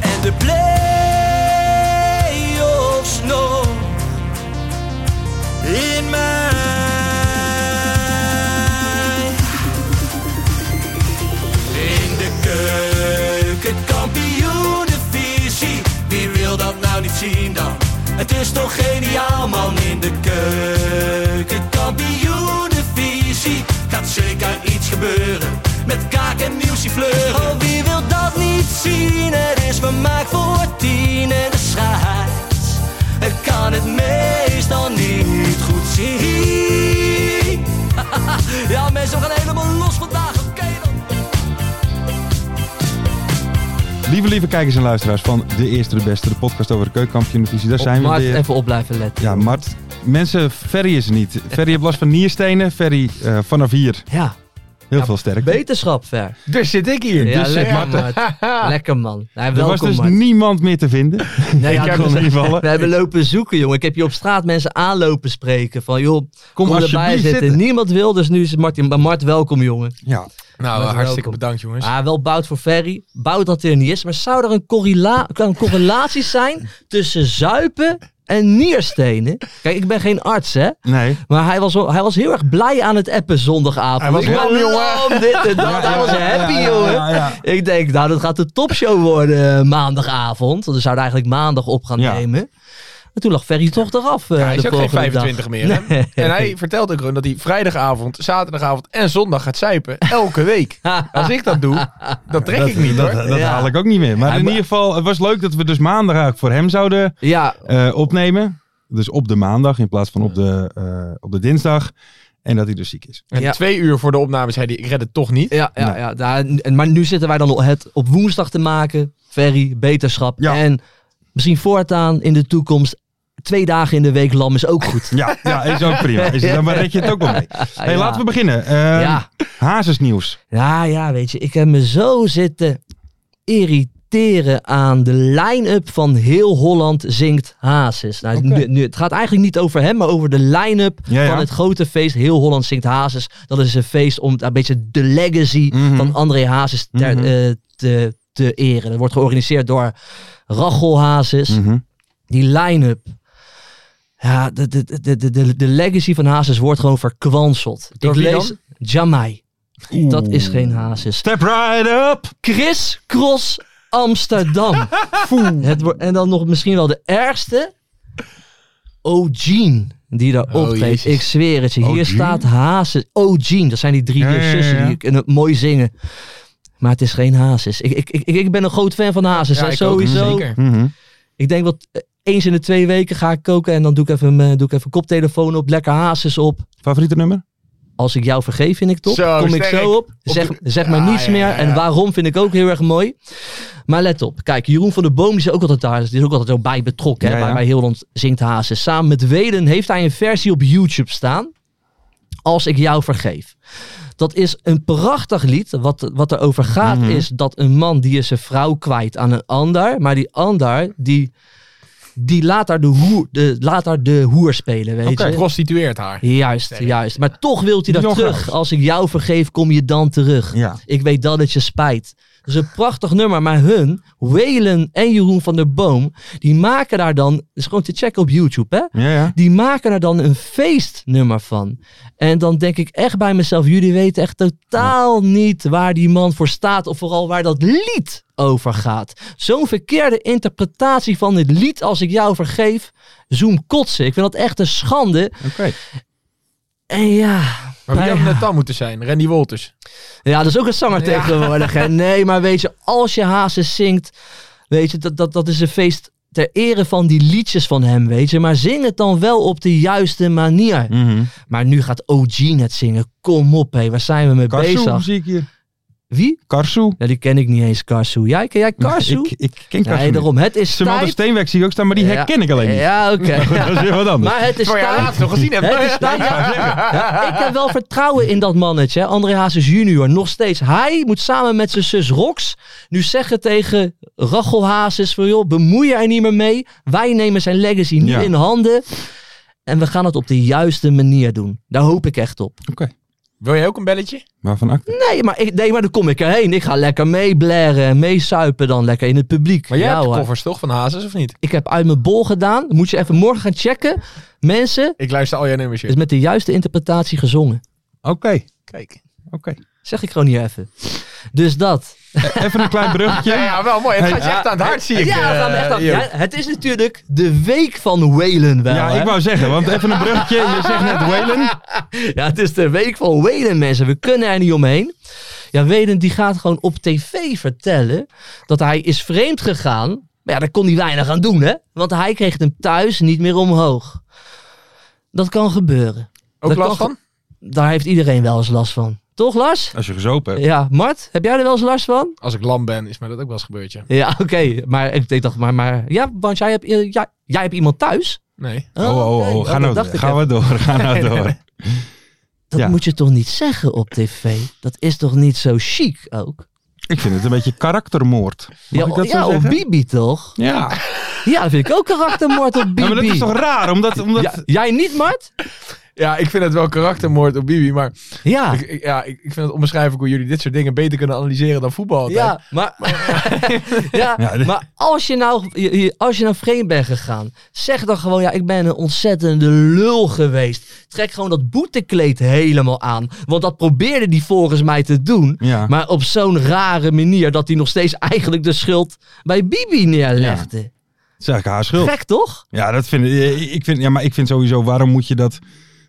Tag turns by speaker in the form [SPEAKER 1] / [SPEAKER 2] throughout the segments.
[SPEAKER 1] En de play-offs nog.
[SPEAKER 2] In mij.
[SPEAKER 1] In de keuken, kampioenenvisie. Wie wil dat nou niet zien dan? Het is toch geniaal man in de keuken, kampioenenvisie. Gaat zeker iets gebeuren met kaak en nieuwsie fleuren. Oh, wie wil dat niet zien? Het is vermaakt voor tien en de scheids. Het kan het meestal niet goed zien. ja mensen, we gaan helemaal los vandaag, oké dan.
[SPEAKER 3] Lieve, lieve kijkers en luisteraars van De Eerste, De Beste, de podcast over de keukenkampioenvisie. Daar zijn
[SPEAKER 4] op
[SPEAKER 3] we
[SPEAKER 4] Mart
[SPEAKER 3] weer.
[SPEAKER 4] even op blijven letten.
[SPEAKER 3] Ja, Mart. Mensen, Ferry is er niet. Ferry heeft last van nierstenen. Ferry eh, vanaf hier
[SPEAKER 4] Ja,
[SPEAKER 3] heel
[SPEAKER 4] Ja,
[SPEAKER 3] veel sterk.
[SPEAKER 4] beterschap ver.
[SPEAKER 3] Dus zit ik hier.
[SPEAKER 4] Ja,
[SPEAKER 3] dus zit
[SPEAKER 4] lekker
[SPEAKER 3] Mart er.
[SPEAKER 4] Mart. Lekker man. Nee,
[SPEAKER 3] Er was
[SPEAKER 4] welkom
[SPEAKER 3] dus
[SPEAKER 4] Mart.
[SPEAKER 3] niemand meer te vinden.
[SPEAKER 4] Nee,
[SPEAKER 3] ik
[SPEAKER 4] ja,
[SPEAKER 3] heb
[SPEAKER 4] kom.
[SPEAKER 3] ons invallen.
[SPEAKER 4] We hebben lopen zoeken jongen. Ik heb hier op straat mensen aanlopen spreken. Van joh, kom, erbij
[SPEAKER 3] alsjeblieft
[SPEAKER 4] zitten.
[SPEAKER 3] zitten.
[SPEAKER 4] Niemand wil, dus nu is Martin. Maar Mart, welkom jongen.
[SPEAKER 3] Ja.
[SPEAKER 5] Nou,
[SPEAKER 4] Met
[SPEAKER 5] hartstikke
[SPEAKER 4] welkom.
[SPEAKER 5] bedankt jongens.
[SPEAKER 4] Ah, wel bout voor Ferry. Bout dat hij er niet is. Maar zou er een, correla- kan een correlatie zijn tussen zuipen en nierstenen? Kijk, ik ben geen arts hè.
[SPEAKER 3] Nee.
[SPEAKER 4] Maar hij was, wel- hij was heel erg blij aan het appen zondagavond.
[SPEAKER 3] Hij was
[SPEAKER 4] Ik
[SPEAKER 3] lam,
[SPEAKER 4] ben
[SPEAKER 3] jongen.
[SPEAKER 4] lam, dit en dat. hij was happy,
[SPEAKER 3] ja, ja,
[SPEAKER 4] jongen.
[SPEAKER 3] ja, ja.
[SPEAKER 4] Ik denk, nou, dat gaat de topshow worden eh, maandagavond. Want we zouden eigenlijk maandag op gaan
[SPEAKER 3] Ja.
[SPEAKER 4] nemen. Maar toen lag Ferry toch eraf. eh,
[SPEAKER 5] Ja, hij
[SPEAKER 4] de
[SPEAKER 5] is ook geen
[SPEAKER 4] volgende dag.
[SPEAKER 5] 25 meer. hè?
[SPEAKER 4] Nee.
[SPEAKER 5] En hij vertelt ook gewoon dat hij vrijdagavond, zaterdagavond en zondag gaat zuipen. Elke week. Als ik dat doe, dat trek ik niet
[SPEAKER 3] dat,
[SPEAKER 5] hoor.
[SPEAKER 3] dat
[SPEAKER 4] Ja.
[SPEAKER 3] haal ik ook niet meer. Maar
[SPEAKER 4] Hij
[SPEAKER 3] in
[SPEAKER 4] mo-
[SPEAKER 3] ieder geval, het was leuk dat we dus maandag eigenlijk voor hem zouden
[SPEAKER 4] Ja,
[SPEAKER 3] eh, opnemen. Dus op de maandag in plaats van op de, eh, op de dinsdag. En dat hij dus ziek is.
[SPEAKER 5] En
[SPEAKER 4] Ja.
[SPEAKER 5] twee uur voor de opname zei hij, ik red het toch niet.
[SPEAKER 4] ja, ja, ja. Daar- en- maar nu zitten wij dan het op woensdag te maken. Ferry, beterschap.
[SPEAKER 3] Ja.
[SPEAKER 4] En misschien voortaan in de toekomst. Twee dagen in de week lam is ook goed.
[SPEAKER 3] Ja, ja is ook prima. Is, dan maar red je het ook wel mee. Hey,
[SPEAKER 4] ja.
[SPEAKER 3] laten we beginnen. Eh,
[SPEAKER 4] Ja.
[SPEAKER 3] Hazesnieuws.
[SPEAKER 4] Ja, ja, weet je, ik heb me zo zitten irriteren aan de line-up van heel Holland zingt Hazes. Nou, nu, nu, het gaat eigenlijk niet over hem, maar over de line-up
[SPEAKER 3] Ja, ja.
[SPEAKER 4] van het grote feest heel Holland zingt Hazes. Dat is een feest om een beetje de legacy
[SPEAKER 3] Mhm.
[SPEAKER 4] van André Hazes ter-
[SPEAKER 3] Mhm.
[SPEAKER 4] eh, te, te eren. Dat wordt georganiseerd door Rachel Hazes
[SPEAKER 3] Mhm.
[SPEAKER 4] die line-up. Ja, de, de, de, de, de, de legacy van Hazes wordt gewoon verkwanseld.
[SPEAKER 5] Door
[SPEAKER 4] ik
[SPEAKER 5] wie
[SPEAKER 4] lees Jamai. Dat is geen Hazes.
[SPEAKER 3] Step right up!
[SPEAKER 4] Chris Cross Amsterdam. Het wordt- en dan nog misschien wel de ergste. O'Gene. Die daar
[SPEAKER 5] Oh,
[SPEAKER 4] optreedt.
[SPEAKER 5] jezus.
[SPEAKER 4] Ik zweer het je. Hier
[SPEAKER 3] O'Gene?
[SPEAKER 4] staat Hazes. O'Gene. Dat zijn die drie
[SPEAKER 3] Ja, ja, ja,
[SPEAKER 4] zussen
[SPEAKER 3] ja.
[SPEAKER 4] die kunnen mooi zingen. Maar het is geen Hazes. Ik, ik, ik, ik ben een groot fan van Hazes. hè,
[SPEAKER 5] ik ook,
[SPEAKER 4] sowieso.
[SPEAKER 5] zeker.
[SPEAKER 3] Mhm.
[SPEAKER 4] Ik denk dat eh, eens in de twee weken ga ik koken en dan doe ik even, mijn- doe ik even koptelefoon op, lekker hazes op.
[SPEAKER 3] Favoriete nummer?
[SPEAKER 4] Als ik jou vergeef vind ik top.
[SPEAKER 5] Zo,
[SPEAKER 4] Kom ik
[SPEAKER 5] sterk.
[SPEAKER 4] zo op.
[SPEAKER 5] de-
[SPEAKER 4] Zeg, zeg maar
[SPEAKER 5] Ja,
[SPEAKER 4] niets
[SPEAKER 5] ja,
[SPEAKER 4] meer.
[SPEAKER 5] ja,
[SPEAKER 4] En
[SPEAKER 5] ja.
[SPEAKER 4] waarom vind ik ook heel erg mooi. Maar let op. Kijk, Jeroen van der Boom die is ook altijd daar. Dus Die is ook altijd zo bij betrokken. hè,
[SPEAKER 3] Ja, ja.
[SPEAKER 4] Bij, bij heel Holland zingt Hazes. Samen met Weden heeft hij een versie op YouTube staan. Als ik jou vergeef. Dat is een prachtig lied. Wat, wat erover gaat
[SPEAKER 3] Mhm.
[SPEAKER 4] is dat een man die is zijn vrouw kwijt aan een ander. Maar die ander die, die laat, haar de hoer, de, laat haar de hoer spelen. Weet
[SPEAKER 5] Oké.
[SPEAKER 4] je?
[SPEAKER 5] Prostitueert haar.
[SPEAKER 4] Juist,
[SPEAKER 5] Sterk.
[SPEAKER 4] juist. Maar toch wilt hij
[SPEAKER 3] Nog
[SPEAKER 4] dat terug.
[SPEAKER 3] wel.
[SPEAKER 4] Als ik jou vergeef, kom je dan terug.
[SPEAKER 3] Ja.
[SPEAKER 4] Ik weet dat het je spijt. Dat is een prachtig nummer, maar hun, Welen en Jeroen van der Boom, die maken daar dan, dat is gewoon te checken op YouTube, hè?
[SPEAKER 3] Ja, ja.
[SPEAKER 4] Die maken er dan een feestnummer van. En dan denk ik echt bij mezelf, jullie weten echt totaal niet waar die man voor staat. Of vooral waar dat lied over gaat. Zo'n verkeerde interpretatie van dit lied, als ik jou vergeef, zoom kotsen. Ik vind dat echt een schande.
[SPEAKER 3] Oké.
[SPEAKER 4] En ja,
[SPEAKER 5] Maar wie
[SPEAKER 4] Nou
[SPEAKER 5] had
[SPEAKER 4] ja.
[SPEAKER 5] het dan moeten zijn? Randy Wolters.
[SPEAKER 4] Ja, dat is ook een zanger tegenwoordig. Hè? Nee, maar weet je, als je Hazes zingt, weet je, dat, dat, dat is een feest ter ere van die liedjes van hem, weet je. Maar zing het dan wel op de juiste manier.
[SPEAKER 3] Mhm.
[SPEAKER 4] Maar nu gaat OG het zingen. Kom op, hé, waar zijn we mee
[SPEAKER 3] Kazoo
[SPEAKER 4] bezig?
[SPEAKER 3] zie ik hier.
[SPEAKER 4] Wie?
[SPEAKER 3] Karsu.
[SPEAKER 4] Ja, die ken ik niet eens, Karsu. Jij, ken jij Karsu?
[SPEAKER 3] Ik, ik ken Karsu
[SPEAKER 4] nee,
[SPEAKER 3] niet.
[SPEAKER 4] daarom. Het is
[SPEAKER 3] Simone
[SPEAKER 4] tijd...
[SPEAKER 3] Steenweg zie ik ook staan, maar die
[SPEAKER 4] Ja.
[SPEAKER 3] herken ik alleen niet.
[SPEAKER 4] Ja, oké. Ja.
[SPEAKER 3] Dat is weer wat anders.
[SPEAKER 4] Maar het is
[SPEAKER 5] Waar jij
[SPEAKER 4] tijd...
[SPEAKER 5] laatst nog gezien hebt.
[SPEAKER 4] Het is tijd- Ja, ik heb wel vertrouwen in dat mannetje, hè. André Hazes junior. Nog steeds. Hij moet samen met zijn zus Rox nu zeggen tegen Rachel Hazes van joh, bemoei je er niet meer mee. Wij nemen zijn legacy nu
[SPEAKER 3] Ja.
[SPEAKER 4] in handen. En we gaan het op de juiste manier doen. Daar hoop ik echt op.
[SPEAKER 5] Wil jij ook een belletje?
[SPEAKER 3] Waarvan acte?
[SPEAKER 4] Nee, maar, ik, nee, maar dan kom ik erheen. Ik ga lekker meeblaren en meesuipen dan lekker in het publiek.
[SPEAKER 5] Maar jij
[SPEAKER 4] Ja,
[SPEAKER 5] hebt de
[SPEAKER 4] hoor.
[SPEAKER 5] koffers toch van Hazes of niet?
[SPEAKER 4] Ik heb uit mijn bol gedaan. Moet je even morgen gaan checken. Mensen,
[SPEAKER 5] Ik luister al jouw nummers.
[SPEAKER 4] het is
[SPEAKER 5] joh.
[SPEAKER 4] met de juiste interpretatie gezongen.
[SPEAKER 3] Oké,
[SPEAKER 5] Kijk.
[SPEAKER 3] oké.
[SPEAKER 4] Zeg ik gewoon hier even. Dus dat.
[SPEAKER 3] Even een klein
[SPEAKER 5] Ja,
[SPEAKER 3] bruggetje.
[SPEAKER 5] ja, wel mooi. Het
[SPEAKER 3] Hey,
[SPEAKER 5] gaat je echt aan het hart, zie ik.
[SPEAKER 4] ja, we gaan echt
[SPEAKER 5] eh,
[SPEAKER 4] aan-
[SPEAKER 5] joh.
[SPEAKER 4] ja, het is natuurlijk de week van Waylon wel.
[SPEAKER 3] Ja,
[SPEAKER 4] hè?
[SPEAKER 3] ik wou zeggen, want even een bruggetje. Je zegt net Waylon.
[SPEAKER 4] ja, het is de week van Waylon, mensen. We kunnen er niet omheen. Ja, Waylon die gaat gewoon op tv vertellen dat hij is vreemd gegaan. Maar ja, daar kon hij weinig aan doen, hè? Want hij kreeg hem thuis niet meer omhoog. Dat kan gebeuren.
[SPEAKER 5] Ook
[SPEAKER 4] Dat
[SPEAKER 5] last
[SPEAKER 4] kan-
[SPEAKER 5] van?
[SPEAKER 4] Daar heeft iedereen wel eens last van. Toch, Lars?
[SPEAKER 3] Als je gezopen hebt.
[SPEAKER 4] Ja, Mart, heb jij er wel eens last van?
[SPEAKER 5] Als ik lam ben, is mij dat ook wel eens gebeurd, ja.
[SPEAKER 4] Ja, oké. Maar ik ik dacht, maar, maar... Ja, want jij hebt, eh, ja, jij hebt iemand thuis?
[SPEAKER 5] Nee.
[SPEAKER 3] Oh, oh,
[SPEAKER 4] oké.
[SPEAKER 3] oh. Ga
[SPEAKER 4] dat
[SPEAKER 3] nou,
[SPEAKER 4] dacht ik
[SPEAKER 3] gaan
[SPEAKER 4] even.
[SPEAKER 3] we door. Ga nou door.
[SPEAKER 4] Dat
[SPEAKER 3] Ja.
[SPEAKER 4] moet je toch niet zeggen op tv? Dat is toch niet zo chic ook?
[SPEAKER 3] Ik vind het een beetje karaktermoord. Mag
[SPEAKER 4] ja,
[SPEAKER 3] ik dat
[SPEAKER 4] ja
[SPEAKER 3] zo
[SPEAKER 4] op
[SPEAKER 3] zeggen?
[SPEAKER 4] Bibi toch?
[SPEAKER 3] Ja.
[SPEAKER 4] Ja, dat vind ik ook karaktermoord op Bibi.
[SPEAKER 3] Ja, maar dat is toch raar, omdat... omdat
[SPEAKER 4] Ja, jij niet, Mart?
[SPEAKER 5] Ja, ik vind het wel karaktermoord op Bibi, maar
[SPEAKER 4] Ja.
[SPEAKER 5] ik, ik- ja, ik, ik vind het onbeschrijfelijk hoe jullie dit soort dingen beter kunnen analyseren dan voetbal altijd.
[SPEAKER 4] Ja, maar, ja,
[SPEAKER 3] Ja, dit-
[SPEAKER 4] maar als, je nou, je- je- als je nou vreemd bent gegaan, zeg dan gewoon, ja, ik ben een ontzettende lul geweest. Trek gewoon dat boetekleed helemaal aan. Want dat probeerde die volgens mij te doen.
[SPEAKER 3] Ja.
[SPEAKER 4] Maar op zo'n rare manier dat hij nog steeds eigenlijk de schuld bij Bibi neerlegde.
[SPEAKER 3] Het is eigenlijk haar schuld.
[SPEAKER 4] Gek toch?
[SPEAKER 3] Ja, dat vind ik... ik vind, ja, maar ik vind sowieso, waarom moet je dat...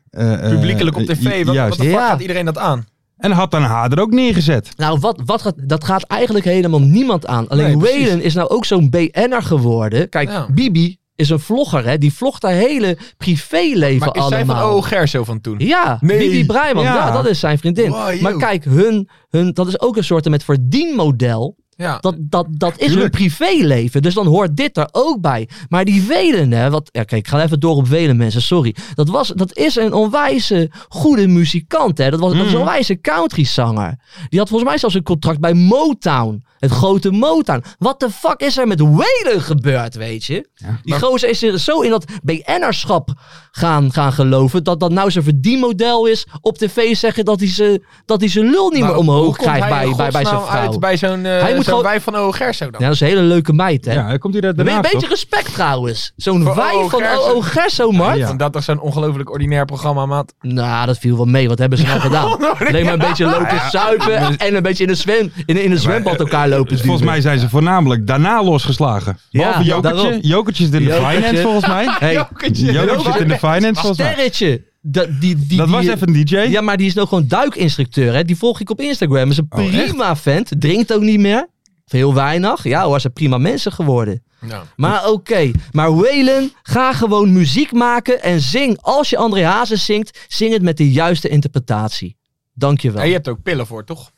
[SPEAKER 3] eh, eh,
[SPEAKER 5] Publiekelijk op
[SPEAKER 3] eh,
[SPEAKER 5] tv, wat, wat
[SPEAKER 3] Juist.
[SPEAKER 5] de fuck
[SPEAKER 4] Ja.
[SPEAKER 5] gaat iedereen dat aan?
[SPEAKER 3] En had dan haar er ook neergezet.
[SPEAKER 4] Nou, wat, wat gaat, dat gaat eigenlijk helemaal niemand aan. Alleen
[SPEAKER 5] Nee, precies.
[SPEAKER 4] Waylon is nou ook zo'n BN'er geworden. Kijk,
[SPEAKER 5] Ja.
[SPEAKER 4] Bibi is een vlogger, hè. Die vlogt haar hele privéleven
[SPEAKER 5] Maar is
[SPEAKER 4] allemaal.
[SPEAKER 5] zij van O. Gerso van toen?
[SPEAKER 4] Ja,
[SPEAKER 5] Nee.
[SPEAKER 4] Bibi Breiman. Ja.
[SPEAKER 3] Ja.
[SPEAKER 4] dat is zijn vriendin.
[SPEAKER 5] Wow, joh.
[SPEAKER 4] maar kijk, hun, hun, dat is ook een soort met verdienmodel.
[SPEAKER 5] Ja.
[SPEAKER 4] Dat, dat, dat is hun
[SPEAKER 3] Tuurlijk.
[SPEAKER 4] privéleven. Dus dan hoort dit er ook bij. Maar die Welen, hè. Wat, ja, kijk, ik ga even door op Welen, mensen. Sorry. Dat, was, dat is een onwijze goede muzikant, hè. Dat was, dat is een
[SPEAKER 5] Mm.
[SPEAKER 4] onwijze countryzanger. Die had volgens mij zelfs een contract bij Motown. Het grote Motown. Wat de fuck is er met Welen gebeurd, weet je? Die gozer is er zo in dat BN'erschap gaan, gaan geloven. Dat dat nou zijn verdienmodel is. Op tv zeggen dat hij ze- dat hij zijn lul niet
[SPEAKER 5] Maar
[SPEAKER 4] meer
[SPEAKER 5] Nou, hoe
[SPEAKER 4] omhoog
[SPEAKER 5] komt
[SPEAKER 4] krijgt
[SPEAKER 5] hij in
[SPEAKER 4] bij, bij, bij zijn
[SPEAKER 5] godsnaam
[SPEAKER 4] vrouw.
[SPEAKER 5] uit bij zo'n eh,
[SPEAKER 4] Hij moet
[SPEAKER 5] zo'n
[SPEAKER 4] gewoon-
[SPEAKER 5] wijf van O. Gerso dan?
[SPEAKER 4] Ja, dat is een hele leuke meid, hè?
[SPEAKER 3] Ja, dan komt hij daar
[SPEAKER 4] Dan ben je
[SPEAKER 3] daarna,
[SPEAKER 4] een beetje
[SPEAKER 3] toch?
[SPEAKER 4] respect trouwens. Zo'n
[SPEAKER 5] Voor
[SPEAKER 4] wij
[SPEAKER 5] O.O.
[SPEAKER 4] van
[SPEAKER 5] Gerso.
[SPEAKER 4] O.O. Gerso, Mart.
[SPEAKER 3] Ja.
[SPEAKER 5] Want dat toch zo'n ongelooflijk ordinair programma, maat.
[SPEAKER 4] Nou, dat viel wel mee. Wat hebben ze nou gedaan? Alleen maar een beetje lopen zuipen en een beetje in een, zwem, in, een- in een zwembad elkaar lopen duwen.
[SPEAKER 3] eh, Dus Volgens mij zijn ze voornamelijk daarna losgeslagen. Behalve
[SPEAKER 4] Ja, daarom.
[SPEAKER 3] Jokertje. Jokertje is in de
[SPEAKER 4] Jokertje.
[SPEAKER 3] finance, volgens mij.
[SPEAKER 4] Hey,
[SPEAKER 5] Jokertje.
[SPEAKER 3] Jokertje zit in de finance, volgens mij.
[SPEAKER 4] sterretje. Dat, die, die,
[SPEAKER 3] Dat
[SPEAKER 4] die-
[SPEAKER 3] was even een DJ.
[SPEAKER 4] Ja, maar die is nou gewoon duikinstructeur. Hè? Die volg ik op Instagram. Is een
[SPEAKER 3] Oh, echt?
[SPEAKER 4] prima vent. Drinkt ook niet meer. Veel weinig. Ja, hoor, zijn prima mensen geworden.
[SPEAKER 5] Nou,
[SPEAKER 4] Maar oké. Maar Waylon, ga gewoon muziek maken en zing. Als je André Hazes zingt, zing het met de juiste interpretatie. Dank je wel.
[SPEAKER 5] En je hebt er ook pillen voor, toch?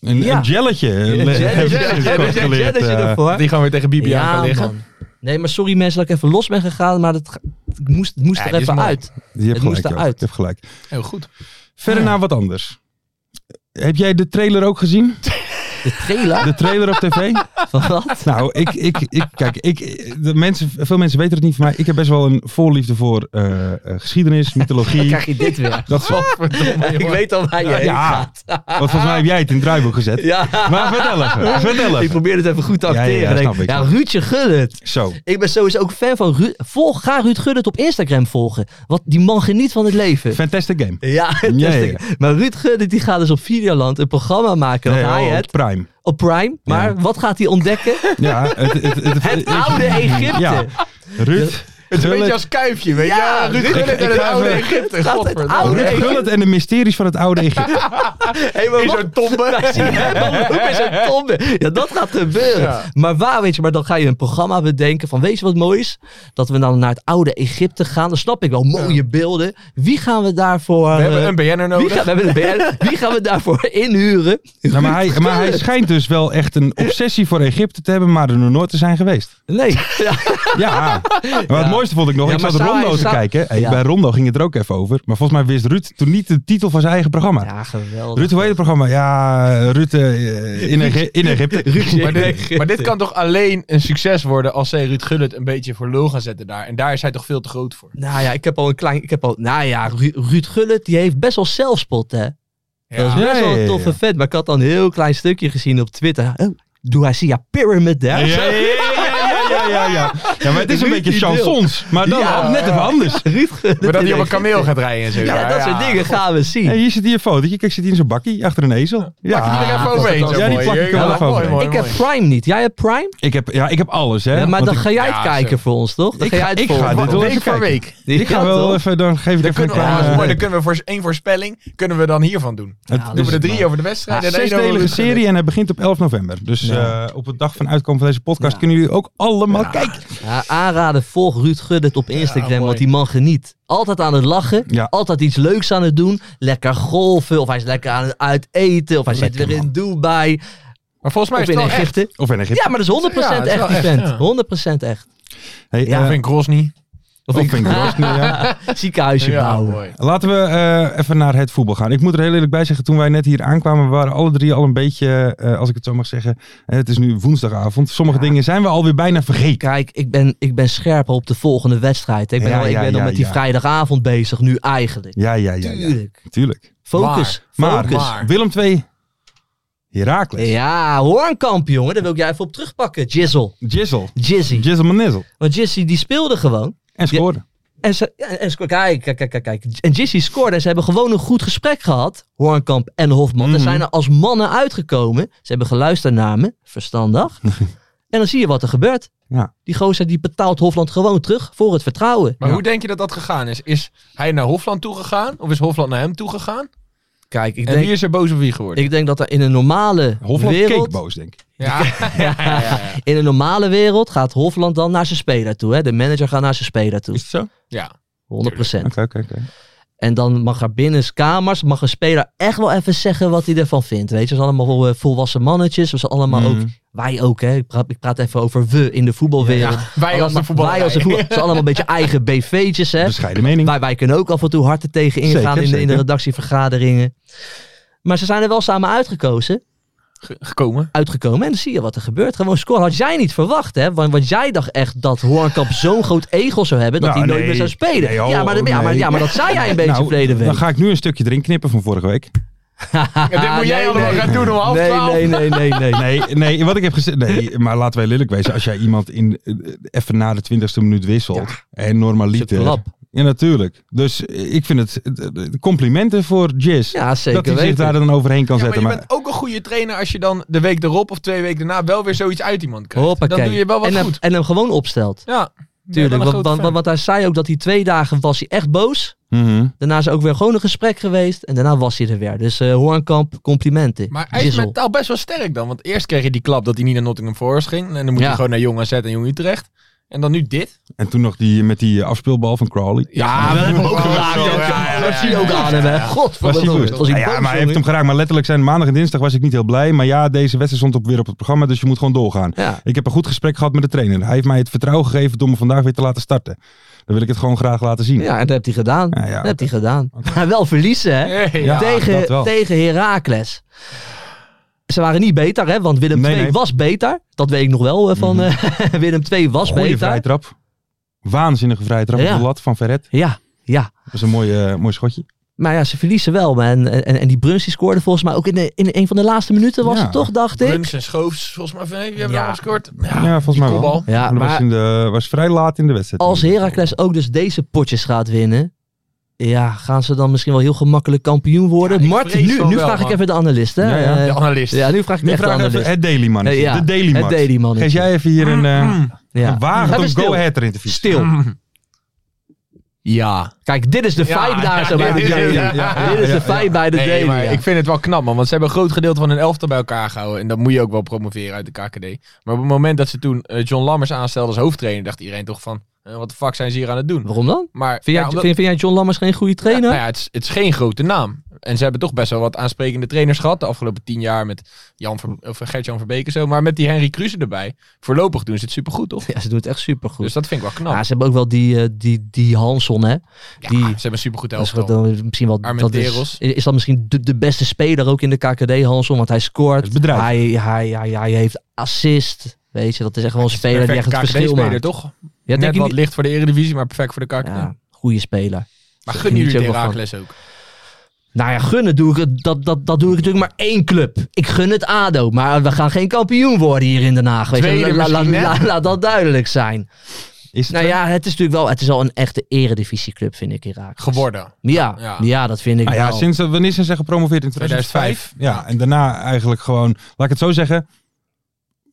[SPEAKER 3] Een,
[SPEAKER 4] Ja.
[SPEAKER 3] een jelletje. Le-
[SPEAKER 4] jelletje,
[SPEAKER 3] hebben ze
[SPEAKER 4] jelletje,
[SPEAKER 3] kort
[SPEAKER 4] jelletje,
[SPEAKER 3] geleerd,
[SPEAKER 4] jelletje
[SPEAKER 3] eh.
[SPEAKER 4] ervoor.
[SPEAKER 5] Dat die gewoon weer tegen Bibi aan
[SPEAKER 4] Ja,
[SPEAKER 5] gaan liggen.
[SPEAKER 4] man. Nee, maar sorry mensen dat ik even los ben gegaan, maar dat, ga- het moest, het moest
[SPEAKER 5] Ja,
[SPEAKER 4] er
[SPEAKER 5] dit is
[SPEAKER 4] even
[SPEAKER 5] mooi.
[SPEAKER 4] uit.
[SPEAKER 3] Je hebt
[SPEAKER 4] Het moest
[SPEAKER 3] gelijk, Jo.
[SPEAKER 4] eruit.
[SPEAKER 3] Je hebt gelijk.
[SPEAKER 5] Heel goed.
[SPEAKER 4] Ah.
[SPEAKER 3] Verder naar wat anders. Heb jij de trailer ook gezien?
[SPEAKER 4] De trailer
[SPEAKER 3] De trailer op tv?
[SPEAKER 4] van wat?
[SPEAKER 3] Nou, ik, ik, ik kijk, ik, de mensen, veel mensen weten het niet van mij. Ik heb best wel een voorliefde voor eh, eh, geschiedenis, mythologie.
[SPEAKER 4] Krijg je dit weer?
[SPEAKER 3] Dat soort-
[SPEAKER 4] Ik weet al waar je
[SPEAKER 3] Ja,
[SPEAKER 4] heen
[SPEAKER 3] ja.
[SPEAKER 4] gaat.
[SPEAKER 3] Want volgens mij heb jij het in het draaiboek gezet.
[SPEAKER 4] Ja.
[SPEAKER 3] Maar vertel even, vertel
[SPEAKER 4] Ik
[SPEAKER 3] even.
[SPEAKER 4] probeer het even goed te
[SPEAKER 3] Ja, ja, ja,
[SPEAKER 4] acteren. Ja,
[SPEAKER 3] snap ik.
[SPEAKER 4] ja Ruudje Gullit.
[SPEAKER 3] Zo,
[SPEAKER 4] Ik ben sowieso ook fan van Ruud. Volg, ga Ruud Gullit op Instagram volgen. Want die man geniet van het leven.
[SPEAKER 3] fantastic game.
[SPEAKER 4] Ja,
[SPEAKER 3] Ja, ja,
[SPEAKER 4] fantastisch. maar Ruud Gullit die gaat dus op Videoland een programma maken.
[SPEAKER 3] Nee,
[SPEAKER 4] wat hij
[SPEAKER 3] oh,
[SPEAKER 4] het
[SPEAKER 3] Prime.
[SPEAKER 4] op Prime. Maar wat gaat hij ontdekken?
[SPEAKER 3] Ja, het, het, het,
[SPEAKER 4] Het
[SPEAKER 3] ik-
[SPEAKER 4] oude Egypte.
[SPEAKER 3] Ja, Ruud
[SPEAKER 5] Het is een beetje
[SPEAKER 3] Gullit.
[SPEAKER 5] als kuifje, weet je?
[SPEAKER 4] Ja,
[SPEAKER 5] Ja, Ruud
[SPEAKER 4] ik-
[SPEAKER 5] Gullit
[SPEAKER 3] ik
[SPEAKER 5] en het
[SPEAKER 3] ga
[SPEAKER 5] oude
[SPEAKER 3] even-
[SPEAKER 4] Gaat
[SPEAKER 5] Egypte.
[SPEAKER 4] het oude-
[SPEAKER 5] Godverdomme.
[SPEAKER 3] Ruud
[SPEAKER 4] Egypte.
[SPEAKER 3] Gullit en de mysteries van het oude Egypte.
[SPEAKER 5] In zo'n tombe.
[SPEAKER 4] Ook in zo'n tombe. Ja, dat gaat gebeuren.
[SPEAKER 5] Ja.
[SPEAKER 4] Maar waar, weet je, maar dan ga je een programma bedenken van, weet je wat mooi is? Dat we dan naar het oude Egypte gaan. Dan snap ik wel, mooie beelden. Wie gaan we daarvoor... eh,
[SPEAKER 5] We hebben een BN'er
[SPEAKER 4] wie, gaan,
[SPEAKER 5] nodig.
[SPEAKER 4] we hebben een BN. wie gaan we daarvoor inhuren?
[SPEAKER 3] Nou, maar, hij, maar hij schijnt dus wel echt een obsessie voor Egypte te hebben, maar er nog nooit te zijn geweest.
[SPEAKER 4] Nee. Ja.
[SPEAKER 3] Ja, maar
[SPEAKER 4] Ja.
[SPEAKER 3] het mooiste vond ik nog,
[SPEAKER 4] Ja,
[SPEAKER 3] ik
[SPEAKER 4] maar
[SPEAKER 3] zat de
[SPEAKER 4] zou
[SPEAKER 3] Rondo
[SPEAKER 4] hij-
[SPEAKER 3] te
[SPEAKER 4] zou-
[SPEAKER 3] kijken. Hey,
[SPEAKER 4] Ja.
[SPEAKER 3] Bij Rondo ging het er ook even over. Maar volgens mij wist Ruud toen niet de titel van zijn eigen programma.
[SPEAKER 4] ja, geweldig.
[SPEAKER 3] Ruud, hoe heet het programma? Ja, Ruud eh, in, Egy- in Egypte.
[SPEAKER 5] Maar dit, maar dit kan toch alleen een succes worden als zij Ruud Gullit een beetje voor lul gaan zetten daar. En daar is hij toch veel te groot voor.
[SPEAKER 4] Nou ja, ik heb al een klein... Ik heb al, nou ja, Ru- Ruud Gullit, die heeft best wel zelfspot, hè? Dat is
[SPEAKER 5] Ja.
[SPEAKER 4] best wel
[SPEAKER 3] Ja, ja,
[SPEAKER 4] een
[SPEAKER 3] ja,
[SPEAKER 4] toffe
[SPEAKER 3] ja.
[SPEAKER 4] vet. Maar ik had dan een heel klein stukje gezien op Twitter. Oh, doe hij Sia Pyramid
[SPEAKER 3] Ja,
[SPEAKER 4] daar?
[SPEAKER 3] ja, ja, ja, ja, ja, ja. Ja, maar het is een
[SPEAKER 4] Ruud
[SPEAKER 3] beetje
[SPEAKER 4] die wil.
[SPEAKER 3] chansons, maar dan
[SPEAKER 4] Ja.
[SPEAKER 3] net even anders.
[SPEAKER 4] Ruud Gullit
[SPEAKER 5] Maar dat
[SPEAKER 4] in
[SPEAKER 5] hij op een
[SPEAKER 4] Egypte.
[SPEAKER 5] kameel gaat rijden en zo.
[SPEAKER 4] Ja, dat soort dingen gaan we zien.
[SPEAKER 3] Hey, hier zit hier een fotootje. Kijk, zit hier in zo'n bakkie achter een ezel.
[SPEAKER 5] Pak je er even
[SPEAKER 4] dat is
[SPEAKER 5] overheen.
[SPEAKER 4] ook
[SPEAKER 5] zo
[SPEAKER 3] Ja, die
[SPEAKER 5] mooi.
[SPEAKER 3] plak ik er
[SPEAKER 5] Ja,
[SPEAKER 3] wel
[SPEAKER 5] dat
[SPEAKER 3] even
[SPEAKER 5] mooi,
[SPEAKER 3] overheen.
[SPEAKER 5] mooi,
[SPEAKER 4] ik
[SPEAKER 5] mooi.
[SPEAKER 4] heb Prime niet. Jij hebt Prime?
[SPEAKER 3] Ik heb, ja, ik heb alles, hè.
[SPEAKER 4] Ja, maar
[SPEAKER 3] Want
[SPEAKER 4] dan
[SPEAKER 3] ik-
[SPEAKER 4] ga jij het
[SPEAKER 5] Ja,
[SPEAKER 4] kijken
[SPEAKER 5] zo.
[SPEAKER 4] voor ons, toch? Dan
[SPEAKER 3] Ik-
[SPEAKER 4] ga jij het
[SPEAKER 3] ik
[SPEAKER 4] voor
[SPEAKER 3] ga
[SPEAKER 4] ons.
[SPEAKER 3] dit wel
[SPEAKER 5] Week
[SPEAKER 3] even
[SPEAKER 5] voor
[SPEAKER 3] kijken.
[SPEAKER 5] week.
[SPEAKER 3] Ik ga
[SPEAKER 4] Ja,
[SPEAKER 3] wel
[SPEAKER 4] toch?
[SPEAKER 3] even, dan geef ik
[SPEAKER 5] Dan
[SPEAKER 3] even een
[SPEAKER 5] kunnen, we, ja, dat
[SPEAKER 3] kleine...
[SPEAKER 5] is mooi. dan kunnen we voor één voorspelling kunnen we dan hiervan doen.
[SPEAKER 3] Het-
[SPEAKER 4] Ja,
[SPEAKER 5] Doen
[SPEAKER 4] dat
[SPEAKER 5] we
[SPEAKER 4] is
[SPEAKER 5] er
[SPEAKER 4] mooi.
[SPEAKER 5] drie over de wedstrijd.
[SPEAKER 3] Het is
[SPEAKER 5] en
[SPEAKER 3] een
[SPEAKER 5] één over
[SPEAKER 3] zesdelige
[SPEAKER 5] Ruud Gullit.
[SPEAKER 3] serie en hij begint op 11 november. Dus
[SPEAKER 4] Ja.
[SPEAKER 3] eh, op de dag van uitkomen van deze podcast
[SPEAKER 4] Ja.
[SPEAKER 3] kunnen jullie ook allemaal kijken.
[SPEAKER 4] Ja, aanraden, volg Ruud Guddet op Instagram,
[SPEAKER 5] mooi.
[SPEAKER 4] want die man geniet. Altijd aan het lachen,
[SPEAKER 3] Ja.
[SPEAKER 4] altijd iets leuks aan het doen. Lekker golfen, of hij is lekker aan het uiteten, of hij zit weer in Dubai,
[SPEAKER 5] Maar volgens mij
[SPEAKER 4] of
[SPEAKER 5] is het
[SPEAKER 4] in
[SPEAKER 5] wel echt.
[SPEAKER 4] Egypte.
[SPEAKER 3] Of in Egypte.
[SPEAKER 4] Ja, maar dat is 100%
[SPEAKER 5] Ja, het is
[SPEAKER 4] echt,
[SPEAKER 5] wel
[SPEAKER 4] die
[SPEAKER 5] echt,
[SPEAKER 4] vent.
[SPEAKER 5] ja.
[SPEAKER 4] 100% echt.
[SPEAKER 3] Hey,
[SPEAKER 4] Ja.
[SPEAKER 3] eh,
[SPEAKER 5] Of in Grozny.
[SPEAKER 3] of in Grozny, ja.
[SPEAKER 4] Ziekenhuisje
[SPEAKER 5] Ja,
[SPEAKER 4] bouwen.
[SPEAKER 5] mooi.
[SPEAKER 3] Laten we eh, even naar het voetbal gaan. Ik moet er heel eerlijk bij zeggen, toen wij net hier aankwamen, waren alle drie al een beetje, eh, als ik het zo mag zeggen, eh, het is nu woensdagavond. Sommige dingen zijn we alweer bijna vergeten.
[SPEAKER 4] Kijk, ik ben, ik ben scherp op de volgende wedstrijd. Ik ben,
[SPEAKER 3] Ja,
[SPEAKER 4] al, ik
[SPEAKER 3] ja,
[SPEAKER 4] ben al
[SPEAKER 3] ja,
[SPEAKER 4] met die
[SPEAKER 3] ja.
[SPEAKER 4] vrijdagavond bezig nu eigenlijk.
[SPEAKER 3] Ja, ja, ja. ja.
[SPEAKER 4] Tuurlijk.
[SPEAKER 3] Tuurlijk.
[SPEAKER 4] Focus,
[SPEAKER 3] Maar,
[SPEAKER 4] focus.
[SPEAKER 3] maar. Willem 2, Herakles.
[SPEAKER 4] Ja, Hoornkamp, jongen. Daar wil ik jij even op terugpakken. Jizzle.
[SPEAKER 3] Jizzle.
[SPEAKER 4] Jizzy.
[SPEAKER 3] Jizzle Manizzel.
[SPEAKER 4] Want Jizzy die speelde gewoon.
[SPEAKER 3] En scoren.
[SPEAKER 4] En ze, ja, en sco- kijk, kijk, kijk, kijk, kijk. En Jizzy scoorde en ze hebben gewoon een goed gesprek gehad. Hoornkamp en Hofman. Ze
[SPEAKER 3] Mhm.
[SPEAKER 4] zijn er als mannen uitgekomen. Ze hebben geluisterd naar me. Verstandig. en dan zie je wat er gebeurt.
[SPEAKER 3] Ja.
[SPEAKER 4] Die gozer die betaalt Hofland gewoon terug voor het vertrouwen.
[SPEAKER 5] Maar hoe denk je dat dat gegaan is? Is hij naar Hofland toegegaan? Of is Hofland naar hem toegegaan?
[SPEAKER 4] Kijk, ik
[SPEAKER 5] En wie
[SPEAKER 4] denk,
[SPEAKER 5] is er boos op wie geworden?
[SPEAKER 4] ik denk dat er in een normale
[SPEAKER 3] Hofland keek
[SPEAKER 4] wereld...
[SPEAKER 3] boos, denk ik.
[SPEAKER 5] Ja, ja, ja, ja.
[SPEAKER 4] In een normale wereld gaat Hofland dan naar zijn speler toe. Hè? De manager gaat naar zijn speler toe.
[SPEAKER 3] Is het zo? Oké,
[SPEAKER 4] 100
[SPEAKER 3] oké, oké.
[SPEAKER 4] En dan mag er binnen kamers, mag een speler echt wel even zeggen wat hij ervan vindt. Weet je, ze zijn allemaal eh, volwassen mannetjes. We zijn allemaal
[SPEAKER 3] Mhm.
[SPEAKER 4] ook,
[SPEAKER 3] Hmm.
[SPEAKER 4] wij ook hè. Ik praat, ik praat even over we in de voetbalwereld.
[SPEAKER 5] Wij als de voetballer.
[SPEAKER 4] Wij als de voetbal. Ze zijn allemaal een beetje eigen BV'tjes hè.
[SPEAKER 3] Bescheiden mening.
[SPEAKER 4] Wij, wij kunnen ook af en toe harten tegen ingaan in,
[SPEAKER 3] Zeker,
[SPEAKER 4] de, in de
[SPEAKER 3] zeker.
[SPEAKER 4] redactievergaderingen. Maar ze zijn er wel samen uitgekozen,
[SPEAKER 5] gekomen.
[SPEAKER 4] uitgekomen. En dan zie je wat er gebeurt. Gewoon score had jij niet verwacht, hè? Want, want jij dacht echt dat Hoornkamp zo'n groot ego zou hebben. dat
[SPEAKER 3] Nou,
[SPEAKER 4] hij nooit
[SPEAKER 3] nee.
[SPEAKER 4] meer zou spelen.
[SPEAKER 3] Nee, oh,
[SPEAKER 4] ja, maar, ja, maar,
[SPEAKER 3] nee.
[SPEAKER 4] ja, maar dat zei jij een beetje
[SPEAKER 3] Nou,
[SPEAKER 4] verleden week.
[SPEAKER 3] Dan ga ik nu een stukje erin knippen van vorige week.
[SPEAKER 5] Ja, dit moet jij
[SPEAKER 4] nee,
[SPEAKER 5] allemaal
[SPEAKER 4] nee.
[SPEAKER 5] gaan doen om half
[SPEAKER 4] Nee,
[SPEAKER 5] twaalf.
[SPEAKER 4] nee, nee, nee, nee.
[SPEAKER 3] Nee, nee, wat ik heb gezegd. Nee, maar laten wij lelijk wezen. Als jij iemand in, eh, even na de twintigste minuut wisselt. En
[SPEAKER 4] Is
[SPEAKER 3] normaliter.
[SPEAKER 4] het klap.
[SPEAKER 3] Ja, natuurlijk. Dus eh, ik vind het. het- het- Complimenten voor Jizz.
[SPEAKER 4] Ja, zeker
[SPEAKER 3] dat hij zich
[SPEAKER 4] weten.
[SPEAKER 3] daar dan overheen kan
[SPEAKER 5] Ja, maar
[SPEAKER 3] zetten.
[SPEAKER 5] je
[SPEAKER 3] Maar,
[SPEAKER 5] bent ook een goede trainer als je dan de week erop of twee weken daarna wel weer zoiets uit iemand krijgt.
[SPEAKER 4] Hoppakee.
[SPEAKER 5] Dan doe je wel wat
[SPEAKER 4] en hem,
[SPEAKER 5] goed.
[SPEAKER 4] En hem gewoon opstelt.
[SPEAKER 5] Ja, ben je wel
[SPEAKER 4] Tuurlijk,
[SPEAKER 5] een
[SPEAKER 4] want,
[SPEAKER 5] grote
[SPEAKER 4] want,
[SPEAKER 5] fan.
[SPEAKER 4] want, want hij zei ook dat hij twee dagen was hij echt boos.
[SPEAKER 3] Mhm.
[SPEAKER 4] Daarna is er ook weer gewoon een gesprek geweest. En daarna was hij er weer. Dus eh Hoornkamp, complimenten.
[SPEAKER 5] Maar hij is
[SPEAKER 4] Jizzle.
[SPEAKER 5] mentaal best wel sterk dan. Want eerst kreeg je die klap dat hij niet naar Nottingham Forest ging. En dan moet
[SPEAKER 4] Ja.
[SPEAKER 5] je gewoon naar Jong AZ en Jong Utrecht. En dan nu dit.
[SPEAKER 3] En toen nog die, met die eh, afspeelbal van Crowley.
[SPEAKER 4] Ja, dat
[SPEAKER 5] Oh,
[SPEAKER 4] hebben we ook gedaan.
[SPEAKER 5] zo,
[SPEAKER 4] joh.
[SPEAKER 5] ja, ja, ja,
[SPEAKER 4] Dat zie je ook aan hem, hè.
[SPEAKER 3] Was hij
[SPEAKER 4] Godverdomme.
[SPEAKER 3] boos?
[SPEAKER 4] Was hij
[SPEAKER 3] ja,
[SPEAKER 4] boos,
[SPEAKER 3] maar hij heeft hem
[SPEAKER 4] jongen?
[SPEAKER 3] geraakt. Maar letterlijk zijn maandag en dinsdag was ik niet heel blij. Maar ja, deze wedstrijd stond op, weer op het programma. Dus je moet gewoon doorgaan.
[SPEAKER 4] Ja.
[SPEAKER 3] Ik heb een goed gesprek gehad met de trainer. Hij heeft mij het vertrouwen gegeven om me vandaag weer te laten starten. Dan wil ik het gewoon graag laten zien.
[SPEAKER 4] Ja, en dat heeft hij gedaan.
[SPEAKER 3] Ja, ja,
[SPEAKER 4] dat
[SPEAKER 3] oké.
[SPEAKER 4] heeft hij gedaan. Maar wel verliezen, hè.
[SPEAKER 5] Hey,
[SPEAKER 3] Ja. dat
[SPEAKER 4] tegen,
[SPEAKER 3] wel.
[SPEAKER 4] tegen Heracles. Ze waren niet beter, hè? Want Willem
[SPEAKER 3] Nee,
[SPEAKER 4] II
[SPEAKER 3] nee.
[SPEAKER 4] was beter. Dat weet ik nog wel eh, van eh, Willem II was
[SPEAKER 3] Goeie
[SPEAKER 4] beter.
[SPEAKER 3] vrijtrap. Waanzinnige vrijtrap
[SPEAKER 4] Ja.
[SPEAKER 3] op de lat van Verret.
[SPEAKER 4] Ja, ja.
[SPEAKER 3] Dat is een mooi, eh, mooi schotje.
[SPEAKER 4] Maar ja, ze verliezen wel. man. En, en, en die Bruns die scoorde volgens mij ook in, de, in een van de laatste minuten was
[SPEAKER 3] Ja.
[SPEAKER 4] het toch, dacht ik.
[SPEAKER 5] Bruns en Schoofs, volgens mij. Van, hey, wie hebben
[SPEAKER 4] Ja.
[SPEAKER 5] ja. gescoord?
[SPEAKER 3] Ja, volgens mij wel.
[SPEAKER 5] Kopbal.
[SPEAKER 4] Ja,
[SPEAKER 3] Maar dat was,
[SPEAKER 4] maar
[SPEAKER 3] in de, was vrij laat in de wedstrijd.
[SPEAKER 4] als Heracles ook dus deze potjes gaat winnen... Ja, gaan ze dan misschien wel heel gemakkelijk kampioen worden?
[SPEAKER 5] Ja, ik
[SPEAKER 4] Martin,
[SPEAKER 5] vrees
[SPEAKER 4] nu,
[SPEAKER 5] van
[SPEAKER 4] nu
[SPEAKER 5] wel,
[SPEAKER 4] vraag ik
[SPEAKER 5] man.
[SPEAKER 4] even de analist, hè?
[SPEAKER 3] Ja, ja.
[SPEAKER 4] Eh,
[SPEAKER 5] De analist.
[SPEAKER 4] ja, nu vraag ik
[SPEAKER 3] Nu
[SPEAKER 4] echt de
[SPEAKER 3] vraag ik
[SPEAKER 4] analist.
[SPEAKER 3] even het Daily Man.
[SPEAKER 4] Ja,
[SPEAKER 3] de Daily
[SPEAKER 4] Het
[SPEAKER 3] Man.
[SPEAKER 4] Daily
[SPEAKER 3] Geef
[SPEAKER 4] Mannetje.
[SPEAKER 3] jij even hier een eh
[SPEAKER 5] Mm.
[SPEAKER 3] een wagen
[SPEAKER 4] Even
[SPEAKER 3] om
[SPEAKER 4] stil.
[SPEAKER 3] Go Ahead erin te fietsen.
[SPEAKER 4] Stil.
[SPEAKER 5] Mm. Ja.
[SPEAKER 4] Kijk, dit is de
[SPEAKER 5] Ja,
[SPEAKER 4] vibe daar
[SPEAKER 5] ja,
[SPEAKER 4] zo bij de
[SPEAKER 5] dit is-
[SPEAKER 4] Daily.
[SPEAKER 5] ja, ja,
[SPEAKER 4] Dit is
[SPEAKER 5] ja,
[SPEAKER 4] de vibe bij de
[SPEAKER 5] Nee, maar
[SPEAKER 4] Daily. ja.
[SPEAKER 5] ik vind het wel knap, man. Want ze hebben een groot gedeelte van hun elftal bij elkaar gehouden. En dat moet je ook wel promoveren uit de KKD. Maar op het moment dat ze toen eh, John Lammers aanstelde als hoofdtrainer, dacht iedereen toch van, eh, wat de fuck zijn ze hier aan het doen?
[SPEAKER 4] Waarom dan?
[SPEAKER 5] Maar,
[SPEAKER 4] Vind jij,
[SPEAKER 5] ja, omdat-
[SPEAKER 4] vind, vind jij John Lammers geen goede
[SPEAKER 5] ja,
[SPEAKER 4] trainer?
[SPEAKER 5] nou ja, het, is, het is geen grote naam. En ze hebben toch best wel wat aansprekende trainers gehad de afgelopen tien jaar. Met Jan Ver- of eh, Gert-Jan Verbeek en zo. Maar met die Henry Kruse erbij. Voorlopig doen ze het supergoed, toch?
[SPEAKER 4] Ja, ze doen het echt supergoed.
[SPEAKER 5] Dus dat vind ik wel knap.
[SPEAKER 4] ja, ze hebben ook wel die, eh, die, die Hanson, hè?
[SPEAKER 5] Ja,
[SPEAKER 4] die-
[SPEAKER 5] ze hebben een supergoed
[SPEAKER 4] Dat is wat
[SPEAKER 5] elftal.
[SPEAKER 4] dan misschien wel, dat is,
[SPEAKER 5] Armenteros.
[SPEAKER 4] is dat misschien de, de beste speler ook in de KKD, Hanson? Want hij scoort.
[SPEAKER 3] Het bedrijf.
[SPEAKER 4] Hij, hij, hij, hij heeft assist. Weet je, dat is echt wel een speler die echt het verschil
[SPEAKER 5] KKD-speler,
[SPEAKER 4] maakt.
[SPEAKER 5] toch?
[SPEAKER 4] Ja,
[SPEAKER 5] Net
[SPEAKER 4] denk je
[SPEAKER 5] wat
[SPEAKER 4] niet?
[SPEAKER 5] licht voor de Eredivisie, maar perfect voor de KKD.
[SPEAKER 4] Ja, goede speler.
[SPEAKER 5] Maar
[SPEAKER 4] Daar
[SPEAKER 5] gun
[SPEAKER 4] geniet
[SPEAKER 5] jullie
[SPEAKER 4] je
[SPEAKER 5] de
[SPEAKER 4] ook wel van.
[SPEAKER 5] Herakles ook.
[SPEAKER 4] Nou ja, gunnen doe ik het. Dat, dat, dat doe ik natuurlijk maar één club. Ik gun het ADO. Maar we gaan geen kampioen worden hier in Den Haag. Weet je.
[SPEAKER 5] Tweede
[SPEAKER 4] La- la-
[SPEAKER 5] misschien, hè?
[SPEAKER 4] la- Laat dat duidelijk zijn.
[SPEAKER 3] Is het
[SPEAKER 4] Nou ja, het is natuurlijk wel... Het is al een echte eredivisieclub, vind ik, Irak.
[SPEAKER 5] Geworden.
[SPEAKER 4] Ja, ja.
[SPEAKER 5] Ja.
[SPEAKER 4] dat vind ik
[SPEAKER 3] Nou ja,
[SPEAKER 4] wel.
[SPEAKER 3] sinds dat- wanneer zijn ze gepromoveerd in 2005?
[SPEAKER 5] 2005.
[SPEAKER 3] Ja, en daarna eigenlijk gewoon, laat ik het zo zeggen,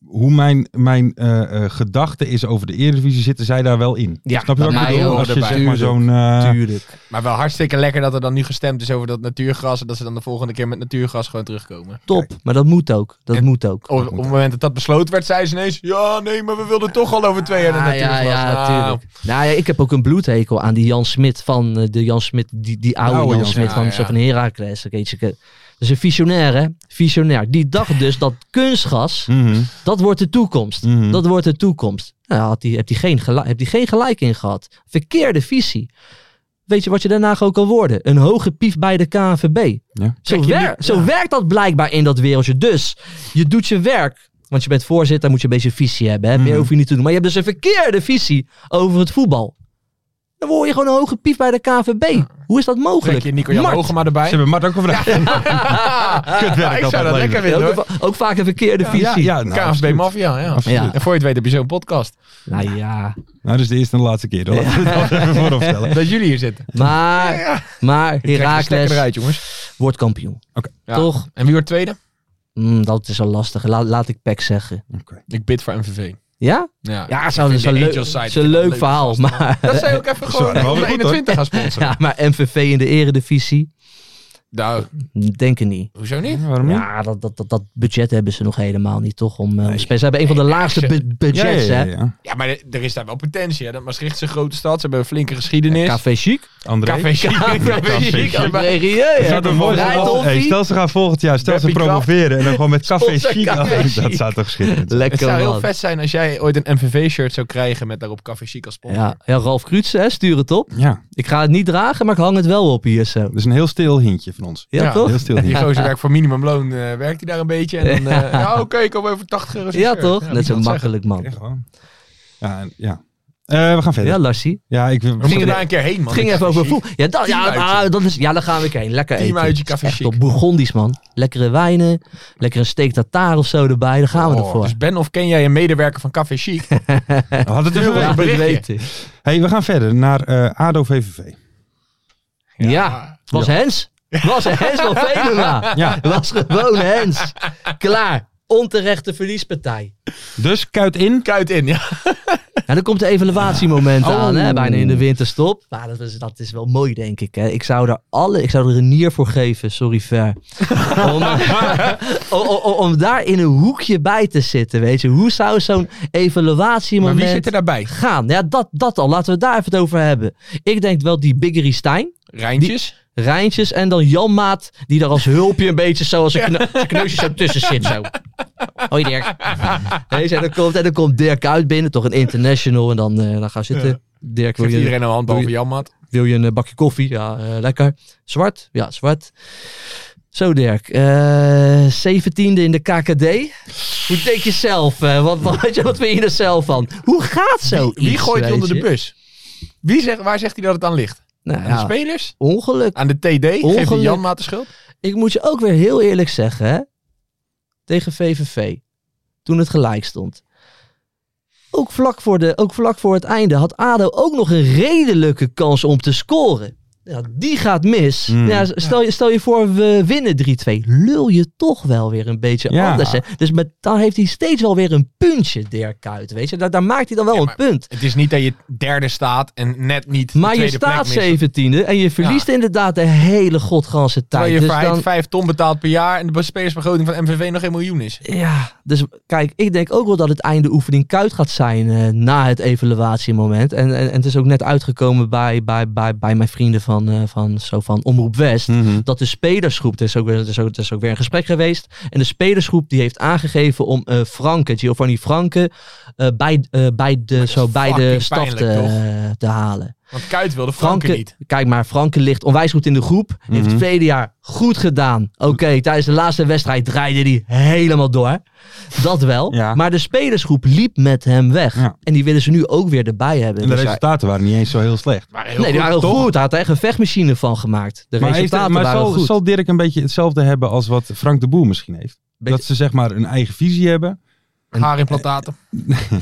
[SPEAKER 3] hoe mijn, mijn eh, eh, gedachte is over de Eredivisie, zitten zij daar wel in.
[SPEAKER 4] Ja,
[SPEAKER 3] Snap je wat ik
[SPEAKER 4] bij mij
[SPEAKER 3] bedoel?
[SPEAKER 4] horen
[SPEAKER 3] Als je
[SPEAKER 5] erbij.
[SPEAKER 3] zeg maar zo'n... eh,
[SPEAKER 4] Tuurlijk.
[SPEAKER 5] Maar wel hartstikke lekker dat er dan nu gestemd is over dat natuurgras. En dat ze dan de volgende keer met natuurgras gewoon terugkomen.
[SPEAKER 4] Top. Maar dat moet ook. Dat
[SPEAKER 5] En- Oh,
[SPEAKER 4] moet ook.
[SPEAKER 5] Op, op het moment dat dat besloten werd, zei ze ineens... Ja, nee, maar we wilden toch al over twee jaar de
[SPEAKER 4] Ah,
[SPEAKER 5] natuurgras. Nou,
[SPEAKER 4] tuurlijk. Nou ja, ik heb ook een bloedhekel aan die Jan Smit van eh, de Jan Smit, die, die oude,
[SPEAKER 3] Oude
[SPEAKER 4] Jan,
[SPEAKER 3] Jan
[SPEAKER 4] Smit
[SPEAKER 5] Smit,
[SPEAKER 4] van,
[SPEAKER 5] ja,
[SPEAKER 4] zo
[SPEAKER 5] ja.
[SPEAKER 4] van Herakles. Dat is een visionair, hè? Visionair. Die dacht dus dat kunstgas,
[SPEAKER 3] mhm.
[SPEAKER 4] dat wordt de toekomst.
[SPEAKER 3] Mhm.
[SPEAKER 4] Dat wordt de toekomst. Nou, had die, heb die geen gelijk, heb die geen gelijk in gehad. Verkeerde visie. Weet je wat je daarna ook kan worden? Een hoge pief bij de KNVB.
[SPEAKER 3] Ja.
[SPEAKER 4] Zo,
[SPEAKER 5] Kijk, je
[SPEAKER 4] wer-
[SPEAKER 5] nu-
[SPEAKER 4] zo
[SPEAKER 5] ja.
[SPEAKER 4] werkt dat blijkbaar in dat wereldje. Dus je doet je werk. Want je bent voorzitter, moet je een beetje visie hebben. Hè? Meer
[SPEAKER 3] Mhm.
[SPEAKER 4] hoef je niet te doen. Maar je hebt dus een verkeerde visie over het voetbal. Dan word je gewoon een hoge pief bij de KNVB. Hoe is dat
[SPEAKER 5] Trek
[SPEAKER 4] mogelijk?
[SPEAKER 5] je Nico Jan
[SPEAKER 4] Mart. Ah,
[SPEAKER 5] Hogema
[SPEAKER 3] Ze
[SPEAKER 5] erbij.
[SPEAKER 3] hebben Mart ook gevraagd.
[SPEAKER 5] Ja, ik
[SPEAKER 3] altijd
[SPEAKER 5] zou dat
[SPEAKER 3] leveren.
[SPEAKER 5] lekker
[SPEAKER 4] Ja,
[SPEAKER 5] vinden
[SPEAKER 4] ook,
[SPEAKER 5] hoor.
[SPEAKER 4] ook vaak een verkeerde visie.
[SPEAKER 3] Ja, ja, nou,
[SPEAKER 5] KFB
[SPEAKER 3] absoluut.
[SPEAKER 5] Mafia, ja.
[SPEAKER 3] Absoluut.
[SPEAKER 4] Ja.
[SPEAKER 5] En voor je het weet heb je zo'n podcast.
[SPEAKER 4] Nou ja.
[SPEAKER 3] Nou, dat is de eerste en de laatste keer. Dat laten we het wel even voorop stellen.
[SPEAKER 5] Dat jullie hier zitten.
[SPEAKER 4] Maar, maar
[SPEAKER 5] Ik trek de stekker
[SPEAKER 4] Herakles
[SPEAKER 5] eruit, jongens.
[SPEAKER 4] wordt kampioen.
[SPEAKER 5] Ja.
[SPEAKER 4] Toch?
[SPEAKER 5] En wie wordt tweede?
[SPEAKER 4] Mm, dat is al lastig. Laat, laat ik Peck zeggen.
[SPEAKER 5] Ik bid voor MVV.
[SPEAKER 4] Ja?
[SPEAKER 5] Ja,
[SPEAKER 4] Ja, het is wel- het is
[SPEAKER 5] ik vind
[SPEAKER 4] wel
[SPEAKER 5] de
[SPEAKER 4] leuk-
[SPEAKER 5] Angels side
[SPEAKER 4] het is
[SPEAKER 5] vind
[SPEAKER 4] een
[SPEAKER 5] ik wel
[SPEAKER 4] leuk verhaal.
[SPEAKER 5] gast, man.
[SPEAKER 4] Maar,
[SPEAKER 5] Dat zei ook even gewoon
[SPEAKER 3] Sorry, wel weer
[SPEAKER 5] de
[SPEAKER 3] goed,
[SPEAKER 5] 21 gaan sponsoren.
[SPEAKER 4] ja, maar MVV in de eredivisie?
[SPEAKER 5] Nou,
[SPEAKER 4] Denk ik niet.
[SPEAKER 5] hoezo niet?
[SPEAKER 3] Ja, waarom niet?
[SPEAKER 4] Ja, dat, dat, dat, dat budget hebben ze nog helemaal niet, toch? Om, eh, om spelers- Ze hebben een van de laagste bu-
[SPEAKER 3] Ja, ja,
[SPEAKER 4] budgets,
[SPEAKER 3] ja, ja.
[SPEAKER 5] Ja, maar er er is daar wel potentie. Hè? Dat Maastricht is een grote stad. Ze hebben een flinke geschiedenis.
[SPEAKER 4] hè? Café Chic.
[SPEAKER 3] André?
[SPEAKER 5] Café Chic. Café Chic.
[SPEAKER 4] Café Rieu,
[SPEAKER 3] Dat
[SPEAKER 4] hè?
[SPEAKER 3] zou toch mooi zijn?
[SPEAKER 4] Rijndolfie.
[SPEAKER 3] Hey, stel ze gaan volgend jaar, stel ze
[SPEAKER 5] Beppie Kraft.
[SPEAKER 3] promoveren en dan gewoon met café
[SPEAKER 4] Sponsor
[SPEAKER 3] chic.
[SPEAKER 4] Café
[SPEAKER 3] aan-
[SPEAKER 4] Chic.
[SPEAKER 3] Dat zou toch schitterend zijn.
[SPEAKER 5] Het
[SPEAKER 4] Lekker
[SPEAKER 5] zou heel
[SPEAKER 4] man.
[SPEAKER 5] vet zijn als jij ooit een MVV-shirt zou krijgen met daarop Café Chic als sponsor.
[SPEAKER 4] Ja, ja, Ralf Kruutsen, hè? stuur het op.
[SPEAKER 3] Ja,
[SPEAKER 4] Ik ga het niet dragen, maar ik hang het wel op hier zo.
[SPEAKER 3] dat is een heel stil hintje van ons.
[SPEAKER 4] Ja,
[SPEAKER 5] Ja,
[SPEAKER 4] toch?
[SPEAKER 3] Heel stil
[SPEAKER 5] Die
[SPEAKER 3] hintje.
[SPEAKER 5] gozer werkt voor minimumloon. eh, werkt hij daar een beetje? En dan, eh, ja, oké, ik kom even 80 euro.
[SPEAKER 4] Ja, toch? Net zo makkelijk,
[SPEAKER 3] Ja,
[SPEAKER 4] man.
[SPEAKER 3] gewoon. Ja, en- ja. Eh, we gaan verder.
[SPEAKER 4] Ja,
[SPEAKER 3] Ja,
[SPEAKER 4] Larsie.
[SPEAKER 3] ik wil...
[SPEAKER 5] We moeten
[SPEAKER 4] er-
[SPEAKER 5] daar een keer heen, man.
[SPEAKER 4] Het ging
[SPEAKER 5] Met
[SPEAKER 4] even
[SPEAKER 5] Café
[SPEAKER 4] over
[SPEAKER 5] Chic.
[SPEAKER 4] voetbal. Ja, dat, ja,
[SPEAKER 5] Teamuitje.
[SPEAKER 4] ah, dat is, ja, daar gaan we weer heen. Lekker eten.
[SPEAKER 5] Teamuitje, café
[SPEAKER 4] Echt
[SPEAKER 5] chic.
[SPEAKER 4] op Bourgondisch, man. Lekkere wijnen. Lekker een steak tartare of zo erbij. Daar gaan we Hm?
[SPEAKER 5] Oh,
[SPEAKER 4] nog voor.
[SPEAKER 5] Dus ben of ken jij een medewerker van Café Chic?
[SPEAKER 3] We hadden het even
[SPEAKER 4] Ja,
[SPEAKER 3] over.
[SPEAKER 4] dat
[SPEAKER 5] berichtje.
[SPEAKER 4] weet ik.
[SPEAKER 3] Hey, we gaan verder naar eh, ADO VVV.
[SPEAKER 4] Ja. Was Hens. Was Hens van Venema.
[SPEAKER 3] Ja.
[SPEAKER 4] Was gewoon Hens. Klaar. Onterechte verliespartij.
[SPEAKER 3] Dus kuit in.
[SPEAKER 5] Kuit in, ja.
[SPEAKER 4] Nou, dan komt de evaluatiemoment
[SPEAKER 3] Oh.
[SPEAKER 4] aan, hè, bijna in de winterstop. Maar dat is, dat is wel mooi, denk ik. Hè. Ik zou daar alle, ik zou er een nier voor geven, sorry Ver. om, eh, om, om- om daar in een hoekje bij te zitten, weet je. Hoe zou zo'n
[SPEAKER 5] Maar
[SPEAKER 4] evaluatiemoment
[SPEAKER 5] wie zit er daarbij?
[SPEAKER 4] gaan? Ja, dat, dat al. Laten we het daar even het over hebben. Ik denk wel die Biggery Stijn.
[SPEAKER 5] Rijntjes?
[SPEAKER 4] Rijntjes en dan Jan Maat, die daar als hulpje een beetje zo als een kne zijn kneusje zo tussen zit. Zo. Hoi Dirk. Hey, zo, dan komt, en dan komt Dirk uit binnen, toch een international. En dan, eh, dan gaan we zitten. Dirk, wil
[SPEAKER 5] Geeft
[SPEAKER 4] je,
[SPEAKER 5] iedereen een hand, behalve
[SPEAKER 4] doe
[SPEAKER 5] Jan Maat.
[SPEAKER 4] wil je een bakje koffie? Ja, eh, lekker. Zwart? Ja, zwart. Zo Dirk, Eh, zeventiende in de KKD. Hoe denk je zelf? eh, wat, wat, wat vind je er zelf van? Hoe gaat zo
[SPEAKER 5] Wie
[SPEAKER 4] iets,
[SPEAKER 5] gooit je
[SPEAKER 4] weet
[SPEAKER 5] onder de bus? Wie zegt, waar zegt hij dat het aan ligt?
[SPEAKER 4] Nou,
[SPEAKER 5] Aan
[SPEAKER 4] ja,
[SPEAKER 5] de spelers?
[SPEAKER 4] ongeluk.
[SPEAKER 5] Aan de TD? Geeft hij
[SPEAKER 4] Ongeluk.
[SPEAKER 5] Jan Maat de schuld?
[SPEAKER 4] Ik moet je ook weer heel eerlijk zeggen, hè? Tegen VVV. Toen het gelijk stond. Ook vlak, voor de, ook vlak voor het einde had ADO ook nog een redelijke kans om te scoren. Ja, die gaat mis.
[SPEAKER 5] Hmm.
[SPEAKER 3] Mm.
[SPEAKER 4] Ja, stel, je, stel je voor, we winnen 3-2. Lul je toch wel weer een beetje
[SPEAKER 3] Ja.
[SPEAKER 4] anders. Hè? Dus met, dan heeft hij steeds wel weer een puntje, Dirk Kuyt. Weet je? Daar, daar maakt hij dan wel
[SPEAKER 5] Ja,
[SPEAKER 4] een
[SPEAKER 5] maar-
[SPEAKER 4] punt.
[SPEAKER 5] Het is niet dat je derde staat en net niet
[SPEAKER 4] Maar
[SPEAKER 5] de
[SPEAKER 4] je
[SPEAKER 5] tweede
[SPEAKER 4] staat
[SPEAKER 5] plek mist.
[SPEAKER 4] zeventiende en je verliest inderdaad de hele godganse tijd.
[SPEAKER 5] Terwijl je
[SPEAKER 4] Dus
[SPEAKER 5] vijf,
[SPEAKER 4] dan-
[SPEAKER 5] vijf ton betaalt per jaar en de spelersbegroting van MVV nog 1 miljoen is.
[SPEAKER 4] Ja, dus kijk, ik denk ook wel dat het einde oefening kuit gaat zijn eh, na het evaluatiemoment. En, en, en het is ook net uitgekomen bij, bij, bij, bij mijn vrienden van, eh, van, zo van Omroep West.
[SPEAKER 5] Mhm.
[SPEAKER 4] Dat de spelersgroep, er is, ook, weer- er, is ook, er is ook weer een gesprek geweest. En de spelersgroep die heeft aangegeven om eh Franke, Giovanni Franke, eh, bij, eh, bij de,
[SPEAKER 5] is
[SPEAKER 4] zo, bij de
[SPEAKER 5] fucking
[SPEAKER 4] staf te,
[SPEAKER 5] pijnlijk,
[SPEAKER 4] te halen.
[SPEAKER 5] Want Kuit wilde Franke,
[SPEAKER 4] Franke,
[SPEAKER 5] niet.
[SPEAKER 4] kijk maar, Franke ligt onwijs goed in de groep.
[SPEAKER 3] Mhm.
[SPEAKER 4] Heeft het tweede jaar goed gedaan. Oké, tijdens de laatste wedstrijd draaide hij helemaal door. Dat wel.
[SPEAKER 3] Ja.
[SPEAKER 4] Maar de spelersgroep liep met hem weg.
[SPEAKER 3] Ja.
[SPEAKER 4] En die willen ze nu ook weer erbij hebben.
[SPEAKER 3] En de
[SPEAKER 4] Dus hij-
[SPEAKER 3] resultaten waren niet eens zo heel slecht.
[SPEAKER 5] Maar heel
[SPEAKER 4] nee, die
[SPEAKER 5] goed.
[SPEAKER 4] waren
[SPEAKER 3] toch?
[SPEAKER 4] goed. Hij had er echt een vechtmachine van gemaakt. De
[SPEAKER 3] Maar, heeft,
[SPEAKER 4] resultaten
[SPEAKER 3] maar
[SPEAKER 4] waren
[SPEAKER 3] zal,
[SPEAKER 4] goed.
[SPEAKER 3] zal Dirk een beetje hetzelfde hebben als wat Frank de Boer misschien heeft?
[SPEAKER 4] Beetje-
[SPEAKER 3] Dat ze zeg maar een eigen visie hebben.
[SPEAKER 5] Haarimplantaten.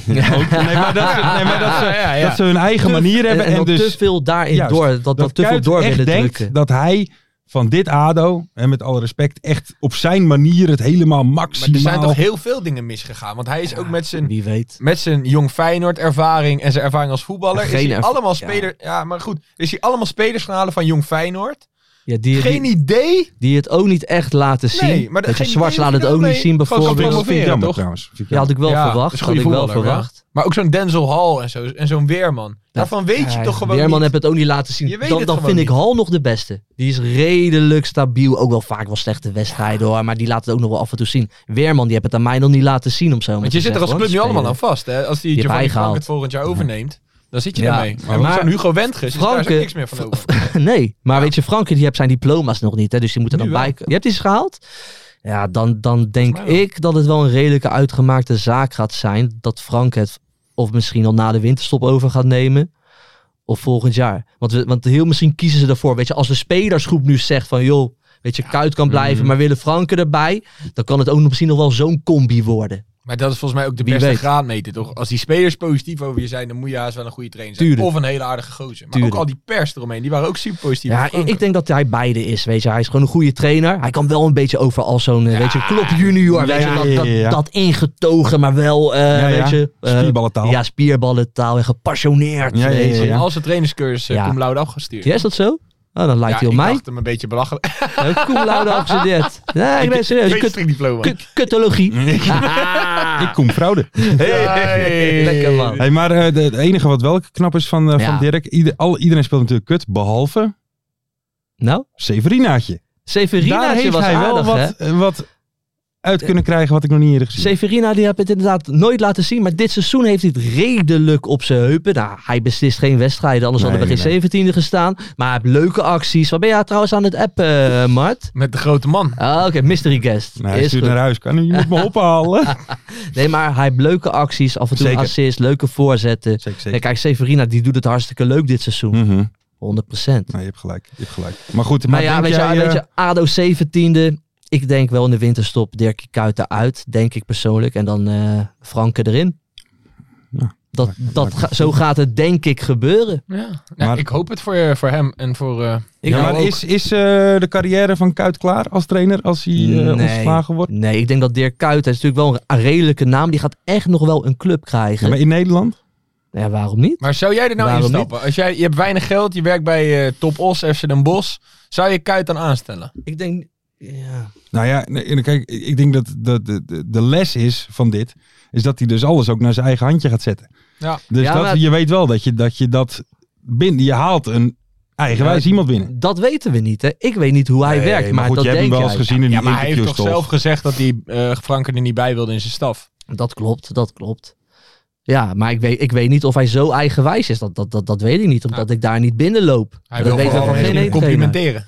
[SPEAKER 3] Nee, maar dat ze, nee, maar dat ze,
[SPEAKER 5] Ja, ja, ja.
[SPEAKER 3] Dat ze hun eigen manier
[SPEAKER 4] en,
[SPEAKER 3] hebben. En,
[SPEAKER 4] en dat
[SPEAKER 3] dus
[SPEAKER 4] te veel daarin
[SPEAKER 3] Juist.
[SPEAKER 4] door, dat, dat, te veel
[SPEAKER 3] Kuyt
[SPEAKER 4] door
[SPEAKER 3] echt
[SPEAKER 4] willen
[SPEAKER 3] denkt
[SPEAKER 4] drukken.
[SPEAKER 3] dat hij van dit ADO, en met alle respect, echt op zijn manier het helemaal
[SPEAKER 5] Maar
[SPEAKER 3] maximaal...
[SPEAKER 5] er zijn toch heel veel dingen misgegaan. Want hij is ook met zijn,
[SPEAKER 4] Wie weet.
[SPEAKER 5] met zijn jong Feyenoord ervaring en zijn ervaring als voetballer.
[SPEAKER 4] Geen
[SPEAKER 5] is hij
[SPEAKER 4] erv-
[SPEAKER 5] allemaal
[SPEAKER 4] ja.
[SPEAKER 5] speler, ja. maar goed. Is hij allemaal spelers gaan halen van jong Feyenoord?
[SPEAKER 4] Ja, die,
[SPEAKER 5] Geen
[SPEAKER 4] die,
[SPEAKER 5] idee.
[SPEAKER 4] die het ook niet echt laten zien.
[SPEAKER 5] Nee, maar dat-
[SPEAKER 4] Weet je,
[SPEAKER 5] geen
[SPEAKER 4] Zwart
[SPEAKER 5] idee
[SPEAKER 4] laat
[SPEAKER 5] of
[SPEAKER 4] het
[SPEAKER 5] je
[SPEAKER 4] ook
[SPEAKER 5] daarmee
[SPEAKER 4] niet zien
[SPEAKER 5] gewoon
[SPEAKER 3] Dat
[SPEAKER 4] bijvoorbeeld.
[SPEAKER 3] Oh, vind ik- dat vind ik
[SPEAKER 5] promoveren,
[SPEAKER 3] jammer
[SPEAKER 5] toch?
[SPEAKER 3] trouwens. Vind ik
[SPEAKER 4] Ja, had ik wel
[SPEAKER 5] Ja, dat
[SPEAKER 4] verwacht.
[SPEAKER 5] is een
[SPEAKER 4] Had
[SPEAKER 5] goede
[SPEAKER 4] ik wel
[SPEAKER 5] voetballer, ja.
[SPEAKER 4] verwacht.
[SPEAKER 5] Maar ook zo'n Denzel Hall en zo'n en zo'n Weerman. Daarvan weet je
[SPEAKER 4] Ja,
[SPEAKER 5] toch gewoon
[SPEAKER 4] Weerman
[SPEAKER 5] niet.
[SPEAKER 4] heeft het ook niet laten zien.
[SPEAKER 5] Je weet
[SPEAKER 4] dan
[SPEAKER 5] het
[SPEAKER 4] dan
[SPEAKER 5] gewoon
[SPEAKER 4] vind ik
[SPEAKER 5] niet.
[SPEAKER 4] Hal nog de beste. Die is redelijk stabiel. Ook wel vaak wel slechte wedstrijden hoor. Maar die laat het ook nog wel af en toe zien. Weerman die heeft het aan mij nog niet laten zien om zo maar
[SPEAKER 5] Want
[SPEAKER 4] te
[SPEAKER 5] je zit er als
[SPEAKER 4] zeggen,
[SPEAKER 5] club
[SPEAKER 4] hoor,
[SPEAKER 5] nu allemaal aan
[SPEAKER 4] spelen.
[SPEAKER 5] vast. Hè? Als die
[SPEAKER 4] hebt
[SPEAKER 5] Giovanni Frank
[SPEAKER 4] bijgehaald.
[SPEAKER 5] het volgend jaar overneemt, dan zit je
[SPEAKER 4] Ja.
[SPEAKER 5] daarmee.
[SPEAKER 4] Maar-
[SPEAKER 5] Maar, zo'n Hugo Wendges is daar
[SPEAKER 4] Franke-
[SPEAKER 5] is ook niks meer van over.
[SPEAKER 4] Nee, maar weet je, Frankie die heeft zijn diploma's nog niet. Hè, dus die moet er
[SPEAKER 5] Nu
[SPEAKER 4] dan
[SPEAKER 5] wel.
[SPEAKER 4] bij. Je hebt die eens gehaald? Ja, dan, dan denk
[SPEAKER 5] Volgens mij wel.
[SPEAKER 4] ik dat het wel een redelijke uitgemaakte zaak gaat zijn. Dat Frank het of misschien al na de winterstop over gaat nemen. Of volgend jaar. Want, we, want heel misschien kiezen ze ervoor. Weet je, als de spelersgroep nu zegt van joh, weet je, Kuit kan blijven,
[SPEAKER 5] Mhm.
[SPEAKER 4] maar willen Franke erbij. Dan kan het ook nog misschien nog wel zo'n combi worden.
[SPEAKER 5] Maar dat is volgens mij ook de
[SPEAKER 4] Wie
[SPEAKER 5] beste
[SPEAKER 4] weet.
[SPEAKER 5] graadmeter, toch? Als die spelers positief over je zijn, dan moet je haast wel een goede trainer zijn.
[SPEAKER 4] Tuurlijk.
[SPEAKER 5] Of een hele aardige gozer. Maar
[SPEAKER 4] Tuurlijk.
[SPEAKER 5] ook al die pers eromheen, die waren ook super positief.
[SPEAKER 4] Ja,
[SPEAKER 5] over
[SPEAKER 4] ik,
[SPEAKER 5] Franke.
[SPEAKER 4] ik denk dat hij beide is. Weet je, hij is gewoon een goede trainer. Hij kan wel een beetje over als zo'n, eh, weet je, klop junior. Weet
[SPEAKER 3] Ja,
[SPEAKER 4] je, dat,
[SPEAKER 3] ja,
[SPEAKER 4] dat,
[SPEAKER 3] ja, ja.
[SPEAKER 4] dat ingetogen, maar wel, eh,
[SPEAKER 3] Ja, ja.
[SPEAKER 4] weet je. eh,
[SPEAKER 3] Spierballentaal.
[SPEAKER 4] Ja, spierballentaal en gepassioneerd.
[SPEAKER 3] Ja, ja,
[SPEAKER 4] weet je.
[SPEAKER 3] ja.
[SPEAKER 5] Als de trainerscursus eh,
[SPEAKER 4] Ja.
[SPEAKER 5] ja. cum laude afgestuurd.
[SPEAKER 4] Ja, is dat zo? Oh, dan lijkt
[SPEAKER 5] Ja,
[SPEAKER 4] hij op
[SPEAKER 5] ik
[SPEAKER 4] mij.
[SPEAKER 5] dacht hem een beetje belachelijk.
[SPEAKER 4] Eh, Cum laude afgestudeerd. Nee, ik ben serieus. Kut,
[SPEAKER 5] Kunstdiploma.
[SPEAKER 4] kut- kuttologie. Ah.
[SPEAKER 3] Ik kom fraude.
[SPEAKER 5] Hey.
[SPEAKER 4] Lekker, man.
[SPEAKER 3] Hey, maar eh, de- het enige wat wel knap is van, eh,
[SPEAKER 4] Ja.
[SPEAKER 3] van Dirk, ieder, al, iedereen speelt natuurlijk kut, behalve
[SPEAKER 4] Nou,
[SPEAKER 3] Severinaatje. Daar
[SPEAKER 4] Severinaatje
[SPEAKER 3] heeft
[SPEAKER 4] was
[SPEAKER 3] hij
[SPEAKER 4] aardig,
[SPEAKER 3] wel
[SPEAKER 4] hè?
[SPEAKER 3] wat, eh, wat uit kunnen krijgen wat ik nog niet eerder gezien heb.
[SPEAKER 4] Severina die heeft het inderdaad nooit laten zien. Maar dit seizoen heeft hij het redelijk op zijn heupen. Nou, hij beslist geen wedstrijden. Anders
[SPEAKER 3] Nee,
[SPEAKER 4] hadden we geen
[SPEAKER 3] nee.
[SPEAKER 4] 17e gestaan. Maar hij heeft leuke acties. Wat ben jij trouwens aan het appen, eh, Mart?
[SPEAKER 5] Met de grote man.
[SPEAKER 4] Ah, Oké, mystery guest.
[SPEAKER 3] Nou, hij
[SPEAKER 4] Is
[SPEAKER 3] stuurt
[SPEAKER 4] goed.
[SPEAKER 3] naar huis. Kan, je moet me ophalen.
[SPEAKER 4] Nee, maar hij heeft leuke acties. Af en toe
[SPEAKER 3] Zeker.
[SPEAKER 4] assists, leuke voorzetten.
[SPEAKER 3] Zeker, Hm.
[SPEAKER 4] En kijk, Severina die doet het hartstikke leuk dit seizoen. 100%.
[SPEAKER 3] Nee, Mhm. je hebt gelijk. Je hebt gelijk. Maar goed, maar
[SPEAKER 4] Maar ja,
[SPEAKER 3] denk
[SPEAKER 4] weet je,
[SPEAKER 3] jij,
[SPEAKER 4] weet
[SPEAKER 3] eh,
[SPEAKER 4] je, ADO 17e. Ik denk wel in de winterstop Dirk Kuyt eruit, denk ik persoonlijk. En dan eh Franke erin.
[SPEAKER 3] Ja,
[SPEAKER 4] dat,
[SPEAKER 3] maakt-
[SPEAKER 4] dat,
[SPEAKER 3] maakt-
[SPEAKER 4] ga- zo gaat het denk ik gebeuren.
[SPEAKER 5] Ja.
[SPEAKER 3] Maar-
[SPEAKER 5] ik hoop het voor, eh, voor hem en voor... eh,
[SPEAKER 4] Ik
[SPEAKER 3] ja,
[SPEAKER 4] hou
[SPEAKER 3] maar
[SPEAKER 4] ook-
[SPEAKER 3] is, is eh, de carrière van Kuit klaar als trainer als hij eh,
[SPEAKER 4] Nee.
[SPEAKER 3] ontslagen wordt?
[SPEAKER 4] Nee, ik denk dat Dirk Kuyt, hij is natuurlijk wel een redelijke naam. Die gaat echt nog wel een club krijgen.
[SPEAKER 3] Ja,
[SPEAKER 4] Ja,
[SPEAKER 3] maar in Nederland?
[SPEAKER 4] waarom niet?
[SPEAKER 5] Maar zou jij er nou
[SPEAKER 4] Waarom
[SPEAKER 5] instappen? Als jij, je hebt weinig geld, je werkt bij eh, Top Os, FC Den Bosch. Zou je Kuit dan aanstellen?
[SPEAKER 4] Ik denk, ja.
[SPEAKER 3] Nou ja, nee, kijk, ik denk dat dat de, de, de les is van dit, is dat hij dus alles ook naar zijn eigen handje gaat zetten.
[SPEAKER 5] Ja.
[SPEAKER 3] Dus
[SPEAKER 4] Ja,
[SPEAKER 3] dat,
[SPEAKER 4] maar-
[SPEAKER 3] je weet wel dat je dat, je dat binnen, je haalt een eigenwijs iemand binnen.
[SPEAKER 4] Dat weten we niet, hè. Ik weet niet hoe hij
[SPEAKER 3] Nee,
[SPEAKER 4] werkt, maar,
[SPEAKER 3] goed,
[SPEAKER 4] dat
[SPEAKER 3] jij hebt
[SPEAKER 4] denk
[SPEAKER 3] hem wel
[SPEAKER 4] jij.
[SPEAKER 3] eens gezien in
[SPEAKER 5] Ja,
[SPEAKER 3] die
[SPEAKER 5] maar hij heeft
[SPEAKER 3] interviews
[SPEAKER 5] toch zelf gezegd dat hij eh Franken er niet bij wilde in zijn staf.
[SPEAKER 4] Dat klopt, dat klopt. Ja, maar ik weet, ik weet niet of hij zo eigenwijs is. Dat, dat, dat, dat weet ik niet, omdat ik daar niet binnenloop.
[SPEAKER 5] Hij
[SPEAKER 4] dat
[SPEAKER 5] wil
[SPEAKER 4] weet
[SPEAKER 5] gewoon
[SPEAKER 4] ik van
[SPEAKER 5] hem
[SPEAKER 4] geen ene trainer.
[SPEAKER 5] complimenteren.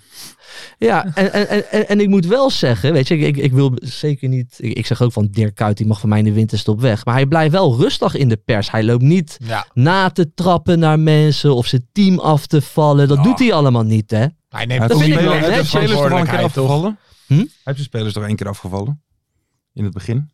[SPEAKER 4] Ja, en, en, en- en, en ik moet wel zeggen, weet je, ik, ik, ik wil zeker niet... Ik, ik zeg ook van Dirk Kuyt, die mag van mij in de winterstop weg. Maar hij blijft wel rustig in de pers. Hij loopt niet
[SPEAKER 5] Ja,
[SPEAKER 4] na te trappen naar mensen of zijn team af te vallen. Dat
[SPEAKER 5] Ah.
[SPEAKER 4] doet hij allemaal niet, hè?
[SPEAKER 5] hij
[SPEAKER 3] Hij
[SPEAKER 5] neemt
[SPEAKER 3] heeft
[SPEAKER 4] Dat
[SPEAKER 5] toch
[SPEAKER 4] vind
[SPEAKER 3] zijn
[SPEAKER 4] ik wel
[SPEAKER 5] wel
[SPEAKER 3] spelers- hij
[SPEAKER 4] netjes.
[SPEAKER 3] heeft
[SPEAKER 5] echt de
[SPEAKER 3] zijn spelers toch wel een keer
[SPEAKER 5] verantwoordelijkheid,
[SPEAKER 3] afgevallen?
[SPEAKER 5] toch?
[SPEAKER 4] Hm?
[SPEAKER 3] Hij heeft zijn spelers toch één keer afgevallen? In het begin?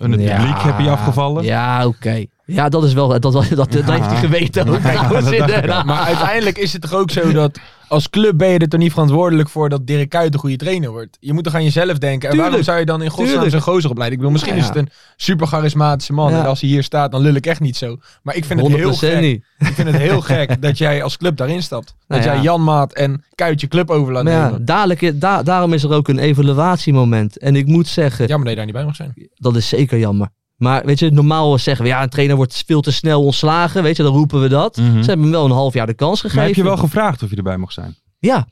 [SPEAKER 3] En het
[SPEAKER 4] Ja.
[SPEAKER 3] publiek heb je afgevallen.
[SPEAKER 4] Ja, oké. Ja, dat is wel. Dat, dat, dat, dat heeft hij geweten ook. trouwens, inderdaad.
[SPEAKER 5] Maar uiteindelijk is het toch ook zo dat als club ben je er toch niet verantwoordelijk voor dat Dirk Kuyt een goede trainer wordt. Je moet toch aan jezelf denken. En waarom
[SPEAKER 4] Tuurlijk.
[SPEAKER 5] zou je dan in godsnaam
[SPEAKER 4] Tuurlijk.
[SPEAKER 5] zo'n gozer opleiden? Ik bedoel, misschien
[SPEAKER 4] Ja,
[SPEAKER 5] is het een super charismatische man.
[SPEAKER 4] Ja.
[SPEAKER 5] En als hij hier staat, dan lul ik echt niet zo. Maar ik vind het heel
[SPEAKER 4] 100%
[SPEAKER 5] gek.
[SPEAKER 4] niet.
[SPEAKER 5] Ik vind het heel gek dat jij als club daarin stapt. Dat
[SPEAKER 4] Nou ja.
[SPEAKER 5] jij Jan Maat en Kuyt je club over laat
[SPEAKER 4] Maar ja,
[SPEAKER 5] nemen.
[SPEAKER 4] dadelijk, i- da- daarom is er ook een evaluatiemoment. En ik moet zeggen,
[SPEAKER 5] Jammer dat je daar niet bij mag zijn.
[SPEAKER 4] dat is zeker jammer. Maar weet je, normaal zeggen we ja, een trainer wordt veel te snel ontslagen. Weet je, dan roepen we dat.
[SPEAKER 3] Mhm.
[SPEAKER 4] Ze hebben hem wel een half jaar de kans gegeven.
[SPEAKER 3] Maar heb je wel gevraagd of je erbij mocht zijn?
[SPEAKER 4] Ja,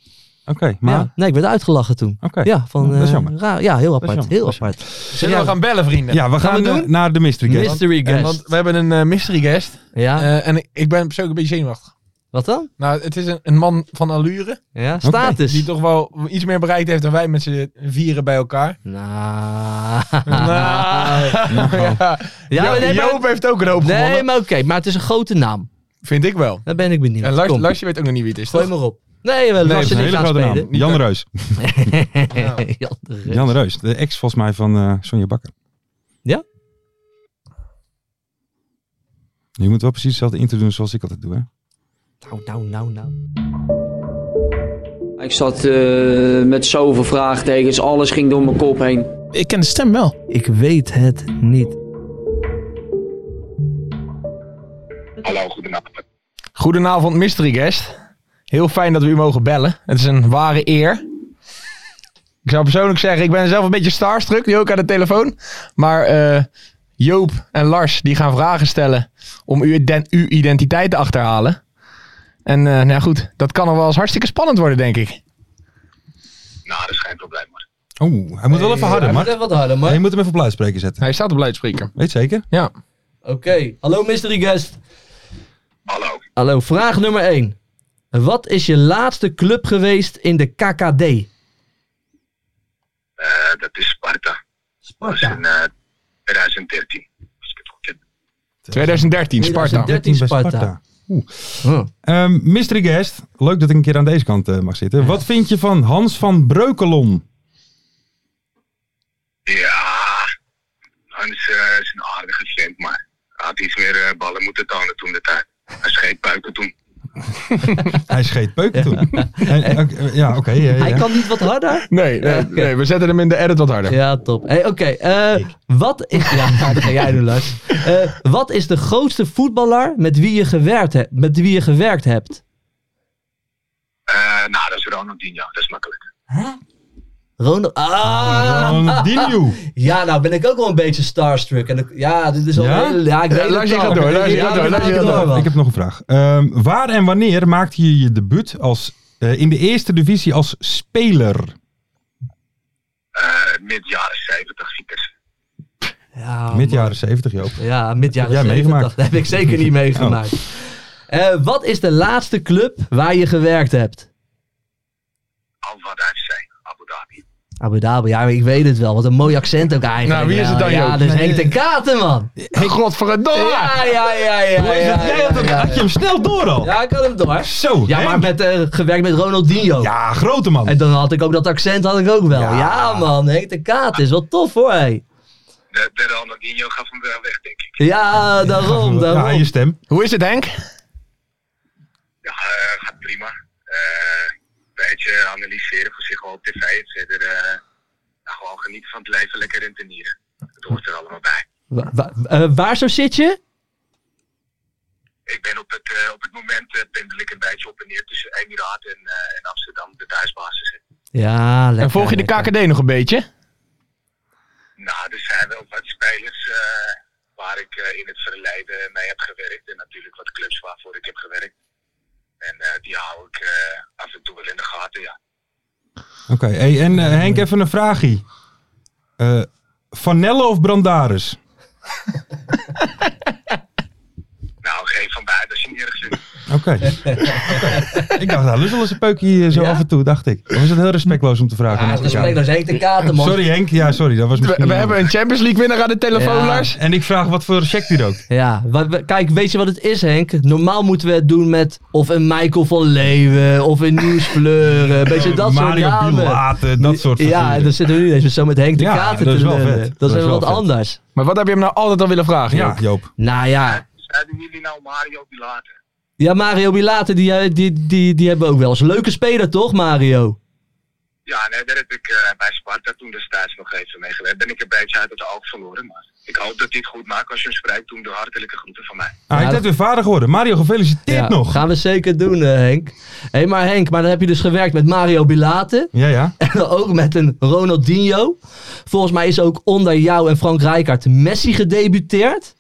[SPEAKER 3] Oké, maar...
[SPEAKER 4] ja. nee, ik werd uitgelachen toen.
[SPEAKER 3] Oké.
[SPEAKER 4] Ja, van,
[SPEAKER 3] Dat is
[SPEAKER 4] eh,
[SPEAKER 3] jammer.
[SPEAKER 4] raar. ja, heel
[SPEAKER 3] is
[SPEAKER 4] apart.
[SPEAKER 3] jammer.
[SPEAKER 4] Heel
[SPEAKER 3] Dat is
[SPEAKER 4] apart.
[SPEAKER 5] Zullen we
[SPEAKER 4] Ja.
[SPEAKER 5] gaan bellen, vrienden?
[SPEAKER 3] Ja, we gaan,
[SPEAKER 4] Gaan we
[SPEAKER 3] eh,
[SPEAKER 4] doen?
[SPEAKER 3] naar de mystery guest.
[SPEAKER 4] Mystery
[SPEAKER 5] Eh,
[SPEAKER 4] guest.
[SPEAKER 5] Want we hebben een eh, mystery guest.
[SPEAKER 4] ja,
[SPEAKER 5] Eh, en ik- ik ben persoonlijk een beetje zenuwachtig.
[SPEAKER 4] wat dan?
[SPEAKER 5] Nou, het is een, een man van allure.
[SPEAKER 4] Ja, status.
[SPEAKER 5] Die toch wel iets meer bereikt heeft dan wij met z'n vieren bij elkaar.
[SPEAKER 4] Nou.
[SPEAKER 5] Nou, ja.
[SPEAKER 4] Ja, maar nee, maar-
[SPEAKER 5] Joop heeft ook een hoop
[SPEAKER 4] Nee,
[SPEAKER 5] gewonnen.
[SPEAKER 4] maar oké, maar het is een grote naam.
[SPEAKER 5] Vind ik wel.
[SPEAKER 4] Daar ben ik benieuwd.
[SPEAKER 5] En Lars,
[SPEAKER 4] Kom,
[SPEAKER 5] Lars, je weet ook nog niet wie het is,
[SPEAKER 4] gooi
[SPEAKER 5] toch?
[SPEAKER 4] maar op. Nee, wel
[SPEAKER 3] Nee, dat
[SPEAKER 4] Lars
[SPEAKER 3] is
[SPEAKER 4] is
[SPEAKER 3] een
[SPEAKER 4] niks
[SPEAKER 3] hele
[SPEAKER 4] aan het
[SPEAKER 3] grote
[SPEAKER 4] spelen.
[SPEAKER 3] naam. Jan Reus.
[SPEAKER 4] Jan de Rus.
[SPEAKER 3] Jan Reus. De ex volgens mij van eh, Sonja Bakker.
[SPEAKER 4] Ja?
[SPEAKER 3] Je moet wel precies hetzelfde intro doen zoals ik altijd doe, hè?
[SPEAKER 4] Nou, nou, nou, nou.
[SPEAKER 6] Ik zat eh, met zoveel vraagtekens, alles ging door mijn kop heen.
[SPEAKER 7] Ik ken de stem wel.
[SPEAKER 4] Ik weet het niet.
[SPEAKER 5] Goedenavond, mystery guest. Heel fijn dat we u mogen bellen. Het is een ware eer. Ik zou persoonlijk zeggen, ik ben zelf een beetje starstruck, nu ook aan de telefoon. Maar eh, Joop en Lars, die gaan vragen stellen om uw, iden- uw identiteit te achterhalen. En eh, nou ja, goed, dat kan nog wel eens hartstikke spannend worden, denk ik.
[SPEAKER 3] Oeh, hij moet wel even harder, maar.
[SPEAKER 4] wat harder, man.
[SPEAKER 3] je moet hem even op luidspreker zetten.
[SPEAKER 5] Hij staat op luidspreker.
[SPEAKER 3] Weet zeker?
[SPEAKER 5] Ja.
[SPEAKER 4] Oké, hallo mystery guest. Hallo. Hallo, vraag nummer 1. Wat is je laatste club geweest in de KKD?
[SPEAKER 8] Eh, dat is Sparta. Dat is
[SPEAKER 4] Sparta.
[SPEAKER 8] in eh, 2013. Als ik het goed heb.
[SPEAKER 5] 2013, Sparta.
[SPEAKER 4] 2013. 13
[SPEAKER 3] bij
[SPEAKER 4] Sparta.
[SPEAKER 3] Oeh.
[SPEAKER 4] Huh.
[SPEAKER 3] Ehm, mystery guest. Leuk dat ik een keer aan deze kant eh, mag zitten. Wat vind je van Hans van Breukelon?
[SPEAKER 8] Ja, Hans eh, is een aardige vent, maar hij had iets meer eh, ballen moeten tonen toen de tijd. Hij scheet buiken toen.
[SPEAKER 3] Hij scheet peuken toen. En, ook, eh, Ja, oké. ja, ja,
[SPEAKER 4] Hij
[SPEAKER 3] ja.
[SPEAKER 4] kan niet wat harder?
[SPEAKER 5] Nee, nee,
[SPEAKER 4] Ja, oké.
[SPEAKER 5] nee, we zetten hem in de edit wat harder.
[SPEAKER 4] Ja, top. Hey, Oké, eh, wat is... Ja, dat ga jij doen, Lars. Eh, wat is de grootste voetballer met wie je gewerkt, hebt? met wie je gewerkt hebt?
[SPEAKER 8] Eh, nou, dat is Ronaldinho, dat is makkelijk.
[SPEAKER 4] Ronald... Ah!
[SPEAKER 3] Ronaldinho.
[SPEAKER 4] Ja, nou ben ik ook wel een beetje starstruck. En ik- ja, dit is al
[SPEAKER 3] Ja?
[SPEAKER 4] heel- ja, ik weet
[SPEAKER 5] Ja,
[SPEAKER 4] het
[SPEAKER 5] Lars, je
[SPEAKER 4] al.
[SPEAKER 5] gaat door, Lars, je
[SPEAKER 4] Ja,
[SPEAKER 5] gaat door,
[SPEAKER 4] ik
[SPEAKER 5] Lars, je
[SPEAKER 4] weet het
[SPEAKER 5] gaat
[SPEAKER 4] al
[SPEAKER 5] door.
[SPEAKER 4] wel.
[SPEAKER 3] Ik heb nog een vraag. Ehm, waar en wanneer maakte je je debuut als, eh, in de eerste divisie als speler?
[SPEAKER 8] Eh, Mid jaren 70 ziekers.
[SPEAKER 4] Ja,
[SPEAKER 3] Mid
[SPEAKER 4] man.
[SPEAKER 3] jaren 70, Joop.
[SPEAKER 4] Ja, mid jaren
[SPEAKER 3] jij
[SPEAKER 4] 70.
[SPEAKER 3] meegemaakt?
[SPEAKER 4] Dat heb ik zeker
[SPEAKER 5] Oh.
[SPEAKER 4] niet meegemaakt. Eh, wat is de laatste club waar je gewerkt hebt?
[SPEAKER 8] Al wat hij zei, Abu Dhabi.
[SPEAKER 4] Abu Dhabi, ja, ik weet het wel. Wat een mooi accent ook eigenlijk.
[SPEAKER 5] Nou, wie is het dan,
[SPEAKER 4] Ja, Ja,
[SPEAKER 5] Joop?
[SPEAKER 4] dus
[SPEAKER 3] Nee.
[SPEAKER 4] Henk de Katen, man.
[SPEAKER 5] Godverdomme!
[SPEAKER 4] Ja, ja, ja, ja. ja,
[SPEAKER 3] Jij
[SPEAKER 4] ja,
[SPEAKER 3] had, hem-
[SPEAKER 4] ja,
[SPEAKER 3] had je hem snel door al?
[SPEAKER 4] Ja, ik had hem door.
[SPEAKER 3] Zo,
[SPEAKER 4] Ja, maar
[SPEAKER 3] Henk.
[SPEAKER 4] met, eh, gewerkt met Ronaldinho.
[SPEAKER 3] ja, Ah, grote man.
[SPEAKER 4] En dan had ik ook dat accent had ik ook wel. Ja,
[SPEAKER 3] Ja.
[SPEAKER 4] man, Henk de Katen is wel tof hoor. hé.
[SPEAKER 8] De, de Ronaldinho gaf hem wel weg, denk ik.
[SPEAKER 4] Ja, daarom,
[SPEAKER 3] Ja,
[SPEAKER 4] daarom.
[SPEAKER 3] je stem.
[SPEAKER 5] Hoe is het, Henk?
[SPEAKER 8] Ja, eh, gaat prima. Eh, Een beetje analyseren voor zich wel op tv en verder eh, nou, gewoon genieten van het leven, lekker rentenieren. Dat hoort er allemaal bij.
[SPEAKER 4] Wa- wa- eh, waar zo zit je?
[SPEAKER 8] Ik ben op het, eh, op het moment eh, pendel ik een beetje op en neer tussen Emiraat en, eh, en Amsterdam, de thuisbasis.
[SPEAKER 4] Ja, lekker.
[SPEAKER 5] En volg je de
[SPEAKER 4] lekker.
[SPEAKER 5] KKD nog een beetje?
[SPEAKER 8] Nou, er zijn wel wat spelers eh, waar ik eh, in het verleden mee heb gewerkt. En natuurlijk wat clubs waarvoor ik heb gewerkt. En eh, die hou ik eh, af en toe wel in de gaten, ja.
[SPEAKER 3] Oké, hey, en eh, Henk, even een vraagje. Eh Vanelle of Brandaris?
[SPEAKER 8] Nou, geen van beide, dat is niet erg zin.
[SPEAKER 3] Oké, Oké. Oké. Ik dacht, nou, lust wel eens een peukje eh, zo
[SPEAKER 4] Ja?
[SPEAKER 3] af en toe, dacht ik. Dan is het heel respectloos om te vragen.
[SPEAKER 4] Ja,
[SPEAKER 3] aan
[SPEAKER 4] dat
[SPEAKER 3] elkaar.
[SPEAKER 4] spreekt als Henk de Katen, man.
[SPEAKER 3] sorry Henk, ja sorry, dat was
[SPEAKER 5] We,
[SPEAKER 3] misschien...
[SPEAKER 5] we hebben een Champions League winnaar aan de telefoon,
[SPEAKER 4] Ja.
[SPEAKER 5] Lars.
[SPEAKER 3] En ik vraag wat voor check die rookt.
[SPEAKER 4] Ja, wa- wa- kijk, weet je wat het is, Henk? Normaal moeten we het doen met of een Michael van Leeuwen, of een Nieuws Fleuren, een beetje dat soort
[SPEAKER 3] Mario
[SPEAKER 4] namen.
[SPEAKER 3] Bielaten, dat soort
[SPEAKER 4] Ja, en dan zitten we nu eens zo met Henk de
[SPEAKER 3] Ja,
[SPEAKER 4] Katen
[SPEAKER 3] dat
[SPEAKER 4] te
[SPEAKER 3] is wel
[SPEAKER 4] lullen.
[SPEAKER 3] vet.
[SPEAKER 4] Dat is
[SPEAKER 3] Dat is
[SPEAKER 4] wel wat
[SPEAKER 3] wel vet.
[SPEAKER 4] anders.
[SPEAKER 5] Maar wat heb je hem nou altijd al willen vragen?
[SPEAKER 3] Ja,
[SPEAKER 5] Joop?
[SPEAKER 3] Joop.
[SPEAKER 4] Nou ja,
[SPEAKER 8] Zeiden jullie nou Mario Bilater?
[SPEAKER 4] ja Mario Bilater, die, eh, die, die, die hebben we ook wel eens. Leuke speler toch, Mario?
[SPEAKER 8] Ja, nee, daar heb ik eh, bij Sparta toen destijds nog even mee gewerkt. Ben ik een beetje uit het oog verloren, maar ik hoop dat hij het goed maakt. Als je hem spreekt, doe hem de hartelijke groeten van mij.
[SPEAKER 3] Ah,
[SPEAKER 4] Ja,
[SPEAKER 3] je
[SPEAKER 4] dat-
[SPEAKER 3] bent weer vader geworden. Mario, gefeliciteerd
[SPEAKER 4] ja,
[SPEAKER 3] nog.
[SPEAKER 4] Gaan we zeker doen, eh, Henk. Hé, hey, maar Henk, maar dan heb je dus gewerkt met Mario Bilater.
[SPEAKER 3] Ja, ja.
[SPEAKER 4] En ook met een Ronaldinho. Volgens mij is ook onder jou en Frank Rijkaard Messi gedebuteerd.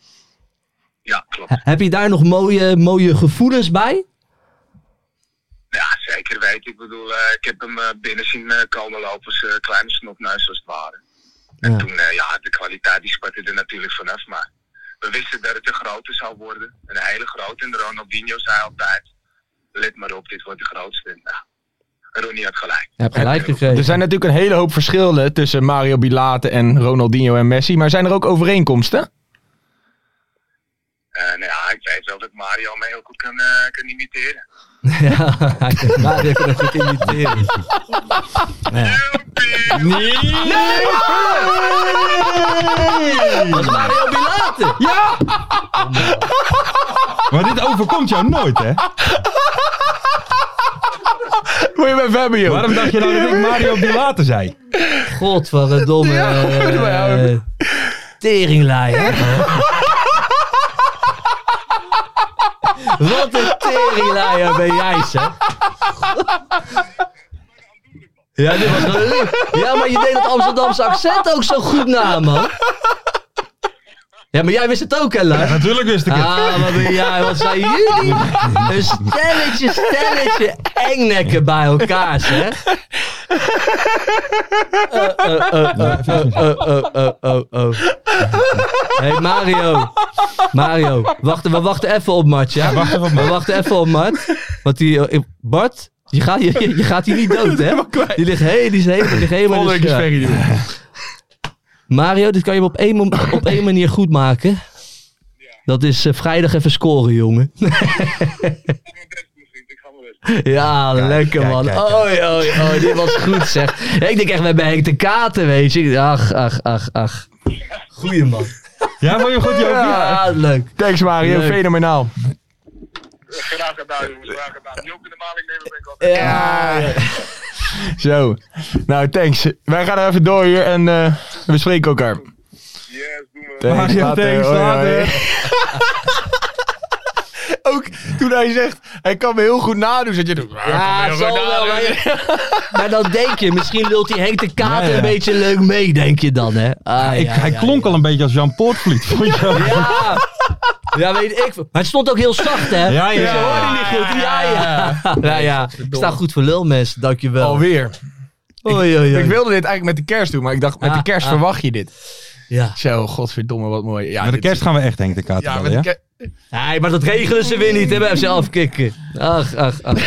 [SPEAKER 8] Ja, klopt.
[SPEAKER 4] Heb je daar nog mooie, mooie gevoelens bij?
[SPEAKER 8] Ja, zeker weten. Ik bedoel, eh, ik heb hem eh, binnen zien eh, komen lopen. Zijn kleine snopneus als het ware. En
[SPEAKER 4] Ja.
[SPEAKER 8] toen, eh, ja, de kwaliteit die spatte er natuurlijk vanaf. Maar we wisten dat het een grote zou worden. Een hele grote. En Ronaldinho zei altijd, let maar op, dit wordt de grootste. En, Nou, Ronnie had gelijk.
[SPEAKER 4] Je hebt gelijk gekregen.
[SPEAKER 5] Er zijn natuurlijk een hele hoop verschillen tussen Mario Bilate en Ronaldinho en Messi. Maar zijn er ook overeenkomsten?
[SPEAKER 8] Eh, nou ja, ik weet wel dat Mario mij heel goed kan, eh, kan imiteren.
[SPEAKER 4] Ja, hij kan Mario kan hem goed imiteren. Dat is Mario Bilate.
[SPEAKER 3] Maar dit overkomt jou nooit, hè?
[SPEAKER 5] Moet je bij Fabio?
[SPEAKER 3] Waarom dacht je nou dat ik Mario Bilate zei?
[SPEAKER 4] Godverdomme.
[SPEAKER 5] ja.
[SPEAKER 4] eh, Teringlijn. Wat een teringlaaier ben jij, zeg. Ja, dit was wel lief. Ja, maar je deed het Amsterdamse accent ook zo goed na, man. Ja, maar jij wist het ook, hè, Lars?
[SPEAKER 3] Natuurlijk wist ik het.
[SPEAKER 4] Ah, wat, een- ja, wat zijn jullie? Een stelletje, stelletje engnekken bij elkaar, zeg. Oh, oh, oh, oh, oh, oh, oh, oh, oh. Hé, hey, Mario. Mario, wacht, we wachten even op Mart, ja?
[SPEAKER 3] wacht even op Mart.
[SPEAKER 4] We wachten even op Mart. Want die... eh, Bart, je gaat, je, je gaat hier niet dood, hè? Die ligt, he, die is he- die ligt helemaal... in de
[SPEAKER 5] Volgende keer
[SPEAKER 4] scheur.
[SPEAKER 5] Ferry doen.
[SPEAKER 4] Mario, dit kan je op één, mom- op één manier goed maken. Dat is eh, vrijdag even scoren, jongen.
[SPEAKER 8] Ik ga wel
[SPEAKER 4] Ja, lekker
[SPEAKER 3] kijk,
[SPEAKER 4] man. Oh,
[SPEAKER 3] kijk, kijk.
[SPEAKER 4] Oei, oei, oei, dit was goed zeg. Ja, ik denk echt, we hebben Henk de Katen, weet je. Ach, ach, ach, ach. Goeie man.
[SPEAKER 3] Ja, vond je hem goed, Joop?
[SPEAKER 4] Ja, leuk.
[SPEAKER 5] Thanks Mario,
[SPEAKER 4] Leuk.
[SPEAKER 5] fenomenaal.
[SPEAKER 8] Graag gedaan, jongens. Graag gedaan. Joop in de maling nemen ben ik altijd.
[SPEAKER 4] Ja.
[SPEAKER 5] Zo. Nou, thanks. Wij gaan er even door hier en eh, we spreken elkaar.
[SPEAKER 8] Yes, doen we.
[SPEAKER 5] Thanks,
[SPEAKER 3] Mario,
[SPEAKER 5] later.
[SPEAKER 3] thanks,
[SPEAKER 5] Hoi, hoi.
[SPEAKER 3] later.
[SPEAKER 5] Ook toen hij zegt, hij kan me heel goed nadoen. Zat je doet.
[SPEAKER 4] Ja, het zal wel, maar, maar dan denk je, misschien lult die Henk de Katen
[SPEAKER 3] Ja, ja.
[SPEAKER 4] een beetje leuk mee, denk je dan, hè? Ah,
[SPEAKER 3] Ik,
[SPEAKER 4] ja,
[SPEAKER 3] hij
[SPEAKER 4] ja,
[SPEAKER 3] klonk
[SPEAKER 4] ja.
[SPEAKER 3] al een beetje als Jan Poortvliet, vond je wel?
[SPEAKER 4] Ja. ja, weet ik. veel. Maar het stond ook heel zacht, hè?
[SPEAKER 3] Ja, ja,
[SPEAKER 4] Dus je hoorde
[SPEAKER 3] ja.
[SPEAKER 4] niet goed. Ja, ja. Ja, ja. Ik sta goed voor lul, mensen. Dankjewel.
[SPEAKER 5] Alweer.
[SPEAKER 4] Oei, oei, oei.
[SPEAKER 5] Ik wilde dit eigenlijk met de kerst doen, maar ik dacht, met
[SPEAKER 4] Ah,
[SPEAKER 5] de kerst
[SPEAKER 4] ah.
[SPEAKER 5] verwacht je dit.
[SPEAKER 4] Ja.
[SPEAKER 5] Zo, godverdomme, wat mooi. Ja,
[SPEAKER 3] Met de
[SPEAKER 5] dit-
[SPEAKER 3] kerst gaan we echt Henk de Kater
[SPEAKER 5] Ja,
[SPEAKER 3] bellen,
[SPEAKER 5] met de
[SPEAKER 3] ja?
[SPEAKER 5] kerst.
[SPEAKER 4] Nee, maar dat regelen ze weer niet, hè? Bij FC afkicken. Ach, ach, ach.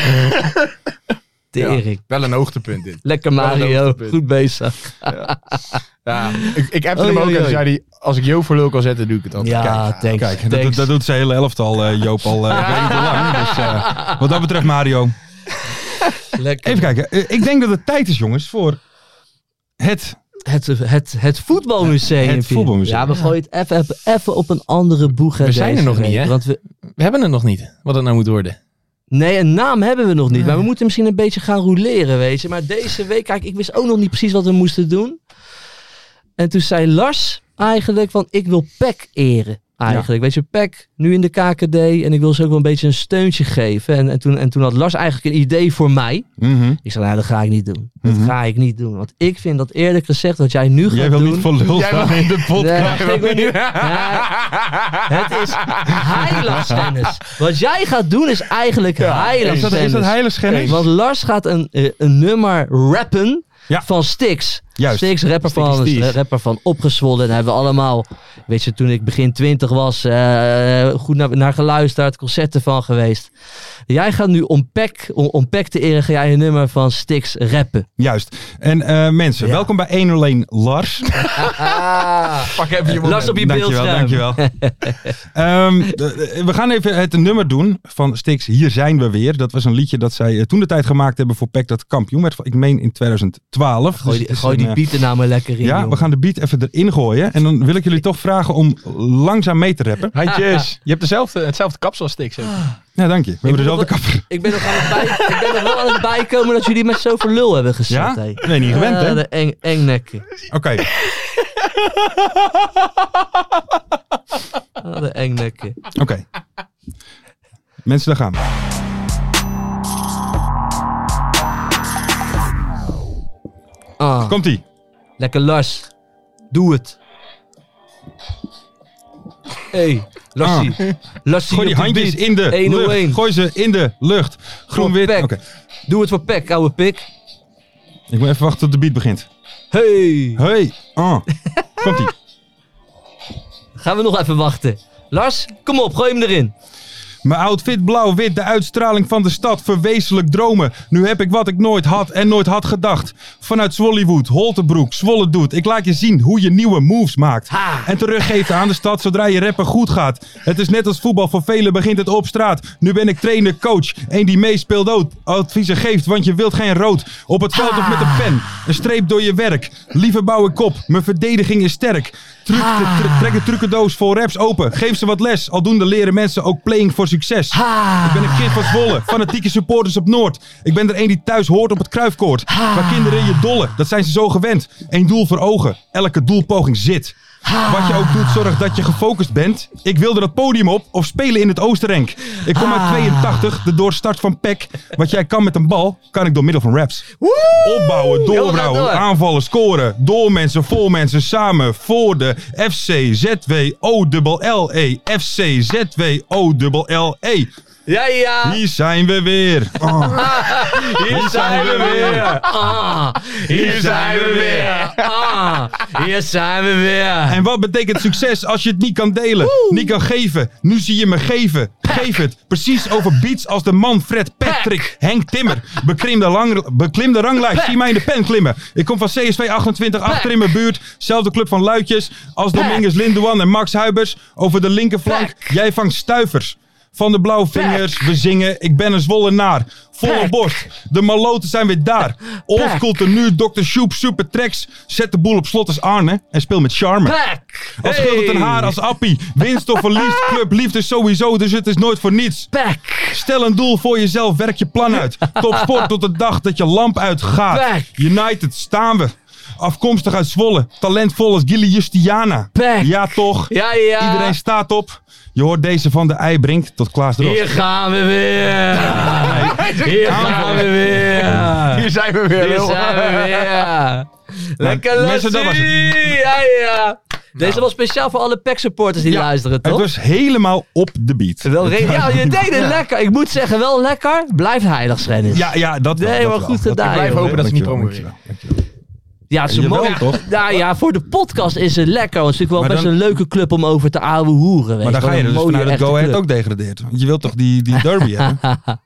[SPEAKER 4] Tering.
[SPEAKER 5] Wel een hoogtepunt dit.
[SPEAKER 4] Lekker
[SPEAKER 5] Wel een
[SPEAKER 4] Mario.
[SPEAKER 5] hoogtepunt.
[SPEAKER 4] Goed bezig.
[SPEAKER 5] Ja, ik, ik appte
[SPEAKER 4] Oei,
[SPEAKER 5] hem ook
[SPEAKER 4] oei,
[SPEAKER 5] en toen
[SPEAKER 4] oei.
[SPEAKER 5] zei hij, als ik Jo voor lul kan zetten, doe ik het altijd.
[SPEAKER 4] Ja, thanks.
[SPEAKER 3] Kijk, dat,
[SPEAKER 4] thanks.
[SPEAKER 3] dat doet zijn hele elftal, eh, Joop, al eh, ik weet niet hoe lang. Dus, eh, wat dat betreft, Mario.
[SPEAKER 4] Lekker.
[SPEAKER 3] Even kijken. Eh, ik denk dat het tijd is, jongens, voor het...
[SPEAKER 4] Het, het, het voetbalmuseum.
[SPEAKER 3] Het voetbalmuseum.
[SPEAKER 4] Ja, we gooien het even, even, even op een andere boeg. hè,
[SPEAKER 5] We zijn er
[SPEAKER 4] deze
[SPEAKER 5] nog niet,
[SPEAKER 4] week,
[SPEAKER 5] hè?
[SPEAKER 4] Want we,
[SPEAKER 5] We hebben het nog niet, wat het nou moet worden.
[SPEAKER 4] Nee, een naam hebben we nog niet. Maar we moeten misschien een beetje gaan rouleren, weet je. Maar deze week, kijk, ik wist ook nog niet precies wat we moesten doen. En toen zei Lars eigenlijk van, ik wil PEC eren. Eigenlijk, weet je, PEC nu in de KKD. En ik wil ze ook wel een beetje een steuntje geven. En, en, toen, en toen had Lars eigenlijk een idee voor mij.
[SPEAKER 3] Mhm.
[SPEAKER 4] Ik zei, nou, dat ga ik niet doen. Dat
[SPEAKER 3] Mhm.
[SPEAKER 4] ga ik niet doen. Want ik vind dat eerlijk gezegd, wat jij nu gaat
[SPEAKER 3] Jij wil
[SPEAKER 4] doen...
[SPEAKER 3] niet voor lul
[SPEAKER 5] Jij wil-
[SPEAKER 3] staan in de podcast.
[SPEAKER 4] Nee, ik wil niet- Nee, het is heiligstennis. Wat jij gaat doen is eigenlijk
[SPEAKER 3] Is dat, is dat
[SPEAKER 4] heiligstennis.
[SPEAKER 3] heiligschennis?
[SPEAKER 4] Want Lars gaat een, eh, een nummer rappen
[SPEAKER 3] Ja.
[SPEAKER 4] van Styx.
[SPEAKER 3] Juist.
[SPEAKER 4] Stix, rapper
[SPEAKER 5] Stix
[SPEAKER 4] van,
[SPEAKER 5] Stix.
[SPEAKER 4] rapper van Opgezwollen. Daar hebben we allemaal, weet je, toen ik begin twintig was, eh, goed naar, naar geluisterd, concerten van geweest. Jij gaat nu om Peck, om, om Peck te eren, ga jij een nummer van Stix rappen.
[SPEAKER 3] Juist. En eh, mensen,
[SPEAKER 4] Ja.
[SPEAKER 3] welkom bij 101 Lars.
[SPEAKER 5] Pak even je
[SPEAKER 4] Lars op je
[SPEAKER 3] dankjewel,
[SPEAKER 4] beeldscherm.
[SPEAKER 3] dankjewel. Ehm, de- de- we gaan even het nummer doen van Stix. Hier zijn we weer. Dat was een liedje dat zij eh, toen de tijd gemaakt hebben voor Pack dat kampioen werd. Ik meen in 2012. Dus
[SPEAKER 4] Gooi
[SPEAKER 3] het
[SPEAKER 4] die,
[SPEAKER 3] is
[SPEAKER 4] gooi
[SPEAKER 3] een,
[SPEAKER 4] die
[SPEAKER 3] eh,
[SPEAKER 4] beat er nou maar lekker in,
[SPEAKER 3] Ja, we
[SPEAKER 4] jongen.
[SPEAKER 3] gaan de beat even erin gooien. En dan wil ik jullie toch vragen om langzaam mee te rappen.
[SPEAKER 5] Handjes. Je hebt dezelfde, hetzelfde kapsel als Stix.
[SPEAKER 3] Ja, dank je. We hebben
[SPEAKER 4] moet
[SPEAKER 3] dezelfde
[SPEAKER 4] nog-
[SPEAKER 3] kapper.
[SPEAKER 4] Ik ben nog aan het, bij, ik ben nog wel aan het bijkomen dat jullie met zoveel lul hebben gezet.
[SPEAKER 3] Ja?
[SPEAKER 4] hé.
[SPEAKER 3] Nee, niet gewend,
[SPEAKER 4] Ah,
[SPEAKER 3] hè?
[SPEAKER 4] de eng, engnekken.
[SPEAKER 3] Oké.
[SPEAKER 4] Ah, de engnekken.
[SPEAKER 3] Oké. Mensen, daar gaan we.
[SPEAKER 4] Ah,
[SPEAKER 3] Komt-ie.
[SPEAKER 4] lekker Lars. Doe het. hey, Larsie. Larsie
[SPEAKER 3] Ah. Gooi
[SPEAKER 4] op
[SPEAKER 3] die
[SPEAKER 4] de
[SPEAKER 3] handjes
[SPEAKER 4] beat.
[SPEAKER 3] in de
[SPEAKER 4] 101.
[SPEAKER 3] lucht. Gooi ze in de lucht. Groen-wit. Oké.
[SPEAKER 4] Pek. Doe het voor Pek, ouwe pik.
[SPEAKER 3] Ik moet even wachten tot de beat begint.
[SPEAKER 4] Hey.
[SPEAKER 3] Hey. Ah. Komt-ie.
[SPEAKER 4] Gaan we nog even wachten. Lars, kom op, gooi hem erin.
[SPEAKER 3] Mijn outfit blauw-wit, de uitstraling van de stad, verwezenlijk dromen. Nu heb ik wat ik nooit had en nooit had gedacht. Vanuit Zwollywood, Holtebroek, Zwolle doet. Ik laat je zien hoe je nieuwe moves maakt.
[SPEAKER 4] Ha.
[SPEAKER 3] En teruggeeft aan de stad zodra je rapper goed gaat. Het is net als voetbal, voor velen begint het op straat. Nu ben ik trainer, coach, een die meespeelt ook. Adviezen geeft, want je wilt geen rood. Op het veld of met een pen, een streep door je werk. Liever bouw ik op, mijn verdediging is sterk. Truc, tr- trek een trucendoos vol raps open. Geef ze wat les. Aldoende leren mensen ook playing voor succes. Ik ben een kind van Zwolle, fanatieke supporters op Noord. Ik ben er een die thuis hoort op het kruifkoord. Waar kinderen je dollen, dat zijn ze zo gewend. Eén doel voor ogen, elke doelpoging zit. Wat je ook doet, zorg dat je gefocust bent. Ik wilde dat podium op of spelen in het Oostenrijk. Ik kom uit 82, de doorstart van PEC. Wat jij kan met een bal, kan ik door middel van raps. Opbouwen,
[SPEAKER 4] Heel
[SPEAKER 3] doorbouwen,
[SPEAKER 4] erg door.
[SPEAKER 3] aanvallen, scoren. Door mensen, voor mensen, samen, voor de FC, ZW, O-L-L-E. FC, ZW, O-L-L-E.
[SPEAKER 4] Ja, ja.
[SPEAKER 3] Hier zijn we weer. Oh,
[SPEAKER 4] Hier
[SPEAKER 3] zijn we weer.
[SPEAKER 4] Ah, hier zijn we weer. Ah, hier zijn we weer.
[SPEAKER 3] En wat betekent succes als je het niet kan delen? Niet kan geven. Nu zie je me geven. Geef het. Precies over beats als de man Fred Patrick. Henk Timmer. Beklim de, lang, beklim de ranglijst. Zie mij in de pen klimmen. Ik kom van CSV 28 achter in mijn buurt. Zelfde club van Luitjes. Als Dominguez Lindoan en Max Huibers. Over de linkerflank. Jij vangt stuivers. Van de blauwe vingers, we zingen. Ik ben een zwolle naar. Volle
[SPEAKER 4] Pek.
[SPEAKER 3] borst. De maloten zijn weer daar. Oldschool tenue, Dr. Shoep, super tracks. Zet de boel op slot als Arne. En speel met charme.
[SPEAKER 4] Pek.
[SPEAKER 3] Als scheelt het een haar, als appie. Winst of verlies, club, liefde sowieso, dus het is nooit voor niets.
[SPEAKER 4] Pek.
[SPEAKER 3] Stel een doel voor jezelf, werk je plan uit. Topsport tot de dag dat je lamp uitgaat.
[SPEAKER 4] Pek.
[SPEAKER 3] United, staan we. Afkomstig uit Zwolle, talentvol als Gilly Justiana.
[SPEAKER 4] Pek.
[SPEAKER 3] Ja toch,
[SPEAKER 4] Ja, ja.
[SPEAKER 3] iedereen staat op. Je hoort deze van de Eibrink tot Klaas Drost.
[SPEAKER 4] Hier gaan we weer. Hier gaan we weer.
[SPEAKER 5] Hier zijn we weer.
[SPEAKER 4] Hier
[SPEAKER 5] lul.
[SPEAKER 4] zijn we weer. Lekker
[SPEAKER 3] mensen, dat was het. Nou.
[SPEAKER 4] Lassie. Ja, ja. Deze was speciaal voor alle PEC supporters die luisteren,
[SPEAKER 3] Het
[SPEAKER 4] toch?
[SPEAKER 3] was helemaal op de beat.
[SPEAKER 4] Wel re- ja, je deed het lekker. Ik moet zeggen, wel lekker. Blijft heilig, Schennis.
[SPEAKER 3] Ja, ja, dat wel,
[SPEAKER 4] Nee,
[SPEAKER 3] dat
[SPEAKER 4] maar
[SPEAKER 3] wel.
[SPEAKER 4] goed
[SPEAKER 3] Dat-
[SPEAKER 4] gedaan.
[SPEAKER 5] blijf
[SPEAKER 4] joh.
[SPEAKER 5] hopen dat ze niet
[SPEAKER 3] Dankjewel,
[SPEAKER 5] promoveren.
[SPEAKER 4] Ja, ze
[SPEAKER 3] Jawel,
[SPEAKER 4] mogen.
[SPEAKER 3] toch?
[SPEAKER 4] Nou ja, voor de podcast is het lekker. Want het is natuurlijk wel
[SPEAKER 3] Maar
[SPEAKER 4] best
[SPEAKER 3] dan-
[SPEAKER 4] een leuke club om over te ouwe hoeren.
[SPEAKER 3] Maar dan ga je er dus vanuit dat Go Ahead ook degradeert. Want je wilt toch die, die derby hebben?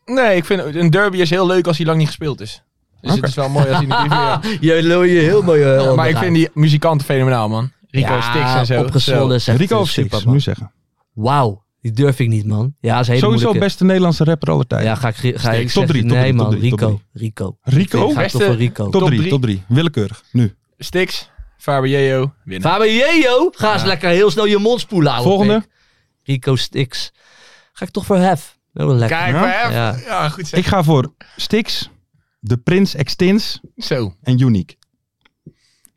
[SPEAKER 5] Nee, ik vind een derby is heel leuk als hij lang niet gespeeld is. Dus het is wel mooi als hij niet weer.
[SPEAKER 4] Je lul je heel mooi. eh,
[SPEAKER 5] Maar ik
[SPEAKER 4] onderuit.
[SPEAKER 5] vind die muzikanten fenomenaal, man. Rico
[SPEAKER 4] Ja,
[SPEAKER 5] Stix en zo.
[SPEAKER 4] Opgezwollen is echt
[SPEAKER 3] Rico
[SPEAKER 4] eh,
[SPEAKER 3] of
[SPEAKER 4] super,
[SPEAKER 3] Six,
[SPEAKER 4] man.
[SPEAKER 3] nu zeggen.
[SPEAKER 4] Wauw, die durf ik niet, man. Ja, dat is een hele
[SPEAKER 3] Sowieso
[SPEAKER 4] moeilijke.
[SPEAKER 3] beste Nederlandse rapper aller tijden.
[SPEAKER 4] Ja, ga ik, ga ik
[SPEAKER 3] Top drie,
[SPEAKER 4] zeggen,
[SPEAKER 3] top
[SPEAKER 4] nee
[SPEAKER 3] drie, top
[SPEAKER 4] man,
[SPEAKER 3] drie, top
[SPEAKER 4] Rico,
[SPEAKER 3] drie.
[SPEAKER 4] Rico.
[SPEAKER 3] Rico?
[SPEAKER 4] Ik ga toch
[SPEAKER 5] Beste-
[SPEAKER 4] voor Rico.
[SPEAKER 3] Top
[SPEAKER 5] Top
[SPEAKER 3] 3,
[SPEAKER 5] drie.
[SPEAKER 3] top 3. Willekeurig. Nu.
[SPEAKER 5] Zo. Stix, Fabio, winnen.
[SPEAKER 4] Fabio, ga eens lekker heel snel je mond spoelen, ouwe
[SPEAKER 3] Volgende.
[SPEAKER 4] pik. Rico Stix. Ga ik toch voor Hef. Wel wel lekker.
[SPEAKER 5] Kijk,
[SPEAKER 3] Ja.
[SPEAKER 5] maar even.
[SPEAKER 4] Ja.
[SPEAKER 5] Ja. goed zeg.
[SPEAKER 3] Ik ga voor Stix, De Prins Extins
[SPEAKER 5] Zo.
[SPEAKER 3] en Unique.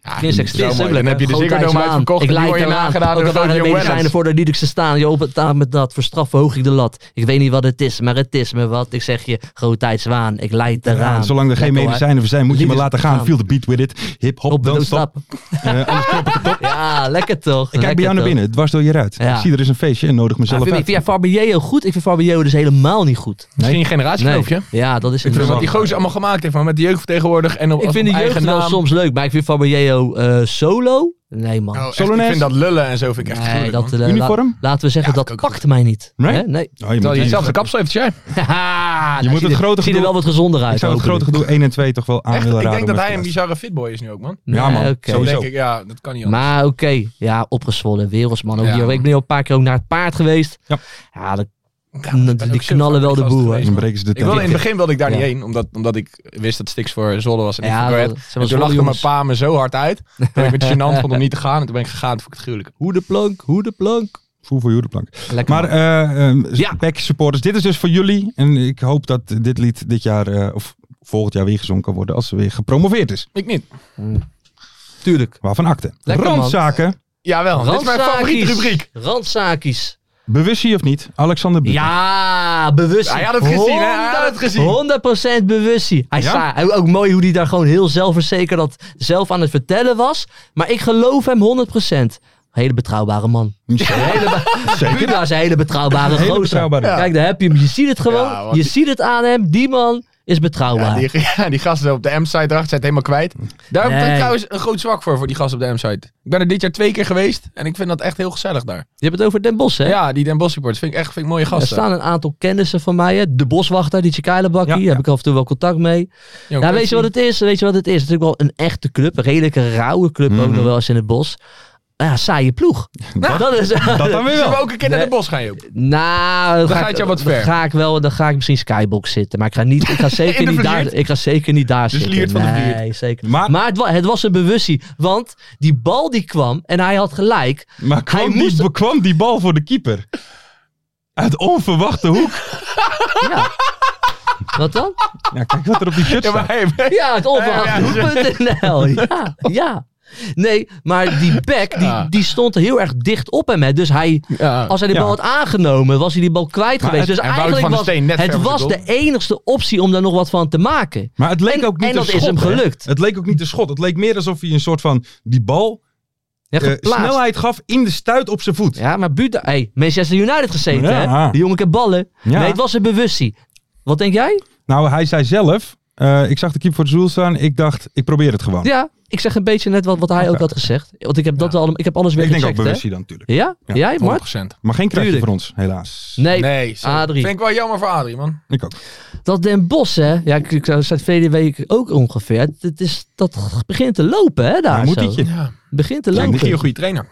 [SPEAKER 5] Ja,
[SPEAKER 4] Chris
[SPEAKER 5] dat is wel
[SPEAKER 4] Extist,
[SPEAKER 5] mooi. Dan heb je de Ziggo Dome uitverkocht.
[SPEAKER 4] Ik
[SPEAKER 5] en die
[SPEAKER 4] leid
[SPEAKER 5] word je
[SPEAKER 4] eraan.
[SPEAKER 5] nagedaan
[SPEAKER 4] Ook
[SPEAKER 5] door
[SPEAKER 4] al waren er
[SPEAKER 5] Sergio
[SPEAKER 4] medicijnen
[SPEAKER 5] Wellens.
[SPEAKER 4] voor de ik ze staan. Je betaalt met dat. Voor straf verhoog ik de lat. Ik weet niet wat het is, maar het is me wat. Ik zeg je, grootheidswaan. Ik leid eraan.
[SPEAKER 3] Zolang er geen
[SPEAKER 4] Lekker,
[SPEAKER 3] medicijnen voor zijn, moet je
[SPEAKER 4] Liedjes
[SPEAKER 3] maar laten gaan.
[SPEAKER 4] gaan.
[SPEAKER 3] Feel the beat with it. Hip
[SPEAKER 4] hoor.
[SPEAKER 3] hop,
[SPEAKER 4] Op de
[SPEAKER 3] dan stop.
[SPEAKER 4] stap.
[SPEAKER 3] Eh, anders klop ik het op.
[SPEAKER 4] Ja, lekker toch.
[SPEAKER 3] Ik kijk bij jou naar binnen, dwars door je ruit.
[SPEAKER 4] Ja.
[SPEAKER 3] Ik zie er is een feestje en nodig mezelf
[SPEAKER 4] ik, vind,
[SPEAKER 3] uit. Oh,
[SPEAKER 4] ik vind Fabio goed. Ik vind Fabio dus helemaal niet goed.
[SPEAKER 5] Misschien een generatiekloof,
[SPEAKER 4] Ja, dat is het.
[SPEAKER 3] vind
[SPEAKER 5] Wat
[SPEAKER 3] wel-
[SPEAKER 5] die gozer allemaal gemaakt heeft, man. Met de jeugd vertegenwoordig en op
[SPEAKER 4] Ik
[SPEAKER 5] op
[SPEAKER 4] vind de
[SPEAKER 5] eigen
[SPEAKER 4] jeugd wel
[SPEAKER 5] naam.
[SPEAKER 4] soms leuk, maar ik vind Fabio eh, solo? Nee man.
[SPEAKER 5] Oh, echt,
[SPEAKER 3] Solo
[SPEAKER 5] ik
[SPEAKER 3] Nes?
[SPEAKER 5] vind dat lullen en zo vind ik echt gruwelijk,
[SPEAKER 4] nee, dat, eh,
[SPEAKER 5] man.
[SPEAKER 3] Uniform?
[SPEAKER 4] la- laten we zeggen,
[SPEAKER 5] Ja,
[SPEAKER 4] dat
[SPEAKER 5] dat kan ik
[SPEAKER 4] pakt mij niet.
[SPEAKER 3] Nee?
[SPEAKER 4] Hè? Nee.
[SPEAKER 3] Oh, je moet
[SPEAKER 5] Terwijl je
[SPEAKER 3] die-
[SPEAKER 5] hetzelfde kapsel heeft als jij.
[SPEAKER 4] Haha,
[SPEAKER 3] Je moet het grote
[SPEAKER 4] Ziet er
[SPEAKER 3] gedoe-
[SPEAKER 4] wel wat gezonder uit.
[SPEAKER 3] Ik zou het grote
[SPEAKER 4] hopelijk.
[SPEAKER 3] gedoe 1 en 2 toch wel aan
[SPEAKER 5] Echt,
[SPEAKER 3] willen
[SPEAKER 5] ik
[SPEAKER 3] raden.
[SPEAKER 5] denk
[SPEAKER 3] om
[SPEAKER 5] dat
[SPEAKER 3] eens
[SPEAKER 5] hij
[SPEAKER 3] te
[SPEAKER 5] een
[SPEAKER 3] luisteren.
[SPEAKER 5] bizarre fitboy is nu ook, man.
[SPEAKER 3] Ja, man.
[SPEAKER 4] Nee, oké.
[SPEAKER 3] Sowieso.
[SPEAKER 5] Denk ik, ja, dat kan niet anders.
[SPEAKER 4] Oh, Maar oké, ja, opgezwollen, wereldsman. Ook
[SPEAKER 5] Ja.
[SPEAKER 4] hier. Ik ben al een paar keer ook naar het paard geweest.
[SPEAKER 3] Ja.
[SPEAKER 4] ja dat-
[SPEAKER 5] ik
[SPEAKER 4] die
[SPEAKER 5] ben ook zo
[SPEAKER 4] knallen
[SPEAKER 5] vaak
[SPEAKER 4] wel
[SPEAKER 5] met
[SPEAKER 4] de
[SPEAKER 5] gasten
[SPEAKER 4] boer.
[SPEAKER 5] geweest,
[SPEAKER 3] Dan
[SPEAKER 5] man.
[SPEAKER 3] breken ze de
[SPEAKER 5] Ik wilde, in het
[SPEAKER 3] tent.
[SPEAKER 5] begin wilde ik daar
[SPEAKER 4] Ja.
[SPEAKER 5] niet heen, omdat, omdat ik wist dat Stix voor Zwolle was en niet
[SPEAKER 4] Ja,
[SPEAKER 5] voor Go Ahead.
[SPEAKER 4] dat- ze
[SPEAKER 5] En
[SPEAKER 4] was
[SPEAKER 5] toen lachte
[SPEAKER 4] Zwolle,
[SPEAKER 5] mijn pa me zo hard uit, dat ik het gênant vond om niet te gaan. En toen ben ik gegaan, toen vond ik het gruwelijk.
[SPEAKER 4] Hoe de plank, hoe de plank.
[SPEAKER 3] Voel voor Joerenplank.
[SPEAKER 4] Lekker.
[SPEAKER 3] Maar
[SPEAKER 4] man.
[SPEAKER 3] eh ehm,
[SPEAKER 4] Ja.
[SPEAKER 3] Pack supporters, dit is dus voor jullie. En ik hoop dat dit lied dit jaar eh, of volgend jaar weer gezongen kan worden als ze weer gepromoveerd is.
[SPEAKER 5] Ik niet.
[SPEAKER 4] eh, tuurlijk.
[SPEAKER 3] Waarvan akte.
[SPEAKER 4] Lekker, man.
[SPEAKER 3] Randzaken,
[SPEAKER 5] Jawel, dat is mijn favoriete rubriek.
[SPEAKER 4] Randzakies.
[SPEAKER 3] bewust je of niet, Alexander Bieber.
[SPEAKER 4] Ja, bewust.
[SPEAKER 5] Hij had het gezien, hè? Hij had het gezien.
[SPEAKER 4] 100% bewustie. Hij
[SPEAKER 3] Ja?
[SPEAKER 4] sta- hij- ook mooi hoe hij daar gewoon heel zelfverzekerd dat zelf aan het vertellen was. Maar ik geloof hem 100%. Hele betrouwbare man. Hele be- Buda is een hele betrouwbare
[SPEAKER 3] Hele
[SPEAKER 4] gozer.
[SPEAKER 3] betrouwbare.
[SPEAKER 4] Kijk, daar heb je hem. Je ziet het gewoon.
[SPEAKER 5] Ja, want
[SPEAKER 4] je
[SPEAKER 5] die-
[SPEAKER 4] ziet het aan hem. Die man is
[SPEAKER 5] Ja,
[SPEAKER 4] betrouwbaar.
[SPEAKER 5] die, ja, die gasten op de M-site erachter zijn het helemaal kwijt. Daar heb ik
[SPEAKER 4] Nee.
[SPEAKER 5] trouwens een groot zwak voor, voor die gasten op de M-site. Ik ben er dit jaar twee keer geweest en ik vind dat echt heel gezellig daar.
[SPEAKER 4] Je hebt het over Den Bos, hè?
[SPEAKER 5] Ja, die Den Bosch supporters vind ik echt vind ik mooie
[SPEAKER 4] Er
[SPEAKER 5] gasten.
[SPEAKER 4] staan een aantal kennissen van mij. Hè? De boswachter, die Chikailenbakkie.
[SPEAKER 3] Ja,
[SPEAKER 4] Daar heb ik af en toe wel contact mee.
[SPEAKER 5] Jong,
[SPEAKER 4] Ja,
[SPEAKER 5] dat
[SPEAKER 4] weet je wat het is? Weet je wat het is? Het is natuurlijk wel een echte club. Een redelijke rauwe club ook nog wel eens in het bos. Ja, saaie ploeg. Nou, Mhm. dat is...
[SPEAKER 3] Dat dan weer
[SPEAKER 5] Zullen we
[SPEAKER 3] wel.
[SPEAKER 5] ook een keer naar Den Bosch gaan, Joop?
[SPEAKER 4] Nou, dan
[SPEAKER 5] gaat
[SPEAKER 4] ik-
[SPEAKER 5] jou wat
[SPEAKER 4] dan
[SPEAKER 5] ver.
[SPEAKER 4] Ga ik wel, dan ga ik misschien skybox zitten, maar ik ga niet, ik ga
[SPEAKER 5] In
[SPEAKER 4] zeker
[SPEAKER 5] de
[SPEAKER 4] niet daar,
[SPEAKER 5] Vliert?
[SPEAKER 4] ik ga zeker niet daar
[SPEAKER 5] Dus
[SPEAKER 4] zitten.
[SPEAKER 5] Liert van de
[SPEAKER 4] nee,
[SPEAKER 5] Vliert.
[SPEAKER 4] zeker.
[SPEAKER 3] Maar-
[SPEAKER 4] Maar, het, wa- het was een bewustie, want die bal die kwam en hij had gelijk.
[SPEAKER 3] Maar kwam
[SPEAKER 4] Hij
[SPEAKER 3] die,
[SPEAKER 4] moest-
[SPEAKER 3] kwam die bal voor de keeper? Uit onverwachte hoek.
[SPEAKER 4] Ja. Wat dan?
[SPEAKER 3] Ja, kijk wat er op die shirt
[SPEAKER 5] Ja,
[SPEAKER 3] staat.
[SPEAKER 5] maar hey,
[SPEAKER 4] Ja, het onverwachthoek.nl. Ja, ja. Nee, maar die back die,
[SPEAKER 5] Ja.
[SPEAKER 4] die stond heel erg dicht op hem. Hè. Dus hij,
[SPEAKER 5] Ja.
[SPEAKER 4] als hij die
[SPEAKER 3] Ja.
[SPEAKER 4] bal had aangenomen, was hij die bal kwijt
[SPEAKER 3] Maar
[SPEAKER 4] geweest.
[SPEAKER 3] het-
[SPEAKER 4] Dus
[SPEAKER 5] en Wouter van
[SPEAKER 4] eigenlijk was
[SPEAKER 5] der Steen net ver
[SPEAKER 4] het
[SPEAKER 5] voor
[SPEAKER 4] was
[SPEAKER 5] de
[SPEAKER 4] de enigste optie om daar nog wat van te maken.
[SPEAKER 3] Maar het leek
[SPEAKER 4] En-
[SPEAKER 3] ook niet
[SPEAKER 4] en
[SPEAKER 3] een
[SPEAKER 4] dat is
[SPEAKER 3] schot,
[SPEAKER 4] hem
[SPEAKER 3] hè?
[SPEAKER 4] gelukt.
[SPEAKER 3] Het leek ook niet een schot. Het leek meer alsof hij een soort van die bal
[SPEAKER 4] Ja,
[SPEAKER 3] eh,
[SPEAKER 4] geplaatst.
[SPEAKER 3] snelheid gaf in de stuit op zijn voet.
[SPEAKER 4] Ja, maar Buda... Hey, Manchester United gezeten,
[SPEAKER 3] Ja.
[SPEAKER 4] hè? Die jongen kan ballen.
[SPEAKER 3] Ja.
[SPEAKER 4] Nee, het was een bewustie. Wat denk jij?
[SPEAKER 3] Nou, hij zei zelf, eh, ik zag de keeper voor het doel staan. Ik dacht, ik probeer het gewoon.
[SPEAKER 4] Ja, ik zeg een beetje net wat, wat hij ook had gezegd. Want ik heb, dat al, ik heb alles weer
[SPEAKER 3] ik denk ook
[SPEAKER 4] gecheckt, hè?
[SPEAKER 3] bewustie dan natuurlijk.
[SPEAKER 4] Ja?
[SPEAKER 3] Ja,
[SPEAKER 4] Jij, Mart?
[SPEAKER 5] 100%.
[SPEAKER 3] Maar geen kruisje
[SPEAKER 4] Tuurlijk.
[SPEAKER 3] voor ons, helaas.
[SPEAKER 4] Nee,
[SPEAKER 5] Nee, sorry.
[SPEAKER 4] Adrie.
[SPEAKER 5] Vind ik wel jammer voor Adrie, man.
[SPEAKER 3] Ik ook.
[SPEAKER 4] dat Den Bos, hè? Ja, ik, ik zei het verleden week ook ongeveer. Het- Het is, dat begint te lopen, hè? Daar
[SPEAKER 3] Maar moet
[SPEAKER 4] Ah, zo.
[SPEAKER 3] ietje.
[SPEAKER 5] Ja.
[SPEAKER 4] Het begint te
[SPEAKER 5] Lijkt me
[SPEAKER 4] lopen.
[SPEAKER 5] een goede trainer.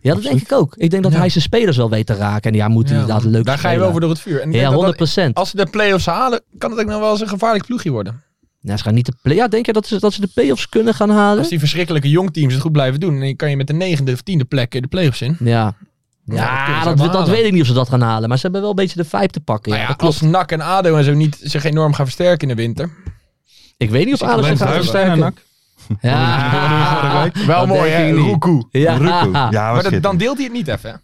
[SPEAKER 4] Ja, dat denk ik ook. Ik denk dat hij zijn spelers wel weet te raken. En ja, moet hij inderdaad leuk
[SPEAKER 5] Daar ga je
[SPEAKER 4] spelen.
[SPEAKER 5] wel voor door het vuur. En ik denk
[SPEAKER 4] Ja,
[SPEAKER 5] dat Oh.
[SPEAKER 4] 100
[SPEAKER 5] dat-
[SPEAKER 4] procent.
[SPEAKER 5] Als ze de play-offs halen, kan het ook nog wel eens een gevaarlijk ploegje worden.
[SPEAKER 4] Ja, ze gaan niet de play- ja, denk je dat ze, dat ze de play-offs kunnen gaan
[SPEAKER 5] Als
[SPEAKER 4] halen?
[SPEAKER 5] die verschrikkelijke jongteams het goed blijven doen, dan kan je met de negende of tiende plek eh, de play-offs in.
[SPEAKER 4] Ja.
[SPEAKER 5] dat kunnen
[SPEAKER 4] Ja,
[SPEAKER 5] ze
[SPEAKER 4] dat,
[SPEAKER 5] wel
[SPEAKER 4] dat,
[SPEAKER 5] halen.
[SPEAKER 4] weet ik niet of ze dat gaan halen. Maar ze hebben wel een beetje de vibe te pakken. Ja,
[SPEAKER 5] Nou ja,
[SPEAKER 4] dat klopt.
[SPEAKER 5] als NAC en ADO en zo niet zich enorm gaan versterken in de winter.
[SPEAKER 4] Ik weet niet of Alex
[SPEAKER 5] alleen
[SPEAKER 4] zich gaat
[SPEAKER 5] Duivels
[SPEAKER 4] versterken.
[SPEAKER 3] Nak.
[SPEAKER 4] Ja.
[SPEAKER 5] Wel mooi, hè? Roekoe.
[SPEAKER 4] Ja.
[SPEAKER 3] Ruku. Ja,
[SPEAKER 5] Maar
[SPEAKER 3] was
[SPEAKER 5] dat- dan
[SPEAKER 3] schitterend.
[SPEAKER 5] deelt hij het niet even, hè?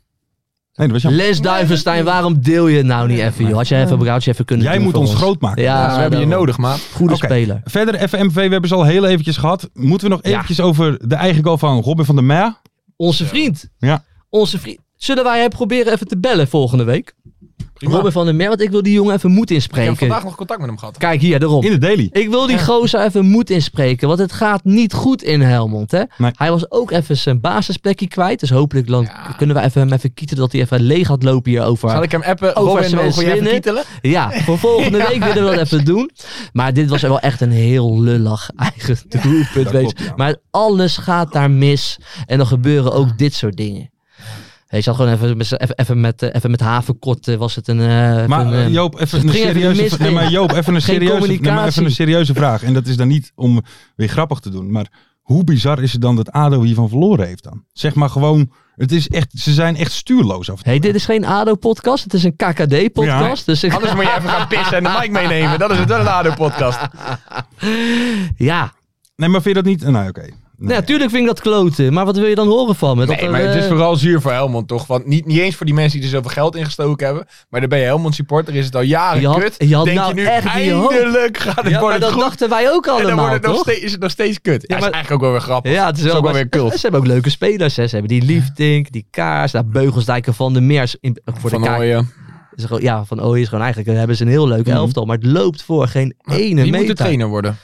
[SPEAKER 3] Nee, dat was jammer.
[SPEAKER 4] Les Duivenstein, waarom deel je het nou niet even, joh? Had je even, had je even kunnen
[SPEAKER 3] Jij
[SPEAKER 4] doen
[SPEAKER 3] moet
[SPEAKER 4] voor
[SPEAKER 3] ons groot maken.
[SPEAKER 4] Ja,
[SPEAKER 5] Dus we hebben je
[SPEAKER 4] daarom.
[SPEAKER 5] nodig, maat.
[SPEAKER 4] Goede
[SPEAKER 3] Oké.
[SPEAKER 4] speler.
[SPEAKER 3] Verder, FMV, we hebben ze al heel eventjes gehad. Moeten we nog eventjes over de eigen goal van Robin van der Meer?
[SPEAKER 4] Onze vriend.
[SPEAKER 3] Ja.
[SPEAKER 4] Onze vriend. Zullen wij hem proberen even te bellen volgende week? Robin van der Meer, want ik wil die jongen even moed
[SPEAKER 5] Ik heb
[SPEAKER 4] inspreken.
[SPEAKER 5] vandaag nog contact met hem gehad.
[SPEAKER 4] Kijk hier, daarom.
[SPEAKER 3] In de daily.
[SPEAKER 4] Ik wil die gozer even moed inspreken, want het gaat niet goed in Helmond. Hè?
[SPEAKER 3] Nee.
[SPEAKER 4] Hij was ook even zijn basisplekje kwijt, dus hopelijk dan
[SPEAKER 5] Ja.
[SPEAKER 4] kunnen we even hem even kieten dat hij even leeg gaat lopen hierover.
[SPEAKER 5] Zal ik hem appen?
[SPEAKER 4] Over
[SPEAKER 5] Robin,
[SPEAKER 4] Sven
[SPEAKER 5] mogen we je even
[SPEAKER 4] Swinnen.
[SPEAKER 5] kietelen?
[SPEAKER 4] Ja, voor volgende week willen we dat even doen. Maar dit was wel echt een heel lullig eigen doelpunt. weet je.
[SPEAKER 3] klopt, ja.
[SPEAKER 4] Maar alles gaat daar mis en dan gebeuren ook dit soort dingen. Weet je, had gewoon even, met z'n- even, even met, eh, even met havenkort eh, was het een... eh,
[SPEAKER 3] Maar
[SPEAKER 4] een, eh,
[SPEAKER 3] eh, Joop, even
[SPEAKER 4] het
[SPEAKER 3] een
[SPEAKER 4] ging even
[SPEAKER 3] serieuze,
[SPEAKER 4] mis
[SPEAKER 3] nee, maar
[SPEAKER 4] in.
[SPEAKER 3] Joop, even
[SPEAKER 4] Geen
[SPEAKER 3] een serieuze, nee, maar even
[SPEAKER 4] communicatie.
[SPEAKER 3] een serieuze vraag. En dat is dan niet om weer grappig te doen. Maar hoe bizar is het dan dat ADO hiervan verloren heeft dan? Zeg maar gewoon, het is echt, ze zijn echt stuurloos af en toe.
[SPEAKER 4] hey, dit is geen ADO-podcast, het is een KKD-podcast. Dus ik,
[SPEAKER 5] Anders moet je even gaan pissen en de mic meenemen. Dat is het wel een ADO-podcast.
[SPEAKER 4] ja,
[SPEAKER 3] Nee, maar vind je dat niet? Nou, oké.
[SPEAKER 4] Nee, natuurlijk vind ik dat kloten. Maar wat wil je dan horen van me? Dat
[SPEAKER 5] Nee,
[SPEAKER 4] er,
[SPEAKER 5] maar het is
[SPEAKER 4] eh,
[SPEAKER 5] vooral zuur voor Helmond, toch? Want niet, niet eens voor die mensen die er zoveel geld in gestoken hebben. Maar dan ben je Helmond supporter, is het al jaren
[SPEAKER 4] Je had-
[SPEAKER 5] kut.
[SPEAKER 4] je had
[SPEAKER 5] Denk
[SPEAKER 4] nou
[SPEAKER 5] je nu,
[SPEAKER 4] echt die hoop.
[SPEAKER 5] eindelijk gaat het
[SPEAKER 4] Ja, maar
[SPEAKER 5] worden
[SPEAKER 4] dat
[SPEAKER 5] goed.
[SPEAKER 4] dachten wij ook
[SPEAKER 5] en dan
[SPEAKER 4] allemaal,
[SPEAKER 5] wordt het nog
[SPEAKER 4] toch?
[SPEAKER 5] steeds, is het nog steeds kut. Ja,
[SPEAKER 4] maar-
[SPEAKER 5] is eigenlijk ook wel weer grappig.
[SPEAKER 4] Ja, het is
[SPEAKER 5] ook
[SPEAKER 4] wel,
[SPEAKER 5] wel
[SPEAKER 4] maar
[SPEAKER 5] weer kult.
[SPEAKER 4] Ze hebben ook leuke spelers. Hè. Ze hebben die Liefdink, die Kaars, daar Beugelsdijken van de Meers. In, voor
[SPEAKER 5] Van
[SPEAKER 4] de Kaars.
[SPEAKER 5] Hooijen.
[SPEAKER 4] is gewoon- Ja, van Ooyen is gewoon eigenlijk. daar hebben ze een heel leuk elftal. Maar het loopt voor geen ene
[SPEAKER 5] Mhm. Wie moet de
[SPEAKER 4] meter.
[SPEAKER 5] trainer worden?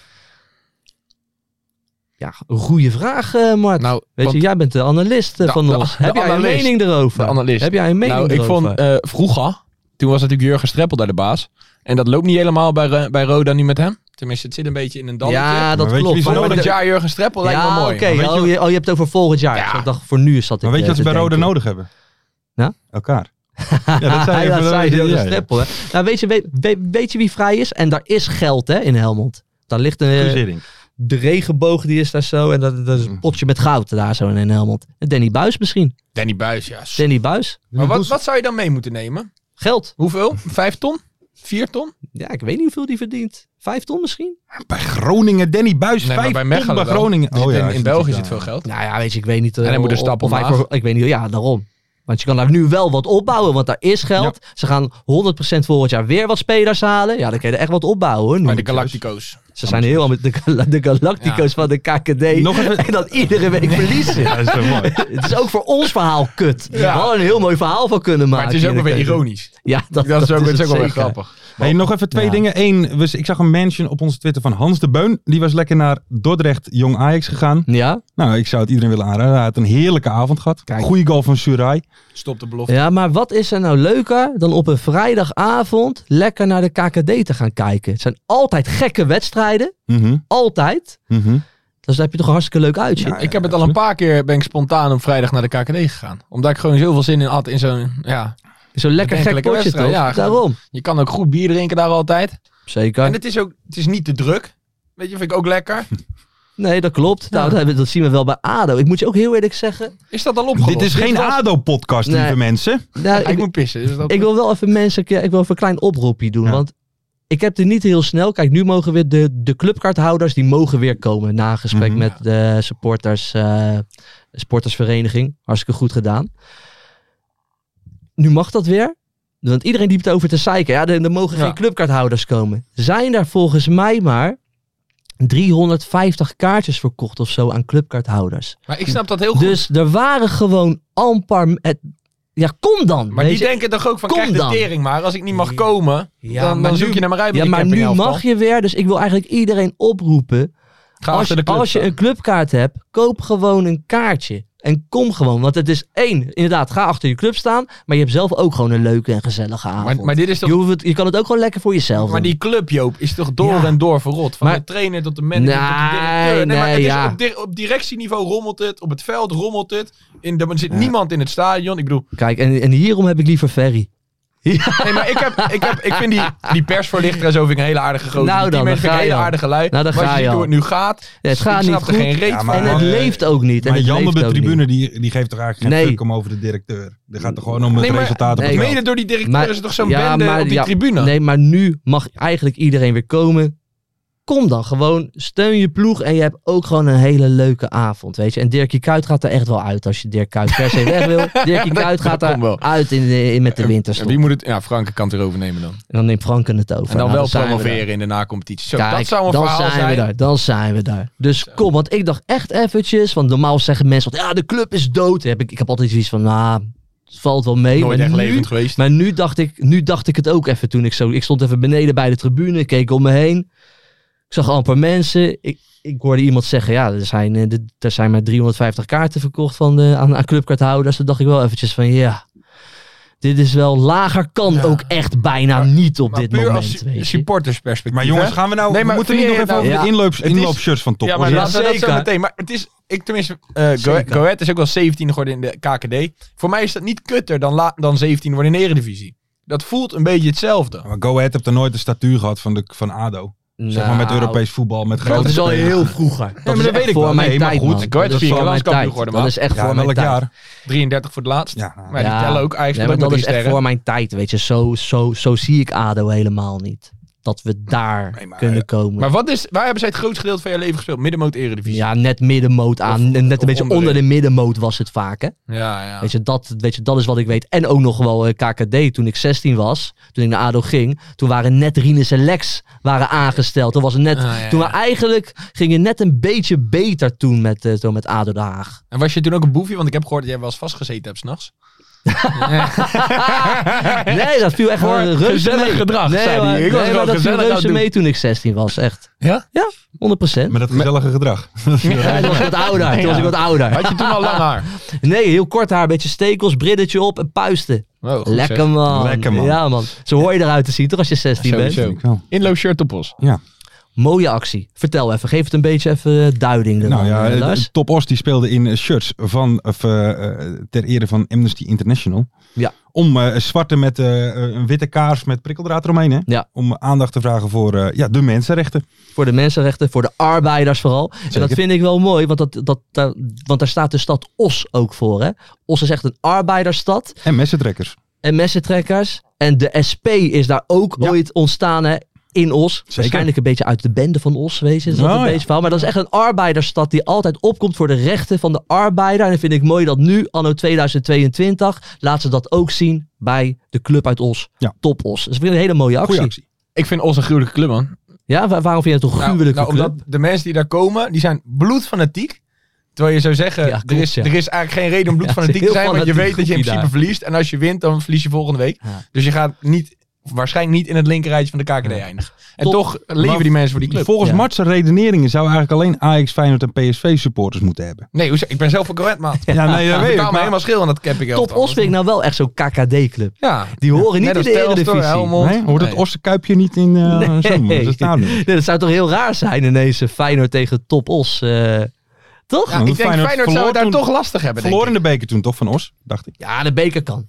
[SPEAKER 4] Ja, een goede vraag, eh, Mart.
[SPEAKER 5] Nou,
[SPEAKER 4] Weet
[SPEAKER 5] want-
[SPEAKER 4] je, jij bent de analist eh,
[SPEAKER 5] De-
[SPEAKER 4] van
[SPEAKER 5] de-
[SPEAKER 4] ons.
[SPEAKER 5] de
[SPEAKER 4] Heb jij
[SPEAKER 5] analist.
[SPEAKER 4] een mening erover?
[SPEAKER 5] De analist.
[SPEAKER 4] Heb jij een mening
[SPEAKER 5] Nou, ik
[SPEAKER 4] erover?
[SPEAKER 5] vond eh, vroeger, toen was natuurlijk Jurgen Streppel daar de baas. En dat loopt niet helemaal bij, Ro- bij Roda nu met hem. Tenminste, het zit een beetje in een dammetje.
[SPEAKER 4] ja,
[SPEAKER 3] Maar
[SPEAKER 4] dat
[SPEAKER 3] weet je
[SPEAKER 4] klopt.
[SPEAKER 3] wie ze
[SPEAKER 4] Maar-
[SPEAKER 5] maar
[SPEAKER 3] nodig
[SPEAKER 5] het
[SPEAKER 4] maar-
[SPEAKER 5] jaar Jurgen Streppel lijkt me
[SPEAKER 4] Ja,
[SPEAKER 5] mooi.
[SPEAKER 4] oké.
[SPEAKER 3] Maar weet
[SPEAKER 4] Oh,
[SPEAKER 3] je-
[SPEAKER 4] je, oh, je hebt het over volgend jaar.
[SPEAKER 5] Ja.
[SPEAKER 4] Dus ik dacht, voor nu zat ik Nou?
[SPEAKER 3] Maar weet je
[SPEAKER 4] eh,
[SPEAKER 3] wat ze
[SPEAKER 4] te
[SPEAKER 3] bij Rode
[SPEAKER 4] denken.
[SPEAKER 3] nodig hebben?
[SPEAKER 4] Ja?
[SPEAKER 3] Elkaar. Ja, dat zei je.
[SPEAKER 4] ja, dat zei je,
[SPEAKER 3] Ja,
[SPEAKER 4] dat
[SPEAKER 3] ja.
[SPEAKER 4] is Streppel, hè. Nou, weet, je, weet, weet- weet je wie vrij is? En daar is geld hè, in Helmond. Daar ligt een, eh,
[SPEAKER 3] Verziering.
[SPEAKER 4] de regenboog, die is daar zo. En dat, dat is een potje met goud daar zo in Helmond. En Danny Buis misschien.
[SPEAKER 5] Danny Buis, ja.
[SPEAKER 4] Danny Buis.
[SPEAKER 5] Maar wat, wat zou je dan mee moeten nemen?
[SPEAKER 4] Geld.
[SPEAKER 5] Hoeveel? Vijf ton? Vier ton?
[SPEAKER 4] Ja, ik weet niet hoeveel die verdient. Vijf ton misschien?
[SPEAKER 3] Bij Groningen, Danny Buis,
[SPEAKER 5] Nee, maar
[SPEAKER 3] vijf
[SPEAKER 5] Dus bij
[SPEAKER 3] ton
[SPEAKER 5] Mechelen
[SPEAKER 3] bij Oh
[SPEAKER 5] wel.
[SPEAKER 3] Groningen.
[SPEAKER 5] Dus in, in
[SPEAKER 3] is
[SPEAKER 5] België zit
[SPEAKER 3] natuurlijk
[SPEAKER 5] veel geld.
[SPEAKER 4] Nou ja, weet je, ik weet niet. eh,
[SPEAKER 5] En hij moet een
[SPEAKER 4] of-
[SPEAKER 5] stap
[SPEAKER 4] of hij
[SPEAKER 5] omlaag.
[SPEAKER 4] voor- Ik weet niet, ja, daarom. Want je kan daar nu wel wat opbouwen, want daar is geld. Ze gaan 100% volgend jaar weer wat spelers halen. Ja, dan kun je er echt wat opbouwen. dus. hoor.
[SPEAKER 5] Bij de Galactico's.
[SPEAKER 4] Ze zijn heel ambi- de, gal- de Galactico's van de KKD.
[SPEAKER 3] Nog even-
[SPEAKER 4] En dat iedere week verliezen.
[SPEAKER 3] Ja, dat is wel mooi.
[SPEAKER 4] Het is ook voor ons verhaal kut. We
[SPEAKER 5] Ja.
[SPEAKER 4] hadden een heel mooi verhaal van kunnen maken.
[SPEAKER 5] Maar het is ook wel weer
[SPEAKER 4] iedere keer.
[SPEAKER 5] ironisch.
[SPEAKER 4] Ja, dat,
[SPEAKER 5] Dat is ook,
[SPEAKER 4] het
[SPEAKER 5] het is ook wel weer
[SPEAKER 4] zeker.
[SPEAKER 5] grappig.
[SPEAKER 3] Hey, nog even twee
[SPEAKER 4] Ja.
[SPEAKER 3] dingen. Eén, we- ik zag een mention op onze Twitter van Hans de Beun. Die was lekker naar Dordrecht Jong Ajax gegaan.
[SPEAKER 4] Ja?
[SPEAKER 3] Nou, ik zou het iedereen willen aanraden. Hij had een heerlijke avond gehad.
[SPEAKER 4] Kijk.
[SPEAKER 3] Goeie goal van Surai.
[SPEAKER 5] Stop de belofte.
[SPEAKER 4] ja, maar wat is er nou leuker dan op een vrijdagavond lekker naar de KKD te gaan kijken? Het zijn altijd gekke wedstrijden.
[SPEAKER 3] Mhm,
[SPEAKER 4] Altijd.
[SPEAKER 3] mhm.
[SPEAKER 4] Dus daar heb je toch een hartstikke leuk uitje.
[SPEAKER 5] Ik heb het al een paar keer, ben ik spontaan op vrijdag naar de KKD gegaan. Omdat ik gewoon zoveel zin in had in zo'n, ja.
[SPEAKER 4] Zo'n lekker gek
[SPEAKER 5] Bedenkelijke
[SPEAKER 4] potje
[SPEAKER 5] wedstrijd,
[SPEAKER 4] toch?
[SPEAKER 5] ja.
[SPEAKER 4] Daarom.
[SPEAKER 5] Je kan ook goed bier drinken daar altijd. En
[SPEAKER 4] Zeker.
[SPEAKER 5] het is ook, het is niet te druk. Weet je, vind ik ook lekker.
[SPEAKER 4] Nee, dat klopt. Nou, dat, hebben- dat zien we wel bij ADO. Ik moet je ook heel eerlijk zeggen.
[SPEAKER 5] Is dat al opgelost?
[SPEAKER 3] Dit is geen
[SPEAKER 5] was-
[SPEAKER 3] ADO-podcast,
[SPEAKER 4] Nee.
[SPEAKER 3] lieve mensen.
[SPEAKER 4] Nou,
[SPEAKER 5] Ah, ik
[SPEAKER 4] ik,
[SPEAKER 5] moet pissen. dus dat-
[SPEAKER 4] ik wil wel even mensen, ik wil even een klein oproepje doen.
[SPEAKER 3] Ja.
[SPEAKER 4] Want ik heb er niet heel snel. Kijk, nu mogen weer de, de clubkaarthouders, die mogen weer komen na een gesprek
[SPEAKER 3] Mhm.
[SPEAKER 4] met de supporters, eh, supportersvereniging. Hartstikke goed gedaan. Nu mag dat weer. Want iedereen liep het over te zeiken. Ja, er, er mogen
[SPEAKER 5] Ja.
[SPEAKER 4] geen clubkaarthouders komen. Zijn er volgens mij maar 350 kaartjes verkocht of zo aan clubkaarthouders.
[SPEAKER 5] maar ik snap dat heel goed.
[SPEAKER 4] Dus er waren gewoon amper... Het, ja, kom dan.
[SPEAKER 5] maar
[SPEAKER 4] weet
[SPEAKER 5] die
[SPEAKER 4] je.
[SPEAKER 5] denken toch ook van,
[SPEAKER 4] kom
[SPEAKER 5] krijg de
[SPEAKER 4] dan.
[SPEAKER 5] tering maar. Als ik niet mag komen,
[SPEAKER 4] Ja,
[SPEAKER 5] dan,
[SPEAKER 4] maar
[SPEAKER 5] dan zoek
[SPEAKER 4] nu-
[SPEAKER 5] je naar mijn uit. met
[SPEAKER 4] Ja,
[SPEAKER 5] die
[SPEAKER 4] maar nu
[SPEAKER 5] campinghelft
[SPEAKER 4] mag
[SPEAKER 5] al.
[SPEAKER 4] je weer. Dus ik wil eigenlijk iedereen oproepen.
[SPEAKER 5] Ga
[SPEAKER 4] als
[SPEAKER 5] achter
[SPEAKER 4] je,
[SPEAKER 5] de club
[SPEAKER 4] als je
[SPEAKER 5] staan.
[SPEAKER 4] een clubkaart hebt, koop gewoon een kaartje. En kom gewoon. Want het is één, inderdaad, ga achter je club staan. Maar je hebt zelf ook gewoon een leuke en gezellige avond.
[SPEAKER 5] maar, maar dit is
[SPEAKER 4] je,
[SPEAKER 5] toch...
[SPEAKER 4] hoeft het, je kan het ook gewoon lekker voor jezelf
[SPEAKER 5] Maar
[SPEAKER 4] doen.
[SPEAKER 5] die club, Joop, is toch door
[SPEAKER 4] Ja.
[SPEAKER 5] en door verrot. Van
[SPEAKER 4] Maar-
[SPEAKER 5] de trainer tot de manager tot de
[SPEAKER 4] Nee,
[SPEAKER 5] directeur. maar
[SPEAKER 4] nee,
[SPEAKER 5] het is
[SPEAKER 4] ja.
[SPEAKER 5] op, dir- op directieniveau rommelt het. Op het veld rommelt het. In de, er zit niemand in het stadion. Ik bedoel,
[SPEAKER 4] Kijk, en, en hierom heb ik liever Ferry.
[SPEAKER 5] nee, maar ik, heb, ik, heb, ik vind die, die persvoorlichter en zo vind ik een hele aardige gozer.
[SPEAKER 4] Nou dan,
[SPEAKER 5] Die
[SPEAKER 4] dan
[SPEAKER 5] teammate vind ik
[SPEAKER 4] ga
[SPEAKER 5] een hele
[SPEAKER 4] je al.
[SPEAKER 5] aardige lui.
[SPEAKER 4] Nou, dan
[SPEAKER 5] maar
[SPEAKER 4] ga
[SPEAKER 5] als je
[SPEAKER 4] je
[SPEAKER 5] ziet hoe
[SPEAKER 4] al.
[SPEAKER 5] het nu gaat,
[SPEAKER 4] Nee, het gaat
[SPEAKER 5] ik snap
[SPEAKER 4] niet
[SPEAKER 5] er
[SPEAKER 4] goed.
[SPEAKER 5] geen reet
[SPEAKER 3] Ja,
[SPEAKER 5] van.
[SPEAKER 3] maar-
[SPEAKER 4] en het
[SPEAKER 3] eh,
[SPEAKER 4] leeft ook niet. En
[SPEAKER 3] Maar
[SPEAKER 4] het
[SPEAKER 3] Jan op
[SPEAKER 4] leeft
[SPEAKER 3] de
[SPEAKER 4] ook
[SPEAKER 3] tribune
[SPEAKER 4] niet.
[SPEAKER 3] die, die geeft toch eigenlijk geen
[SPEAKER 4] Nee.
[SPEAKER 3] fuck om over de directeur. Die gaat er gewoon om het
[SPEAKER 5] Nee, maar-
[SPEAKER 3] resultaat op
[SPEAKER 4] nee,
[SPEAKER 3] het veld.
[SPEAKER 5] Mede door die directeur
[SPEAKER 4] Maar-
[SPEAKER 5] is er toch zo'n
[SPEAKER 4] ja,
[SPEAKER 5] bende
[SPEAKER 4] maar-
[SPEAKER 5] op die
[SPEAKER 4] ja,
[SPEAKER 5] tribune.
[SPEAKER 4] Nee, maar nu mag eigenlijk iedereen weer komen. Kom dan gewoon, steun je ploeg en je hebt ook gewoon een hele leuke avond, weet je. En Dirkie Kuyt gaat er echt wel uit als je Dirk Kuyt per se weg wil. Dirkie Kuyt gaat
[SPEAKER 5] komt wel.
[SPEAKER 4] er uit in de- in met de
[SPEAKER 5] En
[SPEAKER 4] winterstop.
[SPEAKER 5] Wie moet het? Ja, Franke kan het erover nemen dan.
[SPEAKER 4] En dan neemt Franken het over.
[SPEAKER 5] En dan
[SPEAKER 4] Nou,
[SPEAKER 5] wel
[SPEAKER 4] zijn we daar.
[SPEAKER 5] promoveren in de nacompetitie. Zo, dat
[SPEAKER 4] Kijk,
[SPEAKER 5] zou een
[SPEAKER 4] dan
[SPEAKER 5] verhaal
[SPEAKER 4] zijn, We
[SPEAKER 5] zijn.
[SPEAKER 4] daar, dan zijn we daar. Dus kom, want ik dacht echt eventjes, want normaal zeggen mensen, ja, de club is dood. Heb ik, ik heb altijd zoiets van, nou, het valt wel mee.
[SPEAKER 5] Nooit
[SPEAKER 4] maar
[SPEAKER 5] echt
[SPEAKER 4] nu-
[SPEAKER 5] levend geweest.
[SPEAKER 4] Maar nu dacht, ik, nu dacht ik het ook even toen ik zo... Ik stond even beneden bij de tribune, ik keek om me heen. Ik zag amper mensen. Ik, ik hoorde iemand zeggen, ja, er zijn, eh, dit- er zijn maar 350 kaarten verkocht van de, aan, aan clubkaarthouders. Toen dacht ik wel eventjes van, ja... Dit is wel lager, kan ook echt bijna niet op
[SPEAKER 5] Maar
[SPEAKER 4] dit
[SPEAKER 5] puur
[SPEAKER 4] moment.
[SPEAKER 5] als
[SPEAKER 4] weet
[SPEAKER 5] su-
[SPEAKER 4] je.
[SPEAKER 5] supportersperspectief.
[SPEAKER 3] Maar jongens,
[SPEAKER 5] hè?
[SPEAKER 3] gaan we nou...
[SPEAKER 5] Nee,
[SPEAKER 3] we
[SPEAKER 5] maar
[SPEAKER 3] moeten niet nog
[SPEAKER 5] vind je
[SPEAKER 3] even
[SPEAKER 5] het
[SPEAKER 3] over
[SPEAKER 4] nou-
[SPEAKER 3] de inloops,
[SPEAKER 5] Het is-
[SPEAKER 3] inloopshirts van top.
[SPEAKER 5] Ja, maar
[SPEAKER 4] Ja,
[SPEAKER 5] laten we dat zo
[SPEAKER 4] zeker.
[SPEAKER 5] meteen. Maar het is, ik tenminste, eh, Go-
[SPEAKER 4] Zeker.
[SPEAKER 5] Go Ahead is ook wel 17 geworden in de KKD. Voor mij is dat niet kutter dan, la, dan 17 worden in de Eredivisie. Dat voelt een beetje hetzelfde.
[SPEAKER 3] Maar Go Ahead heeft er nooit de statuur gehad van, de, van ADO. Zeg maar met
[SPEAKER 4] Nou,
[SPEAKER 3] Europees voetbal, met grote
[SPEAKER 4] Dat is al
[SPEAKER 3] spelers.
[SPEAKER 4] heel vroeger. Dat
[SPEAKER 5] dat
[SPEAKER 4] is
[SPEAKER 5] weet
[SPEAKER 4] echt
[SPEAKER 5] ik wel.
[SPEAKER 4] voor
[SPEAKER 3] Nee,
[SPEAKER 4] mijn
[SPEAKER 3] maar
[SPEAKER 4] tijd,
[SPEAKER 3] goed,
[SPEAKER 4] man.
[SPEAKER 5] ik
[SPEAKER 4] Dat
[SPEAKER 5] weet
[SPEAKER 4] is
[SPEAKER 5] vier
[SPEAKER 4] voor
[SPEAKER 5] keer
[SPEAKER 4] mijn
[SPEAKER 5] landskampioen
[SPEAKER 4] tijd.
[SPEAKER 5] geworden,
[SPEAKER 4] Dat
[SPEAKER 5] man.
[SPEAKER 4] is echt
[SPEAKER 3] Ja,
[SPEAKER 4] voor
[SPEAKER 3] in
[SPEAKER 4] mijn
[SPEAKER 3] elk
[SPEAKER 4] tijd.
[SPEAKER 3] jaar.
[SPEAKER 5] 33 voor het laatst.
[SPEAKER 3] Ja, nou,
[SPEAKER 5] Maar die tellen ook
[SPEAKER 4] Nee,
[SPEAKER 5] eigenlijk
[SPEAKER 4] maar
[SPEAKER 5] ook
[SPEAKER 4] dat
[SPEAKER 5] met
[SPEAKER 4] is
[SPEAKER 5] die
[SPEAKER 4] echt
[SPEAKER 5] sterren.
[SPEAKER 4] voor mijn tijd, weet je. Zo, zo, zo zie ik ADO helemaal niet. dat we daar
[SPEAKER 5] Nee, maar- eh,
[SPEAKER 4] kunnen komen.
[SPEAKER 5] Maar wat is, waar hebben zij het grootste gedeelte van je leven gespeeld? Middenmoot Eredivisie.
[SPEAKER 4] ja, net middenmoot aan. net een
[SPEAKER 5] of
[SPEAKER 4] beetje
[SPEAKER 5] onderin.
[SPEAKER 4] onder de middenmoot was het vaak, hè?
[SPEAKER 5] ja. ja.
[SPEAKER 4] Weet je, dat, weet je, dat is wat ik weet. En ook nog wel eh, KKD toen ik 16 was. Toen ik naar ADO ging. Toen waren net Rinus en Lex waren aangesteld. Toen was het net...
[SPEAKER 5] Ah, ja,
[SPEAKER 4] Toen we
[SPEAKER 5] ja.
[SPEAKER 4] eigenlijk ging het net een beetje beter toen met, eh, zo met ADO Den Haag.
[SPEAKER 5] En was je toen ook een boefje? Want ik heb gehoord dat jij wel eens vastgezeten hebt s'nachts.
[SPEAKER 4] Nee, dat viel echt
[SPEAKER 5] Voor
[SPEAKER 4] wel reuze
[SPEAKER 5] gezellig
[SPEAKER 4] mee.
[SPEAKER 5] gedrag,
[SPEAKER 4] nee,
[SPEAKER 5] zei hij.
[SPEAKER 4] maar-
[SPEAKER 5] Ik was
[SPEAKER 4] nee, maar
[SPEAKER 5] gewoon
[SPEAKER 4] dat viel
[SPEAKER 5] gezellig aan
[SPEAKER 4] reuze
[SPEAKER 5] het
[SPEAKER 4] mee toen ik 16 was. Echt.
[SPEAKER 5] Ja?
[SPEAKER 4] Ja, 100%.
[SPEAKER 3] Met dat gezellige gedrag.
[SPEAKER 4] Ja, toen was ik wat ouder. Toen was ik wat ouder.
[SPEAKER 5] Had je toen al lang haar?
[SPEAKER 4] Nee, heel kort haar. Beetje stekels, brilletje op en puisten.
[SPEAKER 5] Wow, Oh, goed zeg.
[SPEAKER 4] Lekker man.
[SPEAKER 3] Lekker, man.
[SPEAKER 4] Ja man. Zo hoor je eruit te zien toch als je 16 bent.
[SPEAKER 5] Sowieso. Inloop shirt op ons.
[SPEAKER 4] Mooie actie. Vertel even. Geef het een beetje even eh, duiding. ervan,
[SPEAKER 3] Nou ja,
[SPEAKER 4] eh,
[SPEAKER 3] eh,
[SPEAKER 4] Lars.
[SPEAKER 3] Top Os die speelde in eh, shirts van, of, eh, eh, ter ere van Amnesty International.
[SPEAKER 4] Ja.
[SPEAKER 3] Om eh, zwarte met eh, een witte kaars met prikkeldraad eromheen. Hè?
[SPEAKER 4] Ja.
[SPEAKER 3] Om aandacht te vragen voor eh, ja, de mensenrechten.
[SPEAKER 4] Voor de mensenrechten, voor de arbeiders vooral. En dat
[SPEAKER 3] Zeker.
[SPEAKER 4] vind ik wel mooi, want, dat, dat, daar, want daar staat de stad Os ook voor. Hè? Os is echt een arbeidersstad.
[SPEAKER 3] En messentrekkers.
[SPEAKER 4] en messentrekkers. En de SP is daar ook ooit ontstaan hè, in Os. Waarschijnlijk een beetje uit de bende van Os wezen. Is dat
[SPEAKER 3] Oh,
[SPEAKER 4] een
[SPEAKER 3] ja.
[SPEAKER 4] beetje verhaal. Maar dat is echt een arbeidersstad die altijd opkomt voor de rechten van de arbeider. En dat vind ik mooi dat nu, anno 2022, laat ze dat ook zien bij de club uit Os.
[SPEAKER 3] Ja.
[SPEAKER 4] Top Os. Dus ik vind het een hele mooie actie.
[SPEAKER 3] Goeie actie.
[SPEAKER 5] Ik vind ons een gruwelijke club, man.
[SPEAKER 4] Ja, wa- waarom vind je het een
[SPEAKER 5] Nou,
[SPEAKER 4] gruwelijke
[SPEAKER 5] nou,
[SPEAKER 4] club?
[SPEAKER 5] omdat de mensen die daar komen, die zijn bloedfanatiek. Terwijl je zou zeggen,
[SPEAKER 4] Ja, klopt,
[SPEAKER 5] er, is,
[SPEAKER 4] ja.
[SPEAKER 5] er is eigenlijk geen reden om bloedfanatiek
[SPEAKER 4] Ja,
[SPEAKER 5] te
[SPEAKER 4] het is een
[SPEAKER 5] zijn.
[SPEAKER 4] heel
[SPEAKER 5] Want je weet dat je in
[SPEAKER 4] fanatiek
[SPEAKER 5] principe verliest. En als je wint, dan verlies je volgende week.
[SPEAKER 4] Ja.
[SPEAKER 5] Dus je gaat niet, waarschijnlijk niet in het linkerrijtje van de KKD eindigen. En
[SPEAKER 4] Top.
[SPEAKER 5] toch leven
[SPEAKER 3] Maar
[SPEAKER 5] die mensen voor die club.
[SPEAKER 3] Volgens
[SPEAKER 4] Ja.
[SPEAKER 3] Mart's redeneringen zou eigenlijk alleen Ajax, Feyenoord en PSV supporters moeten hebben.
[SPEAKER 5] Nee, hoezo? ik ben zelf een gewend, man.
[SPEAKER 3] Ja, nee, dat weet ik.
[SPEAKER 5] Ik betaal me
[SPEAKER 3] Maar,
[SPEAKER 5] helemaal schil aan dat capping.
[SPEAKER 4] Top Os vind ik nou wel echt zo'n KKD-club.
[SPEAKER 5] Ja.
[SPEAKER 4] Die horen niet
[SPEAKER 5] Net
[SPEAKER 4] in
[SPEAKER 5] als
[SPEAKER 4] de
[SPEAKER 5] Telstar,
[SPEAKER 4] Eredivisie.
[SPEAKER 5] Helmond.
[SPEAKER 3] nee, hoort het
[SPEAKER 5] Nee.
[SPEAKER 3] Osse Kuipje niet in eh
[SPEAKER 4] Nee.
[SPEAKER 3] zo'n dat stadion?
[SPEAKER 4] Nee, dat zou toch heel raar zijn ineens eh, Feyenoord tegen Top Os. eh, toch?
[SPEAKER 5] Ja, ik
[SPEAKER 3] Feyenoord
[SPEAKER 5] denk Feyenoord, zou
[SPEAKER 3] verloor
[SPEAKER 5] het daar
[SPEAKER 3] toen-
[SPEAKER 5] toch lastig hebben, denk
[SPEAKER 3] Verloren in
[SPEAKER 5] ik.
[SPEAKER 3] de beker toen toch van Os, dacht ik.
[SPEAKER 4] Ja, de beker kan.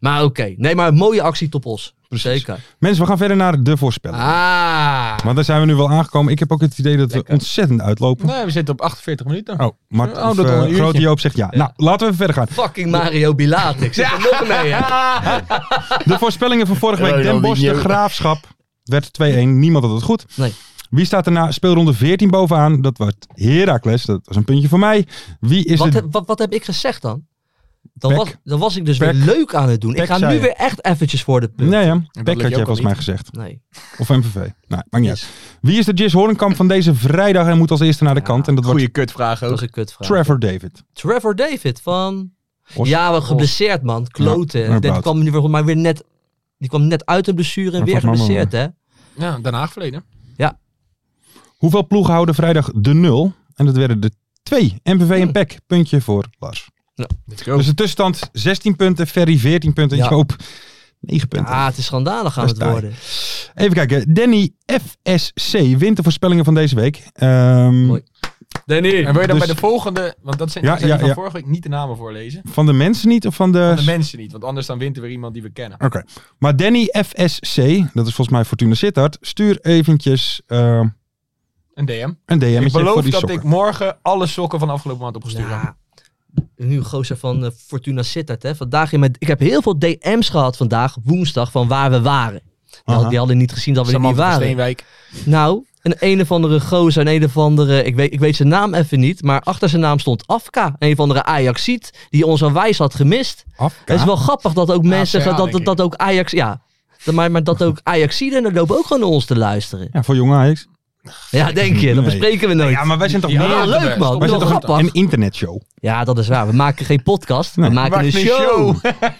[SPEAKER 4] Maar oké. Nee, maar een mooie actie top os. Zeker.
[SPEAKER 3] Mensen, we gaan verder naar de voorspelling.
[SPEAKER 4] Ah.
[SPEAKER 3] Want daar zijn we nu wel aangekomen. Ik heb ook het idee dat we ontzettend uitlopen.
[SPEAKER 5] Nee, we zitten op 48 minuten.
[SPEAKER 3] Oh, maar
[SPEAKER 5] Oh, dat al een uurtje.
[SPEAKER 3] grote Joop zegt ja. Nou, laten we even verder gaan.
[SPEAKER 4] Fucking Mario Bilat. Ik zit er nog mee. hè.
[SPEAKER 3] De voorspellingen van vorige week.
[SPEAKER 5] Ronaldinho.
[SPEAKER 3] Den Bosch, de Graafschap werd 2-1. Niemand had het goed.
[SPEAKER 4] Nee.
[SPEAKER 3] Wie staat er na speelronde 14 bovenaan? Dat was Heracles. Dat was een puntje voor mij. Wie is
[SPEAKER 4] Wat,
[SPEAKER 3] de...
[SPEAKER 4] heb, wat, wat heb ik gezegd dan? Dan
[SPEAKER 3] Pek.
[SPEAKER 4] was, dan was ik dus weer
[SPEAKER 3] Pek.
[SPEAKER 4] leuk aan het doen.
[SPEAKER 3] Pek,
[SPEAKER 4] ik ga
[SPEAKER 3] zei
[SPEAKER 4] nu
[SPEAKER 3] je.
[SPEAKER 4] weer echt eventjes voor de punt.
[SPEAKER 3] Nee, ja. Beck
[SPEAKER 5] lukt
[SPEAKER 3] had
[SPEAKER 5] je
[SPEAKER 3] jij
[SPEAKER 5] ook
[SPEAKER 3] volgens
[SPEAKER 5] al
[SPEAKER 3] mij
[SPEAKER 5] niet.
[SPEAKER 3] gezegd.
[SPEAKER 4] Nee.
[SPEAKER 3] Of MVV. Nou, maakt niet
[SPEAKER 4] Yes.
[SPEAKER 3] uit. Wie is de Jis Hoornkamp van deze vrijdag en moet als eerste naar de kant? En dat wordt
[SPEAKER 5] Goeie kutvraag
[SPEAKER 4] Dat
[SPEAKER 5] ook.
[SPEAKER 4] was een kutvraag.
[SPEAKER 3] Trevor David.
[SPEAKER 4] Trevor David van...
[SPEAKER 3] Os.
[SPEAKER 4] Ja, wel geblesseerd man. Kloten.
[SPEAKER 3] Ja, maar
[SPEAKER 4] Ik denk, die
[SPEAKER 3] bout.
[SPEAKER 4] kwam nu weer, maar weer net... Die kwam net uit een blessure en
[SPEAKER 3] Maar
[SPEAKER 4] weer
[SPEAKER 3] volgens mij
[SPEAKER 4] geblesseerd, hè?
[SPEAKER 5] Ja, Den Haag verleden.
[SPEAKER 3] Hoeveel ploegen houden vrijdag de nul? En dat werden de twee. MVV en
[SPEAKER 4] Hm.
[SPEAKER 3] Beck. Puntje voor Lars.
[SPEAKER 5] Let's go.
[SPEAKER 3] Dus de tussenstand 16 punten, Ferry 14 punten,
[SPEAKER 4] Ja.
[SPEAKER 3] Joop 9 punten.
[SPEAKER 4] Ah, het is schandalig aan
[SPEAKER 3] Dat
[SPEAKER 4] het
[SPEAKER 3] is taai.
[SPEAKER 4] worden.
[SPEAKER 3] Even kijken, Danny FSC wint de voorspellingen van deze week. Ehm,
[SPEAKER 4] Mooi.
[SPEAKER 5] En wil je dan
[SPEAKER 3] Dus-
[SPEAKER 5] bij de volgende, want dat zijn,
[SPEAKER 3] Ja,
[SPEAKER 5] dat zijn
[SPEAKER 3] ja,
[SPEAKER 5] die van
[SPEAKER 3] ja.
[SPEAKER 5] vorige week, niet de namen voorlezen.
[SPEAKER 3] van de mensen niet of van de...
[SPEAKER 5] Van de mensen niet, want anders dan wint er weer iemand die we kennen.
[SPEAKER 3] Oké, maar Danny FSC, dat is volgens mij Fortuna Sittard, stuur eventjes ehm,
[SPEAKER 5] Een DM.
[SPEAKER 3] een DM'tje
[SPEAKER 5] ik
[SPEAKER 3] voor
[SPEAKER 5] beloof
[SPEAKER 3] die
[SPEAKER 5] dat
[SPEAKER 3] sokken.
[SPEAKER 5] ik morgen alle sokken van de afgelopen maand op ga sturen.
[SPEAKER 4] Ja. Nu gozer van eh, Fortuna Sittard. Hè. Vandaag in mijn, ik heb heel veel DM's gehad vandaag, woensdag, van waar we waren. Die, had-
[SPEAKER 3] Aha.
[SPEAKER 4] die hadden niet gezien dat we er niet
[SPEAKER 5] Samantha van
[SPEAKER 4] waren.
[SPEAKER 5] Steenwijk.
[SPEAKER 4] Nou, een een of andere gozer, een een of andere... Ik weet, ik weet zijn naam even niet, maar achter zijn naam stond Afka. Een of andere Ajaxiet, die ons aan wijs had gemist.
[SPEAKER 3] Af,
[SPEAKER 4] Het is wel grappig dat ook mensen...
[SPEAKER 5] CA,
[SPEAKER 4] gaan- Dat, dat,
[SPEAKER 5] denk
[SPEAKER 4] dat ook Ajax... Ja, dat- maar, maar dat ook Ajaxiden er lopen ook gewoon naar ons te luisteren.
[SPEAKER 3] Ja, voor jonge Ajax.
[SPEAKER 4] Ja, denk je. Dat
[SPEAKER 3] Nee.
[SPEAKER 4] bespreken we nooit.
[SPEAKER 3] Ja, maar wij zijn toch
[SPEAKER 5] Ja,
[SPEAKER 3] meer-
[SPEAKER 4] Ja,
[SPEAKER 5] Laten we.
[SPEAKER 4] leuk man.
[SPEAKER 5] Wij
[SPEAKER 4] Wel
[SPEAKER 3] wij zijn toch
[SPEAKER 4] grappig.
[SPEAKER 3] een, een internetshow.
[SPEAKER 4] Ja, dat is waar. We maken geen podcast.
[SPEAKER 3] Nee.
[SPEAKER 4] we
[SPEAKER 3] We
[SPEAKER 4] maken een show.